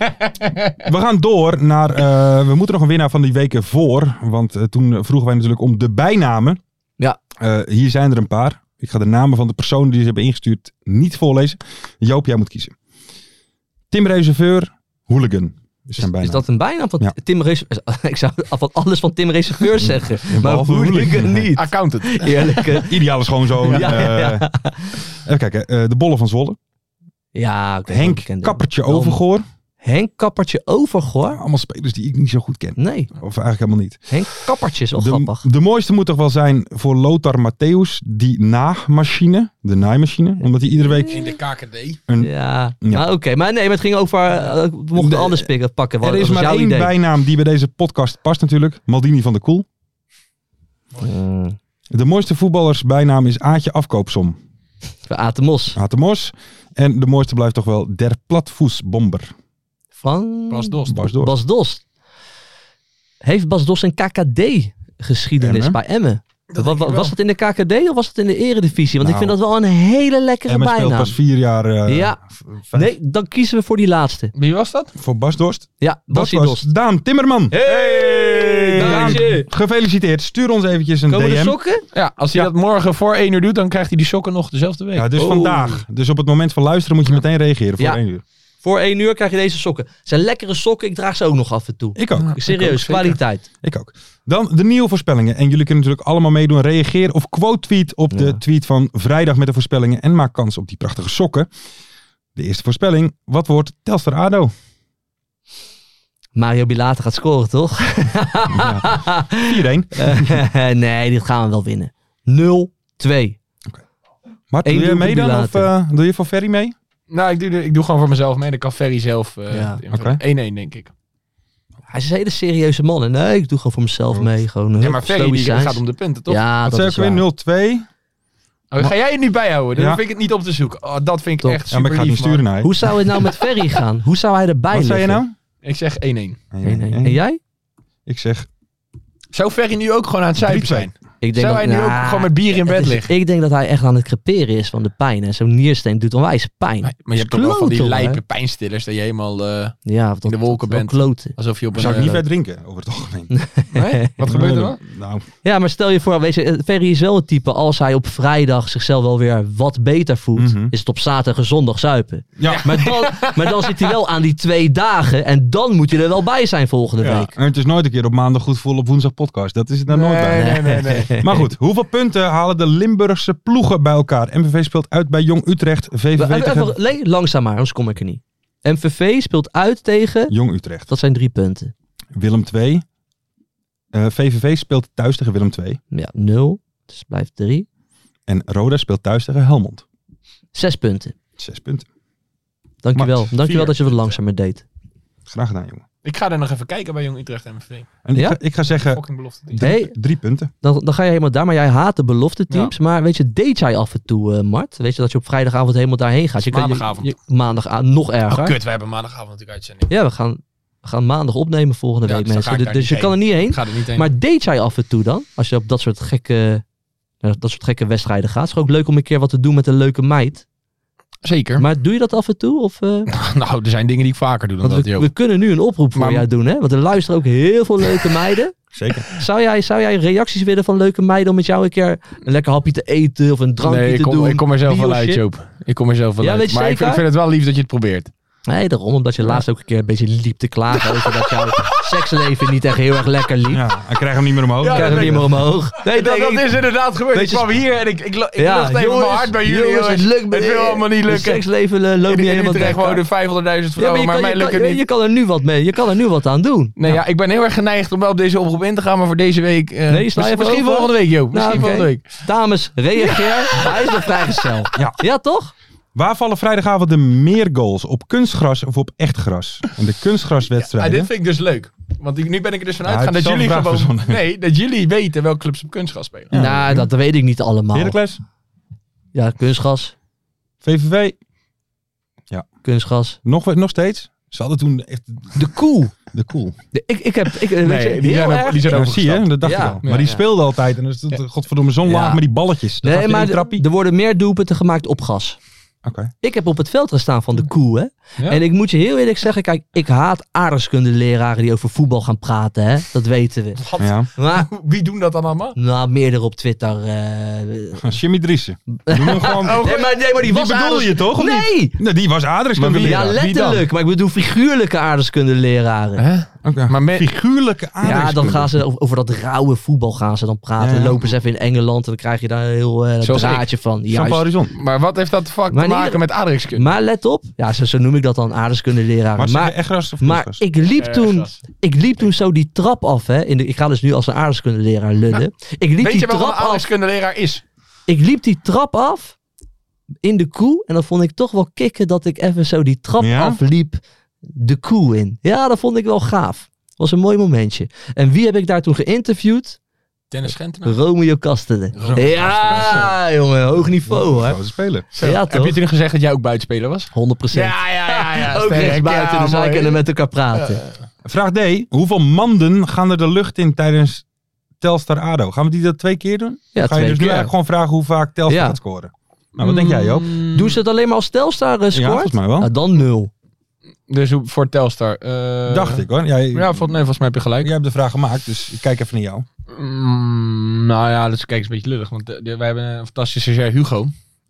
[SPEAKER 3] We gaan door naar, eh, we moeten nog een winnaar van die weken voor, want eh, toen eh, vroegen wij natuurlijk om de bijnamen.
[SPEAKER 4] Ja.
[SPEAKER 3] Eh, hier zijn er een paar. Ik ga de namen van de personen die ze hebben ingestuurd niet voorlezen. Joop, jij moet kiezen. Tim Reserveur, Hooligan. Is, zijn bijnaam.
[SPEAKER 4] Is dat een bijnaam van
[SPEAKER 3] Ja.
[SPEAKER 4] Tim Reserveur? Ik zou van alles van Tim Reserveur zeggen. maar
[SPEAKER 3] behalve
[SPEAKER 4] hooligan
[SPEAKER 3] hooligan.
[SPEAKER 4] niet.
[SPEAKER 5] Accountant.
[SPEAKER 4] Eerlijk. eh.
[SPEAKER 3] Ideale schoonzoon.
[SPEAKER 4] Ja, ja, ja.
[SPEAKER 3] eh, even kijken. eh, de Bollen van Zwolle.
[SPEAKER 4] Ja, ik weet wel, ik ken
[SPEAKER 3] Henk
[SPEAKER 4] dit.
[SPEAKER 3] Kappertje
[SPEAKER 4] Wel-
[SPEAKER 3] Overgoor. Ah,
[SPEAKER 4] Henk Kappertje Overgoor?
[SPEAKER 3] Allemaal spelers die ik niet zo goed ken.
[SPEAKER 4] Nee,
[SPEAKER 3] Of eigenlijk helemaal niet.
[SPEAKER 4] Henk Kappertje is wel
[SPEAKER 3] De,
[SPEAKER 4] grappig.
[SPEAKER 3] de mooiste moet toch wel zijn voor Lothar Matthäus. Die naamachine. De naaimachine. Omdat hij iedere week...
[SPEAKER 5] In de KKD.
[SPEAKER 4] Ja,
[SPEAKER 3] Ja.
[SPEAKER 4] maar oké. Maar nee, maar het ging over... eh, we mochten
[SPEAKER 3] De-
[SPEAKER 4] alles pikken, pakken. Wat,
[SPEAKER 3] Er is
[SPEAKER 4] dat was
[SPEAKER 3] maar
[SPEAKER 4] jouw
[SPEAKER 3] één
[SPEAKER 4] idee.
[SPEAKER 3] bijnaam die bij deze podcast past natuurlijk. Maldini van de Koel.
[SPEAKER 4] Eh.
[SPEAKER 3] De mooiste voetballersbijnaam is Aatje Afkoopsom.
[SPEAKER 4] We aten mos.
[SPEAKER 3] Aad de Mos. En de mooiste blijft toch wel Der Platvoetsbomber.
[SPEAKER 4] Van
[SPEAKER 5] Bas Dost.
[SPEAKER 3] Bas door.
[SPEAKER 4] Bas Dost. Heeft Bas Dost een KKD-geschiedenis
[SPEAKER 3] Emmen?
[SPEAKER 4] bij Emmen? Wa- wa-
[SPEAKER 5] ik wel.
[SPEAKER 4] was dat in de KKD of was dat in de Eredivisie? Want ik
[SPEAKER 3] Nou,
[SPEAKER 4] vind dat wel een hele lekkere
[SPEAKER 3] En men speelt
[SPEAKER 4] bijnaam.
[SPEAKER 3] pas vier jaar. eh,
[SPEAKER 4] Ja.
[SPEAKER 3] v- vijf-
[SPEAKER 4] Nee, dan kiezen we voor die laatste.
[SPEAKER 5] Wie was dat?
[SPEAKER 3] Voor Bas Dorst.
[SPEAKER 4] Ja,
[SPEAKER 3] Dat
[SPEAKER 4] Basie
[SPEAKER 3] was
[SPEAKER 4] Dost.
[SPEAKER 3] Daan Timmerman.
[SPEAKER 4] Hey!
[SPEAKER 3] Daan,
[SPEAKER 4] Daantje.
[SPEAKER 3] gefeliciteerd. Stuur ons eventjes een
[SPEAKER 4] Komen
[SPEAKER 3] DM.
[SPEAKER 4] de sokken?
[SPEAKER 5] Ja, als hij dat morgen voor 1 uur doet, dan krijgt hij die sokken nog dezelfde week.
[SPEAKER 3] Ja, dus
[SPEAKER 4] Oh.
[SPEAKER 3] vandaag. Dus op het moment van luisteren moet je meteen reageren voor
[SPEAKER 4] Ja.
[SPEAKER 3] één uur.
[SPEAKER 4] Voor één uur krijg je deze sokken. Het zijn lekkere sokken. Ik draag ze ook nog af en toe.
[SPEAKER 3] Ik ook.
[SPEAKER 4] Serieus,
[SPEAKER 5] zeker.
[SPEAKER 4] kwaliteit.
[SPEAKER 3] Ik ook. Dan de nieuwe voorspellingen. En jullie kunnen natuurlijk allemaal meedoen. Reageer of quote tweet op de tweet van vrijdag met de voorspellingen. En maak kans op die prachtige sokken. De eerste voorspelling. Wat wordt Telstar ADO?
[SPEAKER 4] Mario Bilate gaat scoren, toch?
[SPEAKER 3] 4-1.
[SPEAKER 4] Eh, nee, dit gaan we wel winnen. 0-2.
[SPEAKER 3] Maar doe
[SPEAKER 4] Eén
[SPEAKER 3] je
[SPEAKER 4] doelpunt
[SPEAKER 3] mee dan? Of
[SPEAKER 4] later.
[SPEAKER 3] eh, doe je voor Ferry mee?
[SPEAKER 5] Nou, ik doe, ik doe gewoon voor mezelf mee. Dan kan Ferry zelf eh,
[SPEAKER 4] Ja.
[SPEAKER 5] het invullen.
[SPEAKER 3] Oké.
[SPEAKER 5] 1-1, denk ik.
[SPEAKER 4] Hij is een hele serieuze man. En nee, ik doe gewoon voor mezelf mee. Gewoon,
[SPEAKER 5] Ja,
[SPEAKER 4] hup,
[SPEAKER 5] maar Ferry die
[SPEAKER 4] stoïcijns.
[SPEAKER 5] gaat om de punten, toch?
[SPEAKER 4] Ja,
[SPEAKER 3] Wat
[SPEAKER 4] dat
[SPEAKER 3] zei
[SPEAKER 4] is eh,
[SPEAKER 3] ik weer?
[SPEAKER 4] waar.
[SPEAKER 3] 0-2.
[SPEAKER 5] Oh, ga jij het nu bijhouden? Dan
[SPEAKER 3] Ja.
[SPEAKER 5] vind ik het niet op te zoeken. Oh, dat vind ik
[SPEAKER 4] Top.
[SPEAKER 5] echt
[SPEAKER 3] Ja,
[SPEAKER 5] super
[SPEAKER 3] maar ik ga het
[SPEAKER 5] lief,
[SPEAKER 3] niet sturen
[SPEAKER 5] man.
[SPEAKER 3] naar je.
[SPEAKER 4] Hoe zou het nou met Ferry gaan? Hoe zou hij erbij
[SPEAKER 3] Wat zei je
[SPEAKER 4] liggen?
[SPEAKER 3] nou?
[SPEAKER 5] Ik zeg 1-1.
[SPEAKER 4] Nee, nee. En jij?
[SPEAKER 3] Ik zeg
[SPEAKER 5] Zou Ferry nu ook gewoon aan het zuipen zijn?
[SPEAKER 4] Ik
[SPEAKER 5] Zou hij nu
[SPEAKER 4] nou,
[SPEAKER 5] ook gewoon met bier in
[SPEAKER 4] het
[SPEAKER 5] bed
[SPEAKER 4] is-
[SPEAKER 5] liggen?
[SPEAKER 4] Ik denk dat hij echt aan het creperen is van de pijn. En zo'n niersteen doet onwijs pijn.
[SPEAKER 5] Maar, maar je hebt toch wel van die lijpe pijnstillers dat je helemaal eh,
[SPEAKER 4] Ja, of dat,
[SPEAKER 5] de wolken
[SPEAKER 4] dat wel
[SPEAKER 5] bent.
[SPEAKER 4] kloten.
[SPEAKER 5] alsof je op een.
[SPEAKER 3] zou ik niet
[SPEAKER 5] eh,
[SPEAKER 3] verder drinken, over het algemeen.
[SPEAKER 5] nee? Wat gebeurt er dan?
[SPEAKER 3] Nou,
[SPEAKER 4] Ja, maar stel je voor, weet je, eh, Ferry is wel het type, als hij op vrijdag zichzelf wel weer wat beter voelt,
[SPEAKER 3] Mhm.
[SPEAKER 4] is het op zaterdag en zondag zuipen.
[SPEAKER 3] ja.
[SPEAKER 4] Maar dan, maar dan zit hij wel aan die twee dagen en dan moet hij er wel bij zijn volgende
[SPEAKER 3] Ja.
[SPEAKER 4] week.
[SPEAKER 3] En het is nooit een keer op maandag goed voelen op woensdag podcast. Dat is het nou nooit bij.
[SPEAKER 5] nee, nee, nee.
[SPEAKER 3] Maar goed, hoeveel punten halen de Limburgse ploegen bij elkaar? MVV speelt uit bij Jong Utrecht,
[SPEAKER 4] We-
[SPEAKER 3] VVV
[SPEAKER 4] even-
[SPEAKER 3] tegen
[SPEAKER 4] even- nee, langzaam maar, anders kom ik er niet. MVV speelt uit tegen,
[SPEAKER 3] Jong Utrecht.
[SPEAKER 4] dat zijn drie punten.
[SPEAKER 3] Willem eh, 2. VVV speelt thuis tegen Willem 2.
[SPEAKER 4] Ja, nul, dus blijft drie.
[SPEAKER 3] En Roda speelt thuis tegen Helmond.
[SPEAKER 4] Zes punten.
[SPEAKER 3] Zes punten.
[SPEAKER 4] Dankjewel,
[SPEAKER 3] Max,
[SPEAKER 4] dankjewel
[SPEAKER 5] vier
[SPEAKER 4] dat je wat
[SPEAKER 5] punten.
[SPEAKER 4] langzamer deed.
[SPEAKER 3] Graag gedaan, jongen.
[SPEAKER 5] Ik ga er nog even kijken bij Jong Utrecht MVV.
[SPEAKER 3] En
[SPEAKER 4] Ja?
[SPEAKER 3] ik, ga, ik ga zeggen
[SPEAKER 5] Fucking belofte. niet.
[SPEAKER 3] drie,
[SPEAKER 4] Nee.
[SPEAKER 3] drie punten.
[SPEAKER 4] Dan, dan ga je helemaal daar, maar jij haat de belofte teams. Maar weet je, deed jij af en toe, eh, Mart? Weet je dat je op vrijdagavond helemaal daarheen gaat? Je kan- je-
[SPEAKER 5] Maandagavond.
[SPEAKER 4] je- maandagavond, nog erger.
[SPEAKER 5] Oh, kut, we hebben maandagavond natuurlijk uitzending.
[SPEAKER 4] Ja, we gaan, we gaan maandag opnemen volgende
[SPEAKER 5] Ja,
[SPEAKER 4] week,
[SPEAKER 5] dus dan ga
[SPEAKER 4] mensen.
[SPEAKER 5] ik
[SPEAKER 4] Dus,
[SPEAKER 5] daar
[SPEAKER 4] dus
[SPEAKER 5] niet
[SPEAKER 4] je kan er niet heen.
[SPEAKER 5] Ik ga er niet heen.
[SPEAKER 4] Maar deed jij af en toe dan? Als je op dat soort gekke, naar dat soort gekke wedstrijden gaat. Is het ook leuk om een keer wat te doen met een leuke meid.
[SPEAKER 5] Zeker.
[SPEAKER 4] Maar doe je dat af en toe? Of, eh,
[SPEAKER 5] Nou, er zijn dingen die ik vaker doe dan
[SPEAKER 4] want
[SPEAKER 5] dat,
[SPEAKER 4] we,
[SPEAKER 5] joh.
[SPEAKER 4] we kunnen nu een oproep voor
[SPEAKER 5] Maar-
[SPEAKER 4] jou doen, hè? Want er luisteren ook heel veel leuke meiden.
[SPEAKER 3] Zeker.
[SPEAKER 4] Zou jij, zou jij reacties willen van leuke meiden om met jou een keer een lekker hapje te eten of een drankje
[SPEAKER 5] Nee, ik
[SPEAKER 4] te
[SPEAKER 5] kom,
[SPEAKER 4] doen?
[SPEAKER 5] ik kom er zelf wel uit,
[SPEAKER 4] biertje?
[SPEAKER 5] Joop. Ik kom er zelf wel
[SPEAKER 4] Ja,
[SPEAKER 5] uit.
[SPEAKER 4] weet je
[SPEAKER 5] maar ik
[SPEAKER 4] zeker?
[SPEAKER 5] vind, ik vind het wel lief dat je het probeert.
[SPEAKER 4] Nee, daarom. Omdat je laatst ook een keer een beetje liep te klagen over dat jouw seksleven niet echt heel erg lekker liep.
[SPEAKER 3] Ja, hij krijgt hem niet meer omhoog.
[SPEAKER 4] Ik krijg hem niet meer omhoog.
[SPEAKER 5] Nee, dat, dat is inderdaad gebeurd. Ik
[SPEAKER 4] Weet je-
[SPEAKER 5] kwam hier en ik, ik, lo- ik
[SPEAKER 4] Ja,
[SPEAKER 5] lost even
[SPEAKER 4] jongens,
[SPEAKER 5] mijn hart bij jullie.
[SPEAKER 4] jongens, het lukt me
[SPEAKER 5] het wil
[SPEAKER 4] niet.
[SPEAKER 5] allemaal niet
[SPEAKER 4] Het
[SPEAKER 5] lukken.
[SPEAKER 4] seksleven eh, loopt
[SPEAKER 5] in,
[SPEAKER 4] niet
[SPEAKER 5] in
[SPEAKER 4] helemaal
[SPEAKER 5] Utrecht
[SPEAKER 4] lekker.
[SPEAKER 5] wonen 500.000
[SPEAKER 4] ja,
[SPEAKER 5] vrouwen,
[SPEAKER 4] maar je,
[SPEAKER 5] maar,
[SPEAKER 4] kan,
[SPEAKER 5] mij
[SPEAKER 4] je,
[SPEAKER 5] lukt
[SPEAKER 4] kan,
[SPEAKER 5] het
[SPEAKER 4] je,
[SPEAKER 5] niet.
[SPEAKER 4] je kan er nu wat mee. Je kan er nu wat aan doen.
[SPEAKER 5] Nee, ja, ik ben heel erg geneigd om wel op deze oproep in te gaan, maar voor deze week... eh,
[SPEAKER 4] Nee, sla je even
[SPEAKER 5] Misschien
[SPEAKER 4] over.
[SPEAKER 5] volgende week, Joop. Misschien
[SPEAKER 4] Nou, oké.
[SPEAKER 5] volgende week.
[SPEAKER 4] Dames, reageer. Hij is nog vrijgezel.
[SPEAKER 3] Ja.
[SPEAKER 4] ja, toch?
[SPEAKER 3] Waar vallen vrijdagavond de meer goals? Op kunstgras of op echt gras? En de
[SPEAKER 5] Ah,
[SPEAKER 3] kunstgraswedstrijden.
[SPEAKER 5] dit vind ik dus leuk. Want ik- nu ben ik er dus van
[SPEAKER 3] Ja,
[SPEAKER 5] uitgegaan
[SPEAKER 3] hij
[SPEAKER 5] dat
[SPEAKER 3] heeft
[SPEAKER 5] jullie
[SPEAKER 3] zelf een
[SPEAKER 5] gewoon...
[SPEAKER 3] vraag verzonnen.
[SPEAKER 5] Nee, dat jullie weten welke clubs op kunstgras spelen.
[SPEAKER 4] nou, dat weet ik niet allemaal.
[SPEAKER 3] Heracles,
[SPEAKER 4] Ja, kunstgas.
[SPEAKER 3] VVV,
[SPEAKER 4] Kunstgas.
[SPEAKER 3] nog, nog steeds. Ze hadden toen echt
[SPEAKER 4] De koe.
[SPEAKER 3] de cool.
[SPEAKER 4] De- ik, ik heb... Ik, eh, weet je,
[SPEAKER 5] Nee, die
[SPEAKER 4] heel
[SPEAKER 5] zijn,
[SPEAKER 4] erg-
[SPEAKER 5] op, die zijn
[SPEAKER 3] Ja, zie
[SPEAKER 5] overgestapt.
[SPEAKER 3] je, dat dacht
[SPEAKER 4] Ja.
[SPEAKER 3] ik al. Maar
[SPEAKER 4] Ja,
[SPEAKER 3] die
[SPEAKER 4] ja.
[SPEAKER 3] speelden altijd. En dan stond er, godverdomme, zo'n
[SPEAKER 4] Ja.
[SPEAKER 3] laag met die balletjes. Dat
[SPEAKER 4] Nee, maar
[SPEAKER 3] trappie.
[SPEAKER 4] d- er worden meer doelpunten gemaakt op gas.
[SPEAKER 3] Oké.
[SPEAKER 4] Ik heb op het veld gestaan van de koe, hè.
[SPEAKER 5] Ja.
[SPEAKER 4] En ik moet je heel eerlijk zeggen, kijk, ik haat aardrijkskundeleraren die over voetbal gaan praten, hè. Dat weten we.
[SPEAKER 5] Wat?
[SPEAKER 3] Ja.
[SPEAKER 4] Maar,
[SPEAKER 5] Wie doen dat dan allemaal?
[SPEAKER 4] nou, meerdere op Twitter. eh,
[SPEAKER 3] Jimmy Driessen. Noem hem gewoon...
[SPEAKER 4] Nee, maar, nee, maar die,
[SPEAKER 3] Die
[SPEAKER 4] was
[SPEAKER 3] bedoel
[SPEAKER 4] aardrijks-
[SPEAKER 3] je toch, of
[SPEAKER 4] nee.
[SPEAKER 3] Nou, die was aardrijkskunde
[SPEAKER 4] Ja, letterlijk. Maar ik bedoel figuurlijke aardrijkskundeleraren.
[SPEAKER 5] Maar me-
[SPEAKER 3] Figuurlijke
[SPEAKER 4] Ja,
[SPEAKER 3] aardrijkskunde.
[SPEAKER 4] dan gaan ze over, over dat rauwe voetbal gaan ze dan praten.
[SPEAKER 3] Ja, ja.
[SPEAKER 4] Lopen ze even in Engeland en dan krijg je daar een heel eh
[SPEAKER 5] Zoals
[SPEAKER 4] draadje van.
[SPEAKER 3] Van
[SPEAKER 4] Juist.
[SPEAKER 3] Horizon.
[SPEAKER 5] Maar wat heeft dat vak
[SPEAKER 4] Maar in
[SPEAKER 5] te maken
[SPEAKER 4] ieder-
[SPEAKER 5] met aardrijkskunde?
[SPEAKER 4] Maar let op. Ja, zo, zo noem ik dat dan
[SPEAKER 3] Maar
[SPEAKER 4] aardrijkskundeleraren.
[SPEAKER 3] ze
[SPEAKER 4] Maar,
[SPEAKER 3] echt gras of
[SPEAKER 4] maar
[SPEAKER 3] kunstgras?
[SPEAKER 4] ik, liep
[SPEAKER 5] Eh,
[SPEAKER 4] toen,
[SPEAKER 5] gras.
[SPEAKER 4] ik liep toen zo die trap af. Hè, in de, ik ga dus nu als een aardrijkskundeleraar lullen. Ik liep
[SPEAKER 5] Weet
[SPEAKER 4] die
[SPEAKER 5] je wel wat
[SPEAKER 4] trap
[SPEAKER 5] een
[SPEAKER 4] af.
[SPEAKER 5] aardrijkskundeleraar is?
[SPEAKER 4] Ik liep die trap af in de koe. En dan vond ik toch wel kicken dat ik even zo die trap
[SPEAKER 3] Ja?
[SPEAKER 4] afliep de koe in. Ja, dat vond ik wel gaaf. was een mooi momentje. En wie heb ik daar toen geïnterviewd?
[SPEAKER 5] Dennis Gentenaar.
[SPEAKER 4] Romeo Kastelen. Ja, jongen, hoog niveau hè.
[SPEAKER 3] Grote speler.
[SPEAKER 4] Ja,
[SPEAKER 5] Heb je
[SPEAKER 4] toch? 100%.
[SPEAKER 5] toen gezegd dat jij ook buitenspeler was? ja, ja.
[SPEAKER 4] Ook
[SPEAKER 5] sterk.
[SPEAKER 4] rechtsbuiten,
[SPEAKER 5] Ja,
[SPEAKER 4] dus wij
[SPEAKER 5] mooi.
[SPEAKER 4] kunnen met elkaar praten.
[SPEAKER 3] Vraag D. Hoeveel manden gaan er de lucht in tijdens Telstar ADO? Gaan we die dat twee keer doen?
[SPEAKER 4] Ja,
[SPEAKER 3] Ga je
[SPEAKER 4] twee
[SPEAKER 3] dus nu
[SPEAKER 4] keer.
[SPEAKER 3] eigenlijk gewoon vragen hoe vaak Telstar
[SPEAKER 4] Ja. Mm,
[SPEAKER 3] gaat scoren? Nou, wat denk jij Joop?
[SPEAKER 4] Doen ze het alleen maar als Telstar eh, scoort?
[SPEAKER 3] volgens mij wel.
[SPEAKER 4] Ah, dan nul.
[SPEAKER 5] Dus hoe- voor Telstar. eh,
[SPEAKER 3] Dacht ik hoor. Jij,
[SPEAKER 5] Ja, vol- nee, volgens mij heb je gelijk.
[SPEAKER 3] jij hebt de vraag gemaakt, dus ik kijk even naar jou.
[SPEAKER 5] Mm, nou ja, dat is, kijk, is een beetje lullig. Want eh, de- wij hebben een fantastische stagiair Hugo.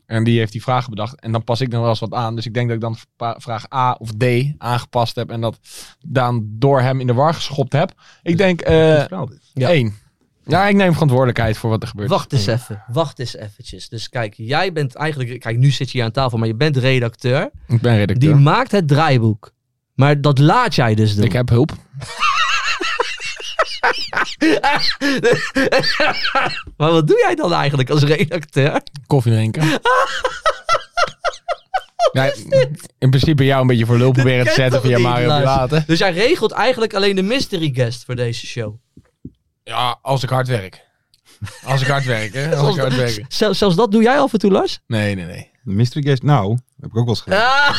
[SPEAKER 5] En die heeft die vragen bedacht. En dan pas ik nog wel eens wat aan. Dus ik denk dat ik dan pa- vraag A of D aangepast heb. En dat dan door hem in de war geschopt heb. Ik denk eh
[SPEAKER 4] Ja.
[SPEAKER 5] één. Ja, ik neem verantwoordelijkheid voor wat er gebeurt.
[SPEAKER 4] Wacht eens even, wacht eens eventjes. Dus kijk, jij bent eigenlijk, kijk nu zit je hier aan tafel, maar je bent redacteur.
[SPEAKER 5] Ik ben redacteur.
[SPEAKER 4] Die maakt het draaiboek. Maar dat laat jij dus doen.
[SPEAKER 5] ik heb hulp.
[SPEAKER 4] Maar wat doe jij dan eigenlijk als redacteur?
[SPEAKER 5] Koffie drinken. Ja, in principe jou een beetje voor lul proberen te
[SPEAKER 4] Kent
[SPEAKER 5] zetten
[SPEAKER 4] toch
[SPEAKER 5] via
[SPEAKER 4] niet,
[SPEAKER 5] Mario
[SPEAKER 4] luister.
[SPEAKER 5] Platen.
[SPEAKER 4] Dus jij regelt eigenlijk alleen de mystery guest voor deze show.
[SPEAKER 5] Ja, als ik hard werk. Als ik hard werk, hè. Als ik hard werk.
[SPEAKER 4] Zel- zelfs dat doe jij af en toe, Lars?
[SPEAKER 5] Nee, nee, nee.
[SPEAKER 3] Mystery Guest, nou, heb ik ook wel eens gedaan.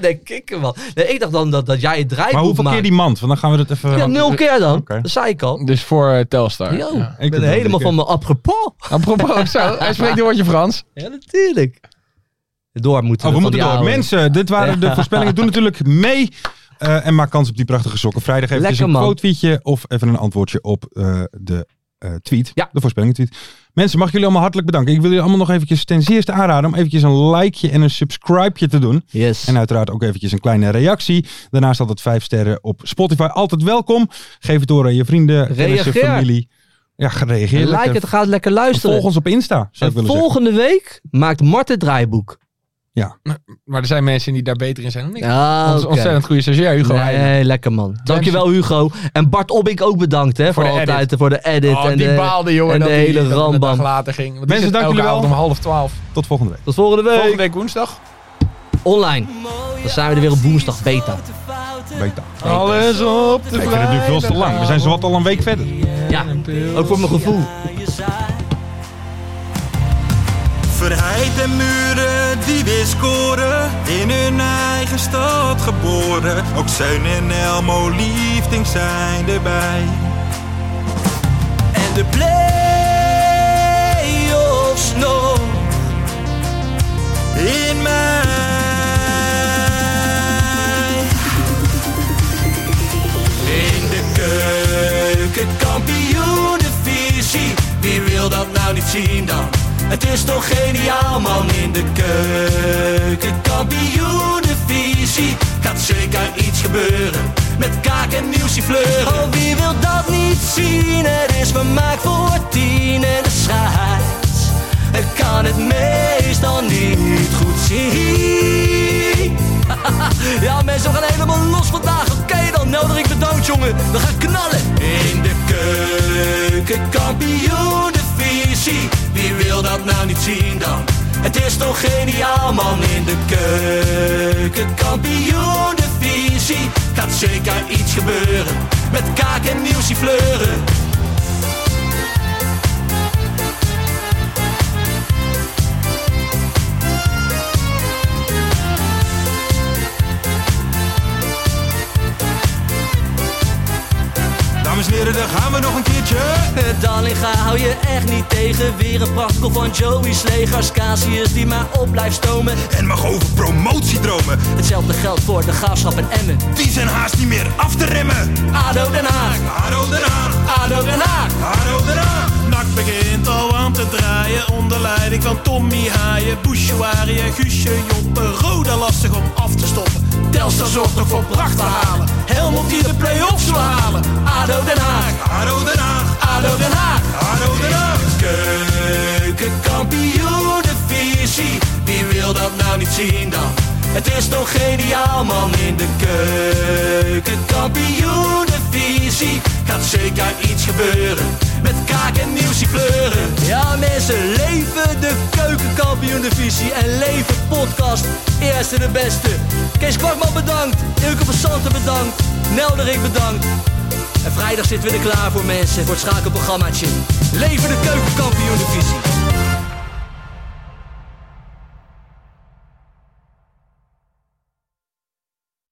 [SPEAKER 4] nee, kikker man. Nee, ik dacht dan dat, dat jij het draaiboek
[SPEAKER 3] maar hoeveel
[SPEAKER 4] maakt.
[SPEAKER 3] keer die mand? Want dan gaan we dat even... Oh,
[SPEAKER 4] Ja, nul keer dan.
[SPEAKER 3] Oké.
[SPEAKER 4] Dat zei ik al.
[SPEAKER 5] Dus voor eh, Telstar.
[SPEAKER 4] Yo,
[SPEAKER 5] Ja.
[SPEAKER 4] ik ben
[SPEAKER 3] doe dat
[SPEAKER 4] helemaal
[SPEAKER 3] niet,
[SPEAKER 4] van mijn apropos.
[SPEAKER 5] Apropos, zo, hij spreekt een woordje Frans.
[SPEAKER 4] Ja, natuurlijk. Door moeten
[SPEAKER 3] Oh,
[SPEAKER 4] we.
[SPEAKER 3] we
[SPEAKER 4] van
[SPEAKER 3] moeten
[SPEAKER 4] die
[SPEAKER 3] door.
[SPEAKER 4] oude.
[SPEAKER 3] Mensen, dit waren de voorspellingen. Doe natuurlijk mee. eh, en maak kans op die prachtige sokken. Vrijdag even
[SPEAKER 4] Lekker,
[SPEAKER 3] een
[SPEAKER 4] man.
[SPEAKER 3] quote-tweetje of even een antwoordje op eh, de eh, tweet.
[SPEAKER 4] Ja.
[SPEAKER 3] De voorspellingen-tweet. Mensen, mag ik jullie allemaal hartelijk bedanken. Ik wil jullie allemaal nog eventjes ten zeerste aanraden om eventjes een likeje en een subscribeje te doen.
[SPEAKER 4] Yes.
[SPEAKER 3] En eh, uiteraard ook eventjes een kleine reactie. Daarnaast altijd vijf sterren op Spotify. Altijd welkom. Geef het door aan je vrienden, kennissen,
[SPEAKER 4] Reageer.
[SPEAKER 3] familie. Ja, reageer.
[SPEAKER 4] like
[SPEAKER 3] lekker.
[SPEAKER 4] het, gaat lekker luisteren.
[SPEAKER 3] Volg ons op Insta, zou
[SPEAKER 4] en
[SPEAKER 3] ik willen zeggen.
[SPEAKER 4] volgende week maakt Mart het draaiboek.
[SPEAKER 5] Maar er zijn mensen die daar beter in zijn dan ik.
[SPEAKER 4] Ah,
[SPEAKER 5] Ons ontzettend goede stagiair, Hugo. Heijden.
[SPEAKER 4] Nee, lekker man. Dankjewel Hugo. En Bart Obink ook bedankt hè, voor,
[SPEAKER 5] de
[SPEAKER 4] altijd
[SPEAKER 5] edit.
[SPEAKER 4] voor de edit.
[SPEAKER 5] Oh,
[SPEAKER 4] en
[SPEAKER 5] die
[SPEAKER 4] de-
[SPEAKER 5] baalde, jongen.
[SPEAKER 4] en
[SPEAKER 5] dat
[SPEAKER 4] de
[SPEAKER 5] die-
[SPEAKER 4] hele
[SPEAKER 5] dat het een
[SPEAKER 4] rambam.
[SPEAKER 5] dag later ging. Want
[SPEAKER 3] Mensen,
[SPEAKER 5] die zit
[SPEAKER 3] dank
[SPEAKER 5] elke
[SPEAKER 3] jullie wel.
[SPEAKER 5] avond om half twaalf.
[SPEAKER 3] Tot volgende week.
[SPEAKER 4] Tot volgende week.
[SPEAKER 5] Volgende week woensdag.
[SPEAKER 4] Online. Dan zijn we er weer op woensdag beta.
[SPEAKER 3] Beta.
[SPEAKER 5] Alles op de
[SPEAKER 3] Ik vind het nu veel te lang. We zijn zowat al een week verder.
[SPEAKER 4] Ja, ook voor mijn gevoel.
[SPEAKER 2] Verheid en muren die weer scoren, in hun eigen stad geboren. Ook Zijn en Elmo liefding zijn erbij.
[SPEAKER 1] en de play-offs nog in mij. In de keuken, kampioenenvisie. Wie wil dat nou niet zien dan? Het is toch geniaal man in de keuken, kampioenenvisie. Gaat zeker iets gebeuren met kaak en nieuwsie fleuren. Oh, wie wil dat niet zien? Het is vermaakt voor tien en de scheids. Het kan het meestal niet goed zien. Ja, mensen, we gaan helemaal los vandaag. Oké, dan nodig ik de dood, jongen. We gaan knallen. In de keuken, kampioen, de visie. Wie wil dat nou niet zien dan? Het is toch geniaal, man. In de keuken, kampioen, de visie. Gaat zeker iets gebeuren. Met kaak en nieuwsie fleuren.
[SPEAKER 2] Dames en heren, daar gaan we nog een keertje.
[SPEAKER 1] Dallinga hou je echt niet tegen. Weer een prachtkel van Joey's legers. Casius die maar op blijft stomen.
[SPEAKER 2] En mag over promotiedromen,
[SPEAKER 1] Hetzelfde geldt voor de graafschap en Emmen.
[SPEAKER 2] die zijn haast niet meer af te remmen.
[SPEAKER 1] ADO Den Haag,
[SPEAKER 2] Haro eraan,
[SPEAKER 1] ADO Den Haag.
[SPEAKER 2] haro eraan.
[SPEAKER 7] Nak begint al aan te draaien onder leiding van Tommy Haaien, Bouchouari en Guusje Joppen. Roda lastig om af te stoppen. Telstar zorgt nog voor pracht te halen. Helmond die de play-offs wil halen.
[SPEAKER 1] ADO Den Haag,
[SPEAKER 2] Haro eraan,
[SPEAKER 1] ADO Den Haag.
[SPEAKER 2] haro eraan.
[SPEAKER 1] Keukenkampioenenvisie, wie wil dat nou niet zien dan? Het is toch geniaal man in de keukenkampioenenvisie Gaat zeker iets gebeuren, met kaak en nieuwsie fleuren Ja mensen, leven de keukenkampioenenvisie en leven podcast Eerste de beste Kees Kwakman bedankt, Ilke van Santen bedankt, Nelderik bedankt
[SPEAKER 4] En vrijdag zitten we er klaar voor mensen voor het schakelprogrammaatje. Leven de keukenkampioen divisie.